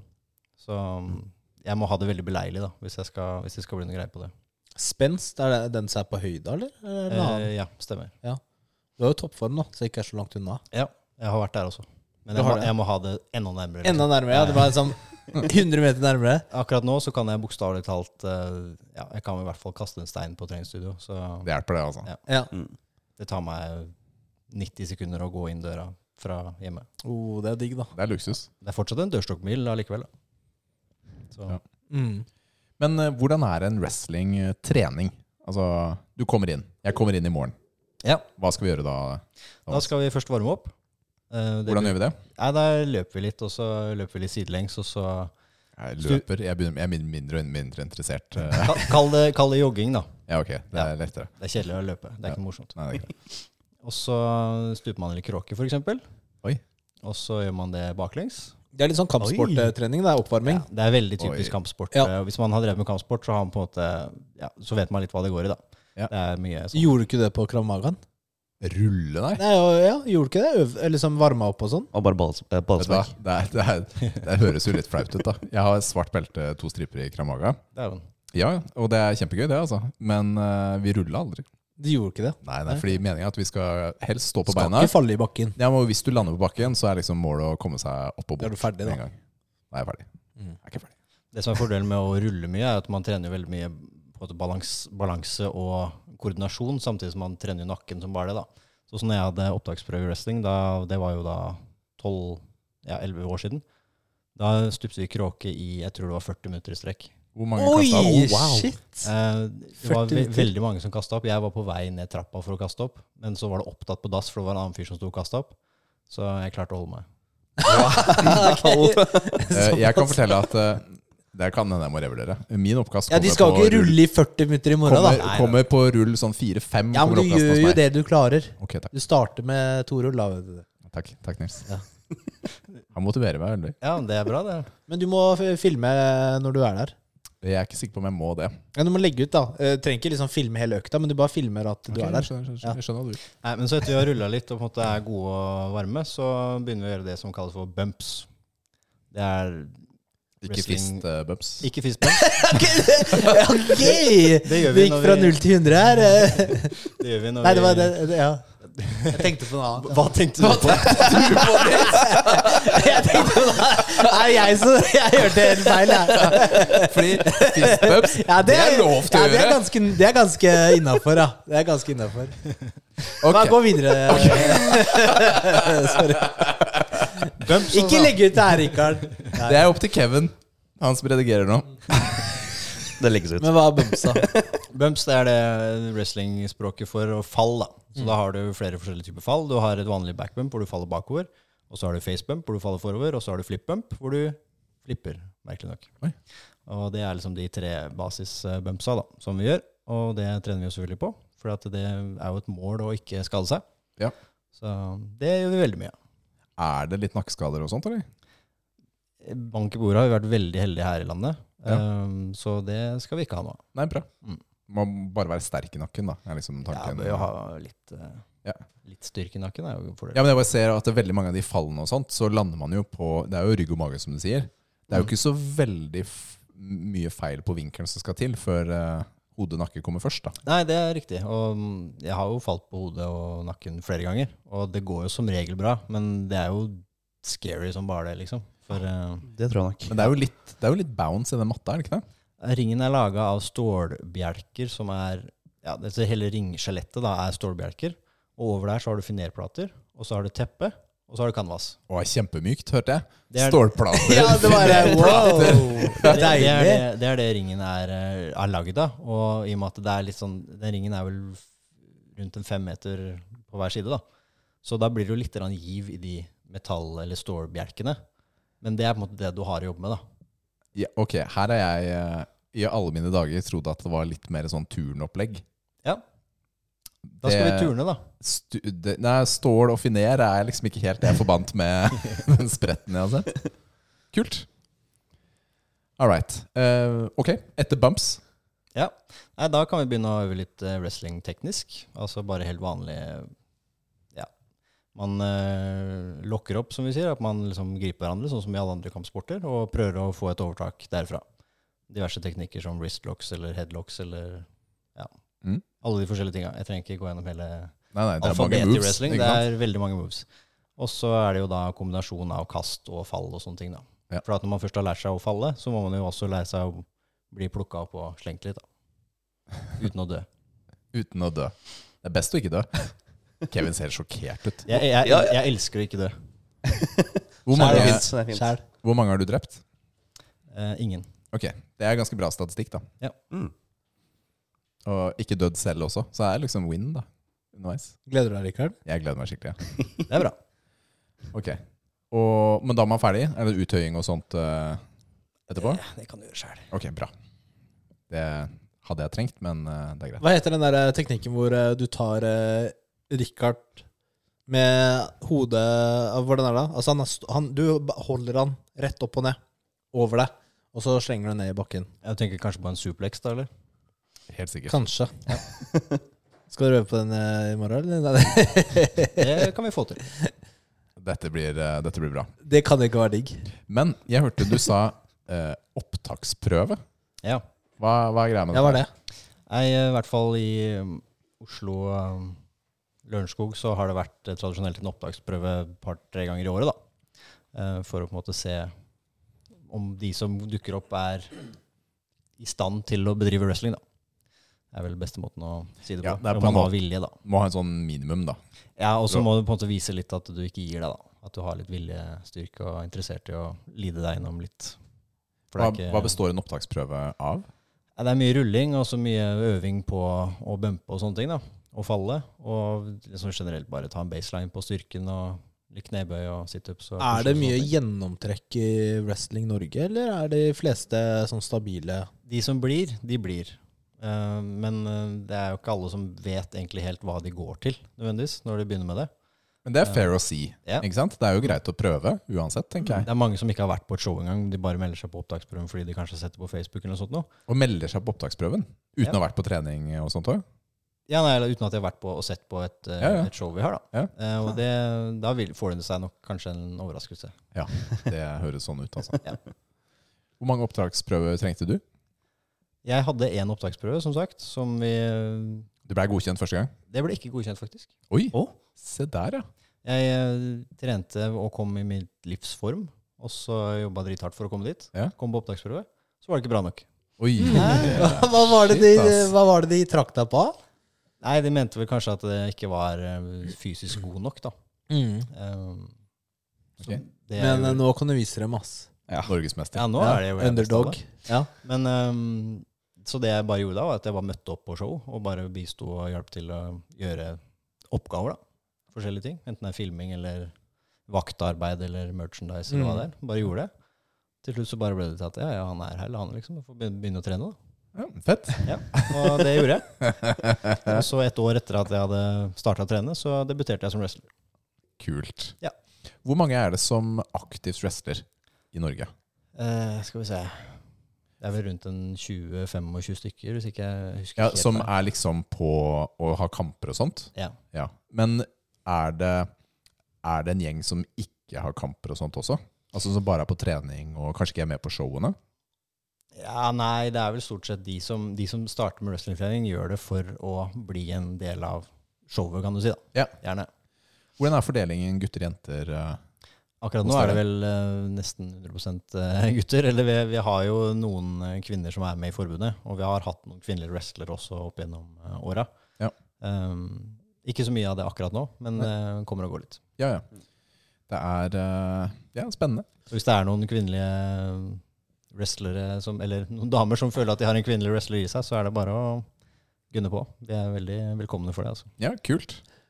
Speaker 4: Så mm, jeg må ha det veldig beleilig da, hvis, jeg skal, hvis det skal bli noe greie på det.
Speaker 1: Spenst, er det den som er på høyde, eller? eller en annen?
Speaker 4: Eh, ja, stemmer.
Speaker 1: Du har jo toppform, da, så ikke er så langt unna.
Speaker 4: Jeg har vært der også. Men
Speaker 1: Du
Speaker 4: jeg
Speaker 1: har
Speaker 4: må,
Speaker 1: det?
Speaker 4: jeg må ha det enda nærmere. liksom.
Speaker 1: Enda nærmere, ja. Det var liksom 100 meter nærmere.
Speaker 4: Akkurat nå så kan jeg bokstavelig talt eh, Ja, jeg kan i hvert fall kaste en stein på treningsstudio. Så
Speaker 2: Det hjelper, det, altså.
Speaker 4: Ja.
Speaker 1: Ja.
Speaker 3: Mm.
Speaker 4: det tar meg 90 sekunder å gå inn døra fra hjemme.
Speaker 1: Oh, det er digg, da.
Speaker 2: Det er luksus.
Speaker 4: Det er fortsatt en dørstokkmil allikevel. Da. Så
Speaker 2: Ja.
Speaker 1: Mm.
Speaker 2: eh, Men eh, hvordan er en wrestling-trening? Altså, du kommer inn. Jeg kommer inn i morgen.
Speaker 4: Ja,
Speaker 2: Hva skal vi gjøre da?
Speaker 4: Da skal vi først varme opp. Eh, det
Speaker 2: Hvordan gjør vi det?
Speaker 4: Nei, der løper vi litt, og så løper vi litt sidelengs, og så
Speaker 2: Jeg løper. Jeg, begynner, jeg er min- mindre og mindre interessert. eh.
Speaker 4: Ka- Kall det, kall det jogging, da.
Speaker 2: Ja, ok. Det er lettere.
Speaker 4: Det er kjedelig å løpe. Det
Speaker 2: Ja.
Speaker 4: er ikke morsomt.
Speaker 2: Nei, det er greit.
Speaker 4: Og så stuper man litt kråke, for eksempel.
Speaker 2: Oi.
Speaker 4: Og så gjør man det baklengs.
Speaker 1: Det er litt sånn kampsporttrening. Det er oppvarming.
Speaker 4: Ja, det er veldig typisk
Speaker 2: Oi.
Speaker 4: kampsport.
Speaker 1: Ja.
Speaker 4: Eh, Hvis man har drevet med kampsport, så, har man på en måte, ja, så vet man litt hva det går i, da.
Speaker 2: Ja.
Speaker 4: Det er mye sånn.
Speaker 1: Gjorde du ikke det på Krav Magaen?
Speaker 2: Rulle, nei?
Speaker 1: Nei, ja, ja, gjorde du ikke det? Øv, eller liksom varma opp og sånn?
Speaker 3: Og bare balls- eh,
Speaker 2: Vet du hva?
Speaker 3: ballspark.
Speaker 2: Det, er, det, er, det høres jo litt flaut ut, da. Jeg har svart belte, to striper i Kramaga.
Speaker 4: Det er jo en-
Speaker 2: Ja, og det er kjempegøy, det, altså. Men eh, vi rulla aldri.
Speaker 1: Du gjorde ikke det?
Speaker 2: Nei, nei, fordi meninga er at vi skal helst stå på
Speaker 1: Skal
Speaker 2: beina.
Speaker 1: ikke falle i bakken.
Speaker 2: Ja, men Hvis du lander på bakken, så er liksom målet å komme seg opp og
Speaker 1: Da
Speaker 2: bort.
Speaker 1: er du ferdig, da.
Speaker 2: med en
Speaker 1: Mm.
Speaker 2: gang. Nei, jeg er ferdig. Jeg er ikke ferdig.
Speaker 4: Det som er fordelen med å rulle mye, er at man trener veldig mye på en måte balans, balanse og koordinasjon, samtidig som man trener jo nakken som bare det. da. Så sånn når jeg hadde opptaksprøve i wrestling, da, det var jo da 12, ja, 11 år siden, da stupte vi kråke i jeg tror det var 40 minutter i strekk.
Speaker 2: Hvor mange kasta opp?
Speaker 1: shit!
Speaker 4: Eh, Det var
Speaker 1: 40
Speaker 4: ve
Speaker 1: minutter.
Speaker 4: veldig mange som kasta opp. Jeg var på vei ned trappa for å kaste opp, men så var det opptatt på dass, for det var en annen fyr som sto og kasta opp. Så jeg klarte å holde meg.
Speaker 2: Eh, jeg kan fortelle at eh, Det kan hende jeg må revurdere. Min oppkast
Speaker 1: Ja, De skal
Speaker 2: på
Speaker 1: ikke rulle i 40 minutter i morgen,
Speaker 2: Kommer,
Speaker 1: da.
Speaker 2: kommer på rull sånn fire-fem.
Speaker 1: Ja, men du gjør jo det du klarer.
Speaker 2: Ok, takk.
Speaker 1: Du starter med to rull, da. vet du.
Speaker 2: Takk, takk Nils. Han motiverer meg veldig.
Speaker 4: Ja, det er bra, det.
Speaker 1: Men du må f- filme når du er der.
Speaker 2: Jeg er ikke sikker på om jeg må det.
Speaker 1: Ja, Du må legge ut, da. Eh, Trenger ikke liksom filme hele økta, men du bare filmer at du
Speaker 2: Ok,
Speaker 1: er der.
Speaker 2: Jeg skjønner, jeg skjønner, jeg skjønner hva du.
Speaker 4: Nei, men så etter vi har rulla litt og på en måte er gode og varme, så begynner vi å gjøre det som kalles for bumps. Det er
Speaker 2: Ikke
Speaker 4: Wrestling-
Speaker 2: fist eh, bumps.
Speaker 4: ikke fist bump.
Speaker 1: Ok! Det
Speaker 4: gjør vi
Speaker 1: gikk
Speaker 4: når
Speaker 1: fra
Speaker 4: vi-
Speaker 1: null til 100 her. eh.
Speaker 4: Det gjør vi når
Speaker 1: Nei, det var
Speaker 4: vi
Speaker 1: det, det Ja. Jeg tenkte på noe annet.
Speaker 4: Hva tenkte du på?
Speaker 1: Jeg tenkte på noe Nei, jeg, så, jeg hørte helt feil, jeg.
Speaker 2: Fordi fist bumps,
Speaker 1: Ja,
Speaker 2: det, er lov til
Speaker 1: ja, Det
Speaker 2: å
Speaker 1: er
Speaker 2: gjøre!
Speaker 1: ganske, det er ganske innafor, ja. Det er ganske innafor. Bare
Speaker 2: Ok.
Speaker 1: gå videre. Sorry.
Speaker 4: Bumps,
Speaker 1: Ikke legg ut det her, Rikard.
Speaker 2: Det er opp til Kevin, han som redigerer nå.
Speaker 3: Det legges ut.
Speaker 1: Men hva er bumsa?
Speaker 4: Bumps det er det wrestlingspråket for å fall. Da. Så da har du flere forskjellige typer fall. Du har et vanlig backbump hvor du faller bakover. Og så har du facebump hvor du faller forover. Og så har du flipbump hvor du flipper, merkelig nok.
Speaker 2: Oi.
Speaker 4: Og det er liksom de tre basisbumpsa da, som vi gjør. Og det trener vi jo selvfølgelig på. For at det er jo et mål å ikke skade seg.
Speaker 2: Ja.
Speaker 4: Så det gjør vi veldig mye. av.
Speaker 2: Er det litt nakkeskader og sånt, eller?
Speaker 4: Bank i bordet har vi vært veldig heldige her i landet.
Speaker 2: Ja.
Speaker 4: Ehm, så det skal vi ikke ha nå.
Speaker 2: Nei, bra.
Speaker 4: Mm.
Speaker 2: Må bare være sterk i nakken, da. Er liksom
Speaker 4: Ja,
Speaker 2: tanken.
Speaker 4: bør jo ha litt, eh,
Speaker 2: Ja.
Speaker 4: litt styrke i nakken. er jo en fordel.
Speaker 2: Ja, men jeg bare ser at det er veldig mange av de fallene og sånt, så lander man jo på Det er jo rygg og mage, som du sier. Det er jo ikke så veldig f mye feil på vinkelen som skal til før eh, hode og nakke kommer først, da.
Speaker 4: Nei, det er riktig. Og mm, jeg har jo falt på hodet og nakken flere ganger. Og det går jo som regel bra, men det er jo scary som bare det, liksom. For eh,
Speaker 3: Det tror jeg nok.
Speaker 2: Men det er jo litt, det er jo litt bounce i den matta, er det ikke det?
Speaker 4: ringen er laga av stålbjelker som er Ja, dette hele ringskjelettet da er stålbjelker. Og over der så har du finerplater, og så har du teppe, og så har du canvas.
Speaker 2: Å, kjempemykt, hørte jeg.
Speaker 4: Det er-
Speaker 2: Stålplater.
Speaker 1: Ja, det var det. Wow!
Speaker 4: Oh, Det, det, er, det,
Speaker 1: Deilig.
Speaker 4: det er det ringen er, eh, er lagd av. Og i og med at det er litt sånn Den ringen er vel f- rundt en fem meter på hver side, da. Så da blir det jo litt grann giv i de metall- eller stålbjelkene. Men det er på en måte det du har å jobbe med, da.
Speaker 2: Ja, ok, her har jeg eh, i alle mine dager trodd at det var litt mer sånn turnopplegg.
Speaker 4: Ja. Da skal
Speaker 2: Det-
Speaker 4: vi turne, da.
Speaker 2: Stu, det, nei, stål og finer er liksom ikke helt det jeg forbandt med den spretten jeg har sett. Kult. All right. Eh, ok, etter bumps.
Speaker 4: Ja. Nei, da kan vi begynne å øve litt eh, wrestling teknisk. Altså bare helt vanlig eh, Ja. Man eh, lokker opp, som vi sier. At man liksom griper hverandre, sånn som i alle andre kampsporter, og prøver å få et overtak derfra. Diverse teknikker som wristlocks eller headlocks eller Ja.
Speaker 2: Mm.
Speaker 4: Alle de forskjellige tinga. Jeg trenger ikke gå gjennom hele
Speaker 2: Nei, nei, det er mange
Speaker 4: alfabetet i
Speaker 2: moves.
Speaker 4: wrestling.
Speaker 2: ikke
Speaker 4: Det
Speaker 2: sant?
Speaker 4: er veldig mange moves. Og så er det jo da kombinasjon av kast og fall og sånne ting, da.
Speaker 2: Ja.
Speaker 4: For at når man først har lært seg å falle, så må man jo også lære seg å bli plukka opp og slengt litt, da. Uten å dø.
Speaker 2: Uten å dø. Det er best å ikke dø. Kevin ser sjokkert ut.
Speaker 4: Jeg, jeg,
Speaker 3: Ja,
Speaker 4: jeg,
Speaker 3: ja.
Speaker 4: elsker å ikke dø.
Speaker 2: Hvor
Speaker 3: Det er
Speaker 2: mange,
Speaker 3: fint. Det er fint.
Speaker 1: Sjæl.
Speaker 2: hvor mange har du drept?
Speaker 4: Eh, ingen.
Speaker 2: Ok, Det er ganske bra statistikk, da.
Speaker 4: Ja.
Speaker 3: Mm.
Speaker 2: Og ikke dødd selv også, så det er liksom win, da. underveis.
Speaker 1: Gleder du deg, Rikard?
Speaker 2: Jeg gleder meg skikkelig. ja.
Speaker 4: Det er bra.
Speaker 2: Ok. Og, men da er man ferdig? Er det uttøying og sånt eh, etterpå?
Speaker 4: Det kan du gjøre sjøl.
Speaker 2: Ok, bra. Det hadde jeg trengt, men eh, det er greit.
Speaker 1: Hva heter den der teknikken hvor eh, du tar eh, Rikard med hodet ah, Hvordan er det? da? Altså han, er st- han, du ba- holder han rett opp og ned over deg, og så slenger du ned i bakken.
Speaker 4: Jeg tenker kanskje på en suplex, da, eller?
Speaker 2: Helt sikkert.
Speaker 1: Kanskje. Skal dere øve på den eh, i morgen, eller? Nei,
Speaker 4: Det kan vi få til.
Speaker 2: Dette blir, eh, dette blir bra.
Speaker 1: det kan ikke være digg.
Speaker 2: Men jeg hørte du sa eh, opptaksprøve.
Speaker 4: Ja.
Speaker 2: Hva, hva er greia med
Speaker 1: Ja, var det?
Speaker 4: Nei, i hvert fall i um, Oslo um, Lørenskog så har det vært eh, tradisjonelt en opptaksprøve et par-tre ganger i året, da. Eh, For å på en måte se om de som dukker opp, er i stand til å bedrive wrestling, da. Det er vel beste måten å si det på.
Speaker 2: Ja, det er på
Speaker 4: om
Speaker 2: en
Speaker 4: man har
Speaker 2: måte-
Speaker 4: vilje, da.
Speaker 2: Må ha en sånn minimum, da.
Speaker 4: Ja, og så
Speaker 2: Ja.
Speaker 4: må du på en måte vise litt at du ikke gir deg, da. At du har litt viljestyrke og er interessert i å lide deg gjennom litt. For
Speaker 2: Hva,
Speaker 4: det er ikke-
Speaker 2: hva består en opptaksprøve av?
Speaker 4: Nei, Det er mye rulling og så mye øving på å bumpe og sånne ting. da, Og falle. Og liksom generelt bare ta en baseline på styrken og litt knebøy og situps. og
Speaker 1: Er
Speaker 4: pushups
Speaker 1: det
Speaker 4: og
Speaker 1: mye
Speaker 4: sånne ting.
Speaker 1: gjennomtrekk i Wrestling Norge, eller er de fleste sånn stabile
Speaker 4: De som blir, de blir. Eh, men eh, det er jo ikke alle som vet egentlig helt hva de går til, nødvendigvis, når de begynner med det.
Speaker 2: Men det er fair å si.
Speaker 4: Ja.
Speaker 2: Ikke sant? Det er jo greit å prøve uansett, tenker jeg.
Speaker 4: Det er mange som ikke har vært på et show engang. De bare melder seg på opptaksprøven fordi de kanskje har sett det på Facebook eller noe sånt. Nå.
Speaker 2: Og melder seg på opptaksprøven uten
Speaker 4: Mm. Ja.
Speaker 2: å ha vært på trening og sånt òg.
Speaker 4: Ja, nei, eller uten at de har vært på og sett på et, eh,
Speaker 2: Ja, ja.
Speaker 4: et show vi har, da.
Speaker 2: Ja.
Speaker 4: Eh, og det, da vil, får det seg nok kanskje en overraskelse.
Speaker 2: Det høres sånn ut, altså.
Speaker 4: Ja.
Speaker 2: Hvor mange opptaksprøver trengte du?
Speaker 4: Jeg hadde én opptaksprøve, som sagt, som vi
Speaker 2: Du blei godkjent første gang?
Speaker 4: Det ble ikke godkjent, faktisk.
Speaker 2: Oi!
Speaker 4: Å?
Speaker 2: Se der, ja.
Speaker 4: Jeg eh, trente og kom i mitt livs form, og så jobba drithardt for å komme dit.
Speaker 2: Ja.
Speaker 4: Kom på opptaksprøve, så var det ikke bra nok.
Speaker 2: Oi.
Speaker 4: Mm.
Speaker 1: hva, hva var det de,
Speaker 2: Shit, ass.
Speaker 1: hva var det de trakk deg på?
Speaker 4: Nei, de mente vel kanskje at det ikke var eh, fysisk god nok, da. Um, så
Speaker 2: Ok.
Speaker 4: det er
Speaker 1: Mm. Men eh,
Speaker 4: jo-
Speaker 1: nå kan du vise dem, ass.
Speaker 2: Norgesmester.
Speaker 4: Ja, nå
Speaker 1: Ja,
Speaker 4: er det jo jeg
Speaker 1: Underdog.
Speaker 4: best av det.
Speaker 1: Ja.
Speaker 4: Men um, Så det jeg bare gjorde da, var at jeg bare møtte opp på show og bare bisto og hjalp til å gjøre oppgaver, da. Forskjellige ting. Enten det er filming eller vaktarbeid eller merchandise eller
Speaker 1: Mm.
Speaker 4: hva det er. Bare gjorde det. Til slutt så bare ble det til at ja, ja, han er her, han liksom. Jeg får begynne, begynne å trene, da.
Speaker 2: Ja, fett.
Speaker 4: Ja. Og det gjorde jeg. Og så et år etter at jeg hadde starta å trene, så debuterte jeg som wrestler.
Speaker 2: Kult.
Speaker 4: Ja.
Speaker 2: Hvor mange er det som aktivt wrestler i Norge?
Speaker 4: Eh, skal vi se Det er vel rundt en 20-25 stykker, hvis ikke jeg husker
Speaker 2: Ja,
Speaker 4: helt
Speaker 2: som
Speaker 4: feil.
Speaker 2: er liksom på å ha kamper og sånt?
Speaker 4: ja.
Speaker 2: Ja. Men er det, er det en gjeng som ikke har kamper og sånt også? Altså Som bare er på trening og kanskje ikke er med på showene?
Speaker 4: Ja, nei, det er vel stort sett de som, de som starter med wrestlingtrening, gjør det for å bli en del av showet, kan du si. da.
Speaker 2: Ja.
Speaker 4: Gjerne.
Speaker 2: Hvordan er fordelingen eh, gutter-jenter?
Speaker 4: Akkurat nå er det vel eh, nesten 100 eh, gutter. Eller vi, vi har jo noen eh, kvinner som er med i forbundet, og vi har hatt noen kvinnelige wrestlere også opp gjennom eh, åra.
Speaker 2: Ja.
Speaker 4: Um, ikke så mye av det akkurat nå, men eh, kommer og går litt.
Speaker 2: Ja, ja. Det er eh, ja, spennende.
Speaker 4: Så hvis det er noen kvinnelige eh, wrestlere, som, eller noen damer som føler at de har en kvinnelig wrestler i seg, så er det bare å gunne på. Vi er veldig velkomne for det. altså.
Speaker 2: Ja, kult.
Speaker 1: Hå-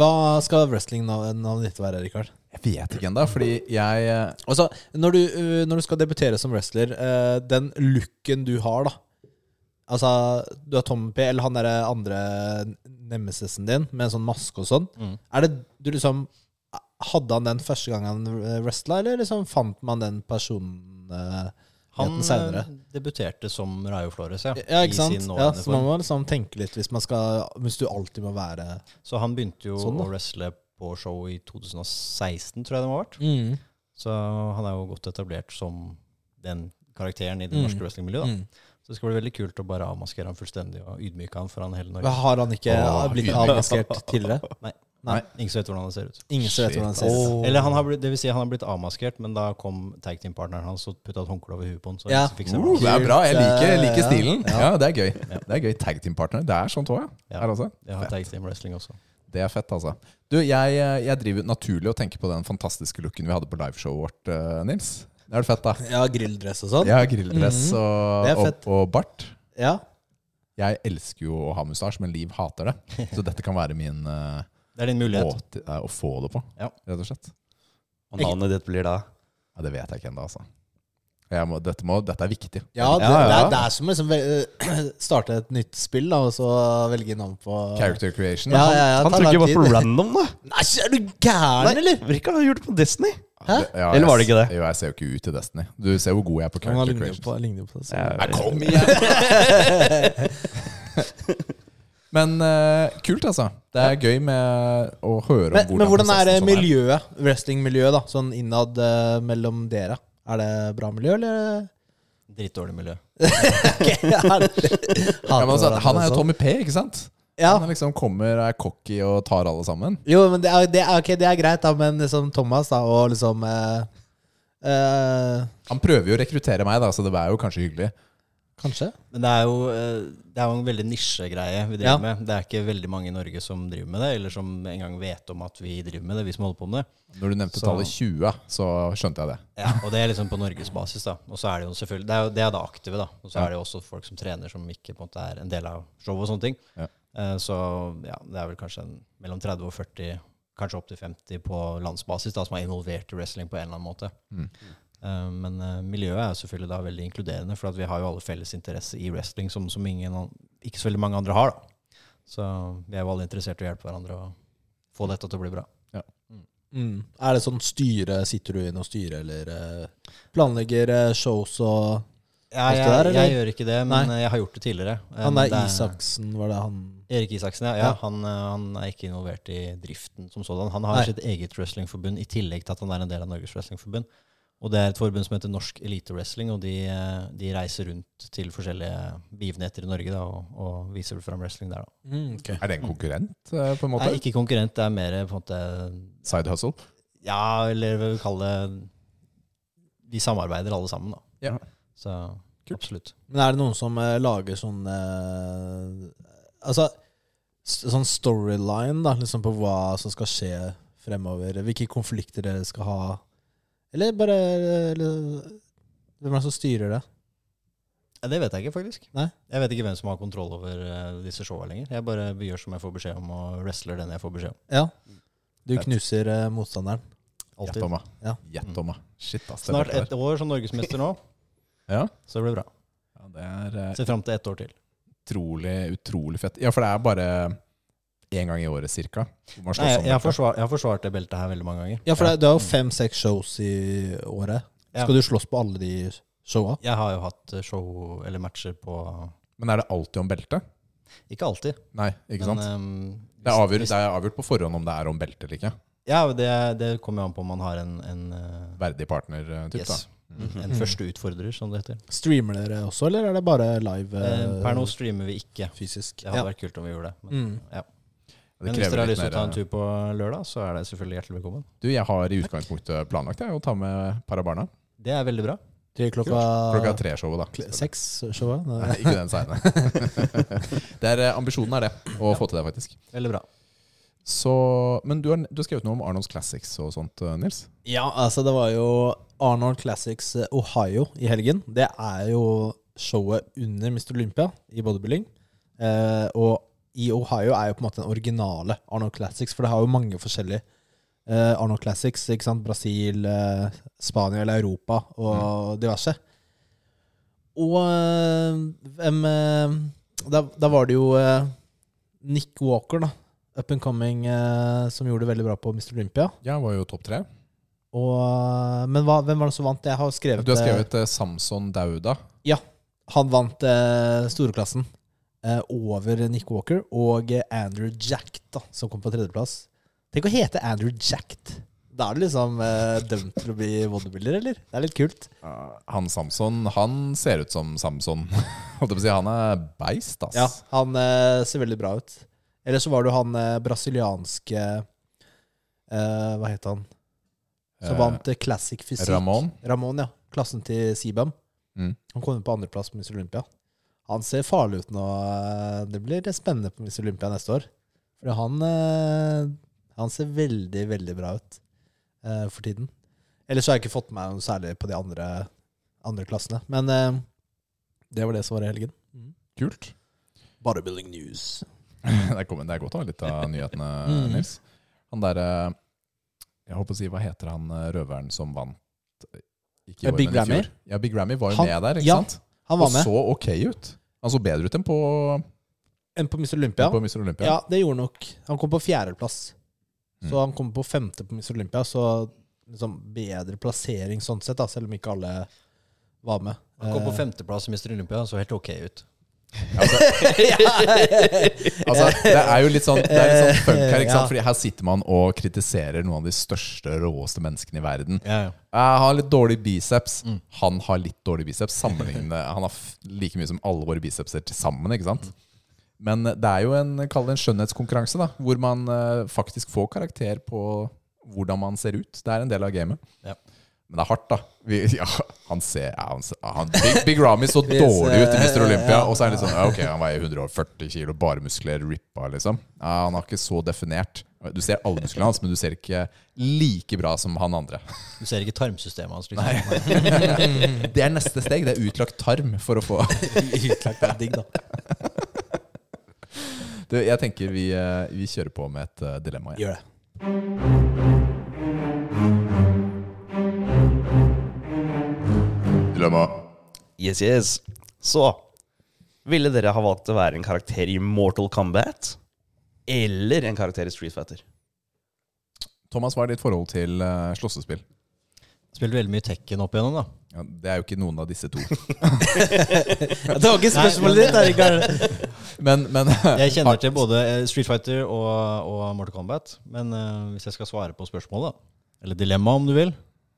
Speaker 1: Hva skal wrestling-navnet ditt være, Rikard?
Speaker 2: Jeg vet ikke ennå, fordi jeg eh,
Speaker 1: Altså, når du, øh, når du skal debutere som wrestler, øh, den looken du har, da Altså, du har Tommy P, eller han derre andre nemesisen din, med en sånn maske og sånn.
Speaker 4: Mm.
Speaker 1: Er det du liksom Hadde han den første gang han øh, wrestla, eller liksom fant man den eh, personligheten
Speaker 4: Han
Speaker 1: seinere?
Speaker 4: eh, debuterte som Rayo Flores, ja.
Speaker 1: Ja, ikke
Speaker 4: I
Speaker 1: sant?
Speaker 4: sin
Speaker 1: Ja,
Speaker 4: nåværende
Speaker 1: så man
Speaker 4: form.
Speaker 1: må liksom tenke litt hvis, man skal, hvis du alltid må være
Speaker 4: Så han begynte jo
Speaker 1: Sånn, da.
Speaker 4: å wrestle på show i 2016, tror jeg det må ha vært. Så han er jo godt etablert som den karakteren i det
Speaker 1: Mm.
Speaker 4: norske wrestlingmiljøet. da.
Speaker 1: Mm.
Speaker 4: Så det skal bli veldig kult å bare avmaskere han fullstendig og ydmyke han foran hele Norge.
Speaker 1: Har han ikke
Speaker 2: Åh,
Speaker 1: blitt
Speaker 2: ydmyk.
Speaker 1: avmaskert tidligere? nei.
Speaker 4: Ingen som vet hvordan han ser ut.
Speaker 1: Ingen som vet
Speaker 2: Shit,
Speaker 1: hvordan han
Speaker 2: ass.
Speaker 1: ser ut.
Speaker 3: Åh.
Speaker 4: Eller han har blitt, det vil si han har blitt avmaskert, men da kom tag team-partneren hans og putta et håndkle over huet på han. Så
Speaker 1: Ja.
Speaker 4: han fikk seg
Speaker 2: Oh,
Speaker 4: maske.
Speaker 2: det er bra. Jeg liker, jeg liker
Speaker 1: Ja,
Speaker 2: stilen.
Speaker 1: ja.
Speaker 2: Ja, Det er gøy. Det er gøy. Tag team-partner. Det er sånt òg,
Speaker 4: Ja.
Speaker 2: ja. Her også.
Speaker 4: Det har tag team wrestling også.
Speaker 2: Det er fett, altså. Du, jeg, eh, jeg driver naturlig og tenker på den fantastiske looken vi hadde på liveshowet vårt, eh, Nils. Det er fett, da.
Speaker 1: Ja, grilldress og sånn?
Speaker 2: Jeg har grilldress og,
Speaker 1: Det er
Speaker 2: og,
Speaker 1: fett.
Speaker 2: og bart.
Speaker 1: Ja.
Speaker 2: Jeg elsker jo å ha mustasje, men Liv hater det. Så dette kan være min eh,
Speaker 4: Det er din mulighet.
Speaker 2: måte eh, å få det på,
Speaker 4: Ja.
Speaker 2: rett og slett.
Speaker 3: Og navnet ditt blir da
Speaker 2: Ja, det vet jeg ikke ennå, altså. Jeg må, dette, må, dette er viktig.
Speaker 1: Ja, det,
Speaker 2: Ja, ja.
Speaker 1: Det, er, det er som liksom vel- starte et nytt spill, da, og så velge navn på
Speaker 2: Character creation.
Speaker 1: Ja, ja, ja,
Speaker 3: Han
Speaker 1: tar lang
Speaker 3: trykker bare på
Speaker 1: tid.
Speaker 3: random, da.
Speaker 1: Nei, er du gæren, eller?
Speaker 3: Virker han har gjort det på Disney.
Speaker 1: Hæ?
Speaker 2: Det- ja,
Speaker 3: Eller var det
Speaker 2: jeg-
Speaker 3: ikke det?
Speaker 2: Jo, jeg ser jo ikke ut til Destiny. Du ser hvor god jeg er
Speaker 1: Han
Speaker 2: på character
Speaker 1: ligner jo
Speaker 2: creation.
Speaker 1: på, han ligner jo på det. så-
Speaker 3: Ja,
Speaker 2: kom igjen! Men eh, kult, altså. Det er gøy med å høre om
Speaker 1: Men,
Speaker 2: hvordan
Speaker 1: men hvordan er eh,
Speaker 2: prosessen sånn
Speaker 1: miljøet, wrestlingmiljøet, da? Sånn innad eh, mellom dere. Er det bra miljø, eller?
Speaker 4: Drittdårlig miljø.
Speaker 2: Ja, men altså, han er jo Tommy P, ikke sant?
Speaker 1: Ja.
Speaker 2: Han er liksom kommer, er cocky og tar alle sammen.
Speaker 1: Jo, men det er, det er, ok, det er greit, da, men liksom Thomas da, og liksom eh, eh,
Speaker 2: Han prøver jo å rekruttere meg, da, så det er jo kanskje hyggelig.
Speaker 1: Kanskje?
Speaker 4: Men det er jo, eh, det er jo en veldig nisjegreie vi driver
Speaker 1: Ja.
Speaker 4: med. Det er ikke veldig mange i Norge som driver med det, eller som engang vet om at vi driver med det, vi som holder på med det.
Speaker 2: Når du nevnte
Speaker 4: Så-
Speaker 2: tallet 20, så skjønte jeg det.
Speaker 4: Ja, og det er liksom på norgesbasis, da. Og så er det jo selvfølgelig Det er jo det, er det aktive, da. Og så er det jo også folk som trener som ikke på en måte er en del av showet og sånne ting.
Speaker 2: Ja.
Speaker 4: Eh, Så ja, det er vel kanskje en, mellom 30 og 40, kanskje opptil 50 på landsbasis, da, som er involvert i wrestling på en eller annen måte.
Speaker 2: Mm.
Speaker 4: Eh, Men eh, miljøet er jo selvfølgelig da veldig inkluderende, for at vi har jo alle felles interesse i wrestling som, som ingen, an- ikke så veldig mange andre har. da. Så vi er jo alle interessert i å hjelpe hverandre og få dette til å bli bra.
Speaker 1: Mm. Er det sånn styre, sitter du inn og styrer, eller eh, planlegger eh, shows og
Speaker 4: Ja,
Speaker 1: Alt det
Speaker 4: jeg,
Speaker 1: der,
Speaker 4: jeg,
Speaker 1: eller?
Speaker 4: gjør ikke det, men jeg har gjort det tidligere. Eh,
Speaker 1: Han
Speaker 4: men
Speaker 1: er
Speaker 4: det er-
Speaker 1: Isaksen, var det han
Speaker 4: Erik Isaksen, ja. ja,
Speaker 1: Ja.
Speaker 4: Han, eh, han er ikke involvert i driften som sådan. Han har
Speaker 1: Nei.
Speaker 4: sitt eget wrestlingforbund i tillegg til at han er en del av Norges Wrestlingforbund. Og det er et forbund som heter Norsk Elite Wrestling, og de, eh, de reiser rundt til forskjellige begivenheter i Norge da, og, og viser fram wrestling der. Da.
Speaker 1: Mm,
Speaker 2: Er det en konkurrent, eh, på en måte?
Speaker 4: Nei, ikke konkurrent, det er mer på en måte
Speaker 2: Side hustle?
Speaker 4: Ja, eller hva vi kaller det De samarbeider alle sammen, da.
Speaker 2: Ja.
Speaker 4: Så absolutt.
Speaker 1: Men er det noen som eh, lager sånn eh, Altså s- sånn storyline, da, liksom på hva som skal skje fremover? Hvilke konflikter dere skal ha? Eller bare eh, eller, Hvem er det som styrer det?
Speaker 4: Ja, Det vet jeg ikke, faktisk.
Speaker 1: Nei?
Speaker 4: Jeg vet ikke hvem som har kontroll over eh, disse showa lenger. Jeg bare gjør som jeg får beskjed om, og wrestler den jeg får beskjed om.
Speaker 1: Ja. Du
Speaker 2: Fett.
Speaker 1: knuser eh, motstanderen.
Speaker 2: Gjett
Speaker 4: Alltid.
Speaker 2: om, da.
Speaker 1: Ja.
Speaker 2: Gjett om, da. Shit, ass. det
Speaker 4: Snart
Speaker 2: er
Speaker 4: ett år som norgesmester nå,
Speaker 2: Ja.
Speaker 4: så det blir bra.
Speaker 2: Ja, det er eh,
Speaker 4: Ser fram til ett år til.
Speaker 2: utrolig, utrolig fett. Ja, for det er bare én gang i året, cirka. hvor man slåss
Speaker 4: Nei, jeg,
Speaker 2: om
Speaker 4: jeg, har
Speaker 2: dette.
Speaker 4: forsvar, jeg har forsvart det beltet her veldig mange ganger.
Speaker 1: Ja, Mm. for det, er- du har jo fem-seks shows i året.
Speaker 4: Ja.
Speaker 1: Skal du slåss på alle de showa?
Speaker 4: Jeg har jo hatt eh, show eller matcher på
Speaker 2: Men er det alltid om belte?
Speaker 4: Ikke alltid.
Speaker 2: Nei, ikke sant?
Speaker 4: ehm,
Speaker 2: det, er avgjort,
Speaker 4: hvis-
Speaker 2: det er avgjort på forhånd om det er om belte eller ikke.
Speaker 4: Ja, det, det kommer jo an på om man har en, en eh,
Speaker 2: Verdig partner, eh, typ,
Speaker 4: yes. Mhm.
Speaker 2: da.
Speaker 4: En første utfordrer, som det heter.
Speaker 1: Streamer dere også, eller er det bare live
Speaker 4: Eh,
Speaker 1: eh,
Speaker 4: Per nå streamer vi ikke.
Speaker 1: fysisk?
Speaker 4: Det hadde vært kult om vi gjorde det. Men,
Speaker 1: Mm.
Speaker 4: ja.
Speaker 2: Det
Speaker 4: Men hvis
Speaker 2: krever
Speaker 4: dere har
Speaker 2: litt
Speaker 4: lyst til å
Speaker 2: mer, eh,
Speaker 4: ta en tur på lørdag, så er det selvfølgelig hjertelig velkommen.
Speaker 2: Du, jeg har i utgangspunktet planlagt jeg, å ta med et par av barna.
Speaker 4: Det er veldig bra.
Speaker 1: Til klokka,
Speaker 2: Klokka tre-showet, da.
Speaker 1: Ah. kl- seks, showet? Nei.
Speaker 2: Nei, ikke den seine. det er, eh, ambisjonen er det, å få til det, faktisk.
Speaker 4: Veldig bra.
Speaker 2: Så, men du har, du har skrevet noe om Arnolds Classics og sånt, eh, Nils?
Speaker 1: Ja, altså det var jo Arnold Classics eh, Ohio i helgen. Det er jo showet under Mr. Olympia i bodybuilding. Eh, og i Ohio er jo på en måte den originale Arnold Classics, for det har jo mange forskjellige eh, Arnold Classics. ikke sant? Brasil, eh, Spania eller Europa og diverse. Og eh, hvem eh, da, da var det jo eh, Nick Walker, da. Up and coming, eh, som gjorde det veldig bra på Mr. Olympia.
Speaker 2: Jeg var jo topp tre.
Speaker 1: Og, men hva, hvem var det som vant? Jeg har skrevet,
Speaker 2: Du har skrevet eh, Samson Dauda.
Speaker 1: eh, Han vant eh, storeklassen eh, over Nick Walker og eh, Andrew Jack, da, som kom på tredjeplass. Tenk å hete Andrew Jack. Da er du liksom eh, dømt til å bli bodybuilder, eller? Det er litt kult.
Speaker 2: Ah, Han Samson, han ser ut som Samson. Holdt jeg på å si, han er beist, ass.
Speaker 1: Ja, han eh, ser veldig bra ut. Eller så var det jo han eh, brasilianske eh, Hva het han? Som
Speaker 2: Eh,
Speaker 1: vant eh, classic fysikk.
Speaker 2: Ramon.
Speaker 1: Ramon, ja. Klassen til Sibam.
Speaker 2: Mm.
Speaker 1: Han kom inn på andreplass på Miss Olympia. Han ser farlig ut nå. Det blir spennende på Miss Olympia neste år. For han, eh, han ser veldig, veldig bra ut eh, for tiden. Ellers har jeg ikke fått med meg noe særlig på de andre, andre klassene. Men eh, det var det som var i helgen.
Speaker 2: Mm. Kult.
Speaker 1: Bodybuilding news.
Speaker 2: Der kom, den. Mm. det er godt å ha litt av nyhetene,
Speaker 1: Mm.
Speaker 2: Nils. Han derre Jeg holdt på å si, hva heter han eh, røveren som vant ikke i
Speaker 1: Eh,
Speaker 2: år,
Speaker 1: Big
Speaker 2: men i fjor?
Speaker 1: Grammy?
Speaker 2: Ja, Big Grammy var jo
Speaker 1: Han-
Speaker 2: med der, ikke
Speaker 1: ja,
Speaker 2: sant?
Speaker 1: Han
Speaker 2: Og
Speaker 1: var med.
Speaker 2: så ok ut. Han så bedre ut enn på,
Speaker 1: En på Mr. Olympia.
Speaker 2: på Mr. Olympia.
Speaker 1: Ja, det gjorde nok. Han kom på fjerdeplass.
Speaker 2: Mm.
Speaker 1: Så han kom på femte på Miss Olympia, så liksom bedre plassering sånn sett, da, selv om ikke alle var med.
Speaker 4: Han kom på
Speaker 1: Eh,
Speaker 4: femteplass i Mr. Olympia, han så helt ok ut.
Speaker 2: Altså, det er jo litt sånn, det er litt sånn funk her, ikke sant?
Speaker 1: Ja.
Speaker 2: Fordi her sitter man og kritiserer noen av de største, råeste menneskene i verden.
Speaker 4: Ja, ja.
Speaker 2: Jeg har litt dårlig biceps. Han har litt dårlig biceps. Sammenlignende Han har f- like mye som alle våre bicepser til sammen. ikke sant? Men det er jo en, kall det en skjønnhetskonkurranse, da, hvor man eh, faktisk får karakter på hvordan man ser ut. Det er en del av gamet.
Speaker 4: Ja.
Speaker 2: Men det er hardt, da. Vi, ja, han ser ja, han, ser- han, Big, Big Ramy så dårlig ut i Mr. Olympia. Og så er han litt sånn ja, Ok, han veier 140 kilo, bare muskler, rippa, liksom. Ja, han har ikke så definert. Du ser alle musklene hans, men du ser ikke like bra som han andre.
Speaker 4: Du ser ikke tarmsystemet hans. Liksom. Nei.
Speaker 2: Det er neste steg. Det er utlagt tarm for å få
Speaker 1: Utlagt er digg, da.
Speaker 2: du, Jeg tenker vi, eh, vi kjører på med et eh, dilemma. Ja.
Speaker 1: Gjør det.
Speaker 2: Dilemma.
Speaker 3: Yes, yes. Så ville dere ha valgt å være en karakter i Mortal Kombat eller en karakter i Street Fighter?
Speaker 2: Thomas, hva er ditt forhold til eh, slåssespill?
Speaker 4: Spilte veldig mye Tekken opp igjennom, da.
Speaker 2: Ja, det er jo ikke noen av disse to.
Speaker 1: Det var ikke spørsmålet ditt, Erik.
Speaker 2: Men, men
Speaker 4: Jeg kjenner til både eh, Street Fighter og, og Mortal Kombat. Men eh, hvis jeg skal svare på spørsmålet, da, eller dilemmaet om du vil,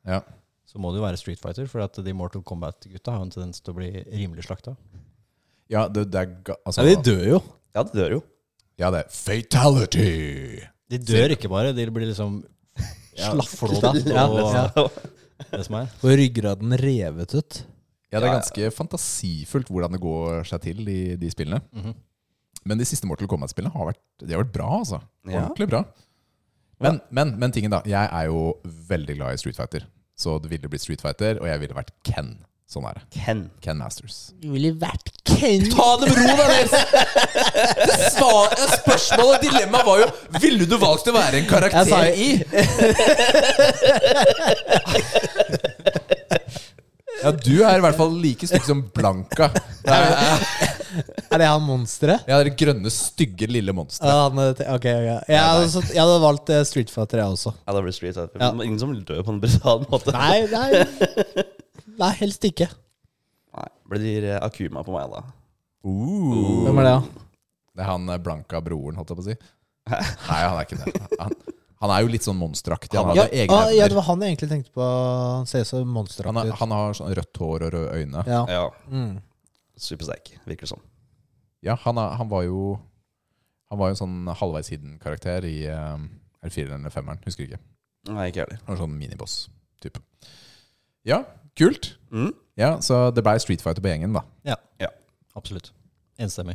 Speaker 2: ja.
Speaker 4: så må det jo være Street Fighter. For at de Mortal Kombat-gutta har jo en tendens til å bli rimelig slakta.
Speaker 2: ja, det, det er ga- altså,
Speaker 1: Ja, de dør jo.
Speaker 3: Ja, det dør jo.
Speaker 2: Ja, det er fatality!
Speaker 4: De dør ikke bare, de blir liksom slafta
Speaker 1: Ja,
Speaker 4: og
Speaker 1: ja.
Speaker 4: det som er.
Speaker 1: Og ryggraden revet ut.
Speaker 2: Ja, det
Speaker 3: Ja,
Speaker 2: er
Speaker 3: ja.
Speaker 2: ganske fantasifullt hvordan det går seg til i de spillene.
Speaker 4: Mhm.
Speaker 2: Men de siste Mortal Kombat-spillene har vært, de har vært bra, altså.
Speaker 3: Ja.
Speaker 2: Ordentlig bra. Men, men, men tingen, da. Jeg er jo veldig glad i Street Fighter. Så det ville blitt Street Fighter, og jeg ville vært Ken. Sånn er det.
Speaker 3: Ken.
Speaker 2: Ken Masters.
Speaker 1: Du ville vært Ken.
Speaker 2: Ta det med ro, da, Nils! Spørsmålet og dilemmaet var jo Ville du valgt å være en karakter
Speaker 1: Jeg sa
Speaker 2: i? Ja, du er i hvert fall like stygg som Blanka.
Speaker 1: Er det han monsteret?
Speaker 2: Ja, det grønne, stygge lille monsteret.
Speaker 1: Ja, han, eh, ok, ok. Jeg hadde, også- jeg hadde valgt eh, Street Fighter, jeg også.
Speaker 3: Ja, det blir Street Fighter.
Speaker 1: Ja.
Speaker 3: Men Ingen som dør på en brutal måte.
Speaker 1: Nei, nei. Nei, helst ikke.
Speaker 3: Nei, Blir eh, Akuma på meg, da?
Speaker 1: Hvem er det, da?
Speaker 2: Det er han eh, blanka broren, holdt jeg på å si. Nei, han er ikke det. Han, han er jo litt sånn monsteraktig. Han,
Speaker 1: Ja,
Speaker 2: hadde egne
Speaker 1: ah, ja, det
Speaker 2: evner.
Speaker 1: var han jeg egentlig tenkte på. Han ser så
Speaker 2: han,
Speaker 1: monsteraktig
Speaker 2: er-
Speaker 1: ut.
Speaker 2: han har sånn rødt hår og røde øyne.
Speaker 1: Ja.
Speaker 3: Ja.
Speaker 1: Mm.
Speaker 3: Supersterk, virker det som.
Speaker 2: Ja, han, er, han var jo Han var jo en sånn halvveis hidden karakter i eh, Er det fireren eller femmeren? Husker ikke.
Speaker 3: Nei, ikke jeg heller.
Speaker 2: Han var sånn miniboss-type. Ja, kult.
Speaker 3: Mm.
Speaker 2: Ja, Så det ble Street Fighter på gjengen, da.
Speaker 4: Absolutt. Enstemmig.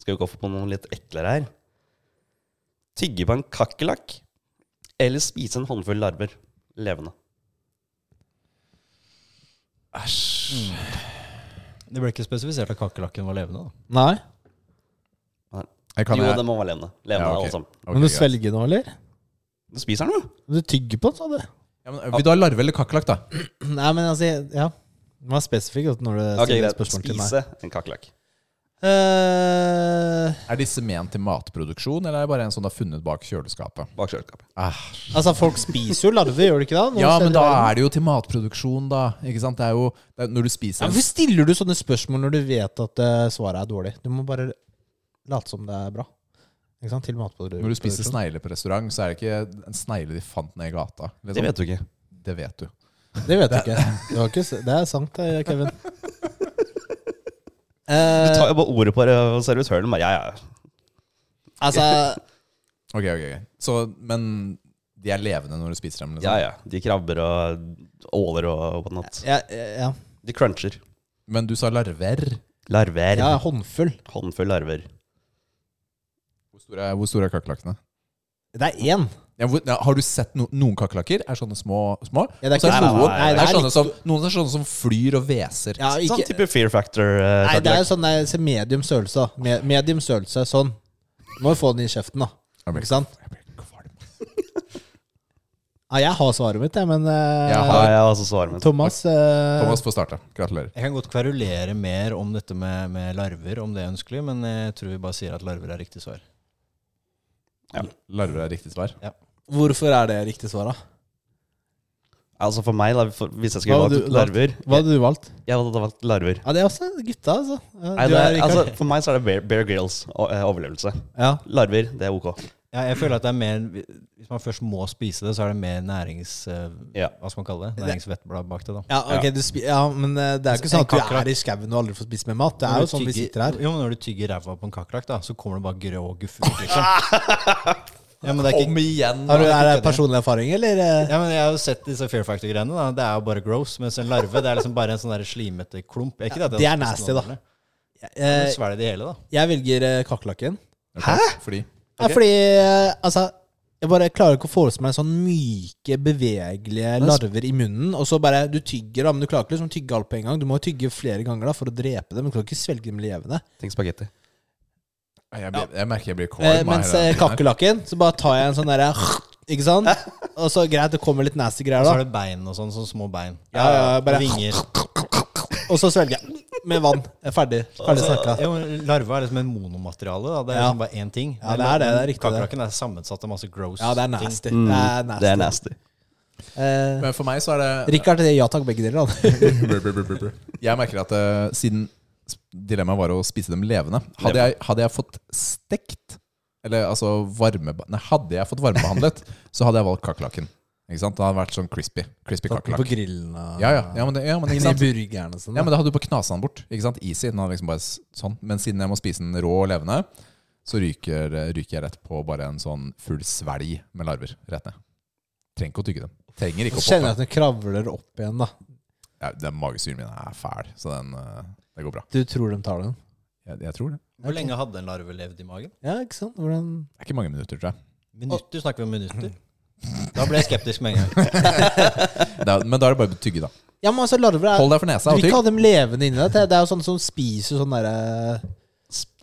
Speaker 3: Skal vi gå for på noe litt eklere her? Tygge på en kakerlakk eller spise en håndfull larver levende?
Speaker 2: Æsj.
Speaker 4: Det ble ikke spesifisert at kakerlakken var levende. da.
Speaker 1: Nei.
Speaker 2: Jeg kan
Speaker 3: jo,
Speaker 2: jeg,
Speaker 3: den må være levende. Levende,
Speaker 2: Ja, ok.
Speaker 3: alle sammen.
Speaker 2: ok,
Speaker 1: Men du
Speaker 2: greit.
Speaker 1: svelger nå, eller?
Speaker 3: Du spiser den, jo.
Speaker 1: Du tygger på den, sa du?
Speaker 2: ja, men, Vil du ha larve eller kakerlakk, da?
Speaker 1: Nei, men altså, ja. Du var spesifikk vet du, når du
Speaker 3: Ok,
Speaker 1: stiller
Speaker 3: greit.
Speaker 1: spørsmål til meg.
Speaker 3: Spise en kakerlakk.
Speaker 1: Eh,
Speaker 2: Er disse ment til matproduksjon, eller er det bare en som du har funnet bak kjøleskapet?
Speaker 3: Bak kjøleskapet.
Speaker 2: Æsj.
Speaker 1: altså, folk spiser jo larver, gjør de ikke det?
Speaker 2: Ja, men da er det jo til matproduksjon, da. Ikke sant? Det er jo det er, Når du spiser en
Speaker 1: Hvorfor stiller du sånne spørsmål når du vet at eh, svaret er dårlig? Du må bare late som det er bra. Ikke sant? Til matproduksjon.
Speaker 2: når du spiser snegle på restaurant, så er det ikke en snegle de fant ned i gata. liksom.
Speaker 3: Det vet du ikke.
Speaker 2: Det vet du.
Speaker 1: Det vet jeg ikke. Det, var ikke. s- det er sant, det, Kevin.
Speaker 3: Du
Speaker 1: Eh,
Speaker 3: tar jo bare ordet på det, og servitøren bare ja, ja.
Speaker 1: altså,
Speaker 2: Ok, ok, ok. Så, Men de er levende når du spiser dem? Liksom.
Speaker 3: ja, ja. De krabber og åler og whatnot.
Speaker 1: ja, ja,
Speaker 3: De cruncher.
Speaker 2: Men du sa larver.
Speaker 3: Larver.
Speaker 1: ja, håndfull.
Speaker 3: Håndfull larver.
Speaker 2: Hvor store er, hvor store er kakerlakkene?
Speaker 1: Det er én.
Speaker 2: Ja, hvor, ja, har du sett no, noen kakerlakker? Er sånne små? små.
Speaker 1: Ja, det er
Speaker 2: Og så
Speaker 1: ikke-
Speaker 2: er noen,
Speaker 1: Nei, det
Speaker 2: det er
Speaker 1: er
Speaker 2: sånne
Speaker 1: litt-
Speaker 2: som, noen er sånne som flyr og hveser.
Speaker 1: Ja,
Speaker 3: Sånn
Speaker 1: ikke,
Speaker 3: type fear factor. eh,
Speaker 1: nei, det er
Speaker 3: kakerlakk.
Speaker 1: jo sånn der, se medium størrelse. da. Me- Medium størrelse, sånn. Må jo få den i kjeften, da.
Speaker 2: Jeg blir-
Speaker 1: Ikke sant?
Speaker 2: jeg blir kvalm.
Speaker 1: Ja, jeg har svaret mitt, jeg, men eh,
Speaker 2: Jeg
Speaker 3: ja, jeg har også svaret mitt.
Speaker 1: Thomas, eh,
Speaker 2: Thomas får starte. Gratulerer.
Speaker 4: Jeg kan godt kverulere mer om dette med, med larver, om det er ønskelig, men jeg tror vi bare sier at larver er riktig svar.
Speaker 2: Larver er riktig svar.
Speaker 1: Hvorfor er det riktig svar, da?
Speaker 3: Altså for meg, da, for, hvis jeg skulle
Speaker 1: Hva hadde
Speaker 3: valgt
Speaker 1: du valgt?
Speaker 3: larver
Speaker 1: Hva hadde du valgt?
Speaker 3: Jeg hadde valgt larver.
Speaker 1: Ja, Det er også gutta, altså. Ja,
Speaker 3: Nei,
Speaker 1: du
Speaker 3: det,
Speaker 1: er Rikard.
Speaker 3: altså, for meg så er det Bear, bear Grylls og, eh, overlevelse.
Speaker 1: ja.
Speaker 3: Larver, det er ok.
Speaker 4: Ja, jeg føler at det er mer Hvis man først må spise det, så er det mer nærings... eh,
Speaker 3: Ja.
Speaker 4: Hva skal man kalle det? Næringsvettblad bak det, da.
Speaker 1: Ja, ok, du spi ja, men eh, det er jo ikke
Speaker 4: En
Speaker 1: sånn at du
Speaker 4: kakerlakk.
Speaker 1: er i skauen og aldri får spist mer mat. Det er jo
Speaker 4: Når du
Speaker 1: sånn vi
Speaker 4: tygger-
Speaker 1: sitter her.
Speaker 4: Jo, men Når du tygger ræva på en kakerlakk, da, så kommer det bare grå og guff ut, liksom. Ja, men det er ikke,
Speaker 2: igjen!
Speaker 1: Har du, er det
Speaker 4: ikke det.
Speaker 1: personlig erfaring, eller? eh?
Speaker 4: ja, men jeg har jo sett disse Fair Factor-greiene. da Det er jo bare gross. Mens en larve det er liksom bare en sånn der slimete klump. Er ikke det, at jeg
Speaker 1: Det er
Speaker 4: hadde spist
Speaker 1: nasty,
Speaker 4: noen
Speaker 1: da.
Speaker 4: andre?
Speaker 1: Eh,
Speaker 4: Men Svelg det hele, da.
Speaker 1: Jeg velger eh, kakerlakken.
Speaker 2: Hæ?! Fordi
Speaker 1: Ja, fordi eh, altså Jeg bare klarer ikke å forestille meg sånn myke, bevegelige larver i munnen. Og så bare Du tygger, da, men du klarer ikke liksom å tygge alt på en gang. Du må tygge flere ganger da for å drepe dem. Men du klarer ikke svelge dem levende.
Speaker 3: Tenk spagetti.
Speaker 2: jeg, blir, jeg merker jeg blir kvalm.
Speaker 1: Eh,
Speaker 2: av
Speaker 1: mens
Speaker 2: hele
Speaker 1: eh,
Speaker 2: den tiden her.
Speaker 1: kakerlakken, så bare tar jeg en sånn derre Ikke sant? Og så greit, det kommer litt nasty greier
Speaker 4: Så
Speaker 1: da.
Speaker 4: er det bein og sånn. Sånne små bein.
Speaker 1: Ja, ja, bare-
Speaker 4: Vinger.
Speaker 1: Og så svelger jeg med vann. Jeg er ferdig. Ferdig snakka.
Speaker 4: Jo, larva er liksom en monomateriale. Da. Det er
Speaker 1: Ja.
Speaker 4: liksom bare én ting.
Speaker 1: Ja, det er det, det er riktig, det.
Speaker 4: Kakerlakken er sammensatt av masse gross
Speaker 1: Ja, det er
Speaker 4: ting.
Speaker 1: nasty. Det er nasty.
Speaker 3: Det er nasty.
Speaker 1: Eh,
Speaker 2: Men for meg så er det
Speaker 1: Richard, det er ja takk, begge deler. da.
Speaker 2: Jeg merker at eh, siden s- dilemmaet var å spise dem levende Hadde jeg, hadde jeg fått stekt Eller altså varme Nei, hadde jeg fått varmebehandlet, så hadde jeg valgt kakerlakken. Ikke sant? Det hadde vært sånn crispy. Crispy
Speaker 1: På
Speaker 2: kakerlakk.
Speaker 1: grillen og
Speaker 2: Ja, ja. ja, men, det, ja, men, ikke
Speaker 1: inni
Speaker 2: sant?
Speaker 1: burgeren og sånn.
Speaker 2: ja, men da hadde du på knasa den bort. Ikke sant? Easy. Den hadde liksom bare s- sånn. Men siden jeg må spise den rå og levende, så ryker, eh, ryker jeg rett på bare en sånn full svelg med larver. Rett ned. Trenger ikke å tygge dem. Trenger
Speaker 1: Så
Speaker 2: ikke å
Speaker 1: kjenner jeg at
Speaker 2: poppe.
Speaker 1: den kravler opp igjen, da.
Speaker 2: Ja, den magesyren min er fæl, så den, eh, det går bra.
Speaker 1: Du tror de tar den?
Speaker 2: Jeg, jeg tror det.
Speaker 4: Hvor lenge hadde en larve levd i magen?
Speaker 1: Ja, ikke sant? Hvordan
Speaker 2: Det er ikke mange minutter, tror jeg.
Speaker 4: Minutter? Snakker vi om minutter? Da ble jeg skeptisk med en gang.
Speaker 2: Det er, men da er det bare å tygge, da.
Speaker 1: Ja, men altså, larver er
Speaker 2: Hold deg for nesa
Speaker 1: Du
Speaker 2: og
Speaker 1: vil ikke
Speaker 2: tygg.
Speaker 1: ha dem levende inni deg. Det- Det er jo sånne som spiser sånn derre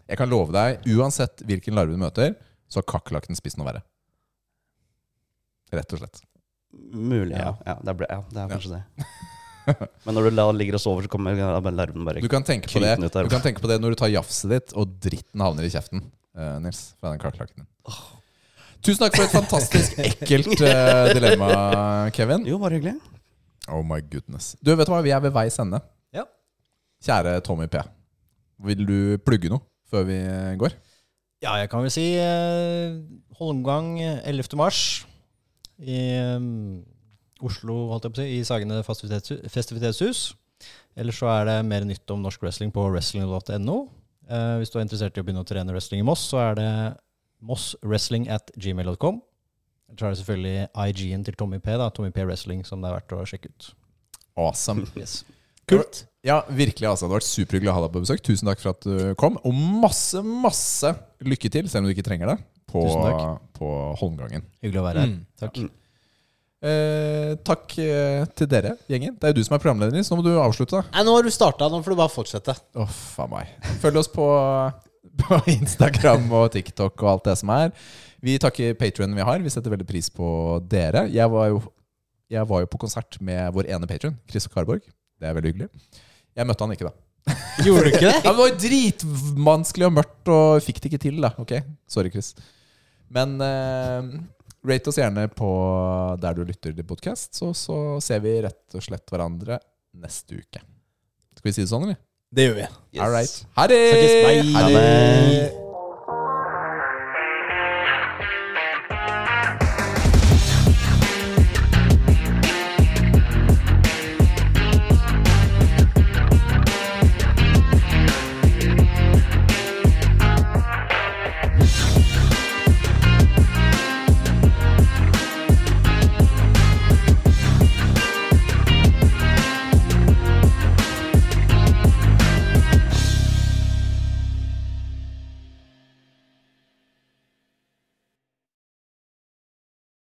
Speaker 2: Jeg kan love deg, uansett hvilken larve du møter, så har kakerlakken spist noe verre. Rett og slett.
Speaker 3: Mulig, ja. ja, det, er, ble- ja, det er kanskje det. Men når du la, ligger og sover, så kommer ja, bare larven bare
Speaker 2: Du kan tenke på det,
Speaker 3: Krypende ut der.
Speaker 2: du kan tenke på det når du tar jafset ditt, og dritten havner i kjeften, eh, Nils, fra den kakerlakken din. Tusen takk for et fantastisk ekkelt eh, dilemma, Kevin.
Speaker 3: Jo, bare hyggelig.
Speaker 2: Oh my goodness. Du, vet du hva? Vi er ved veis ende.
Speaker 4: Ja.
Speaker 2: Kjære Tommy P. Vil du plugge noe før vi går?
Speaker 4: Ja, jeg kan vel si eh, Holmgang eh, 11. mars i eh, Oslo, holdt jeg på å si, i Sagene Festivitetshus- festivitetshus. Ellers så er det mer nytt om norsk wrestling på wrestling.no. Eh, hvis du er interessert i å begynne å trene wrestling i Moss, så er det mosswrestling at gmail.com. Ellers så er det selvfølgelig IG-en til Tommy P, da, Tommy P Wrestling, som det er verdt å sjekke ut.
Speaker 2: Awesome.
Speaker 4: Yes.
Speaker 1: Kult.
Speaker 2: Ja, virkelig. altså. Det har vært superhyggelig å ha deg på besøk. Tusen takk for at du kom. Og masse, masse lykke til, selv om du ikke trenger det, på,
Speaker 4: Tusen takk. Mm.
Speaker 2: på Holmgangen.
Speaker 4: Hyggelig å være her. Takk.
Speaker 2: Eh, takk eh, til dere, gjengen. Det er jo du som er programleder, Nils. Nå må du avslutte. da.
Speaker 1: Nei, nå har du starta. Nå får du bare fortsette.
Speaker 2: Å, faen meg. Følg oss på, på Instagram og TikTok og alt det som er. Vi takker patronen vi har. Vi setter veldig pris på dere. Jeg var jo, jeg var jo på konsert med vår ene patron, Chris Karborg. Det er veldig hyggelig. Jeg møtte han ikke, da.
Speaker 1: Gjorde du ikke det?
Speaker 2: Ja, det var jo dritvanskelig og mørkt, og fikk det ikke til, da. Ok, sorry, Chris. Men eh, rate oss gjerne på der du lytter til podkast, så, så ser vi rett og slett hverandre neste uke. Skal vi si det sånn, eller?
Speaker 1: Det gjør vi.
Speaker 2: All right. Ha det!
Speaker 1: Snakkes. Bye.
Speaker 2: Ha det!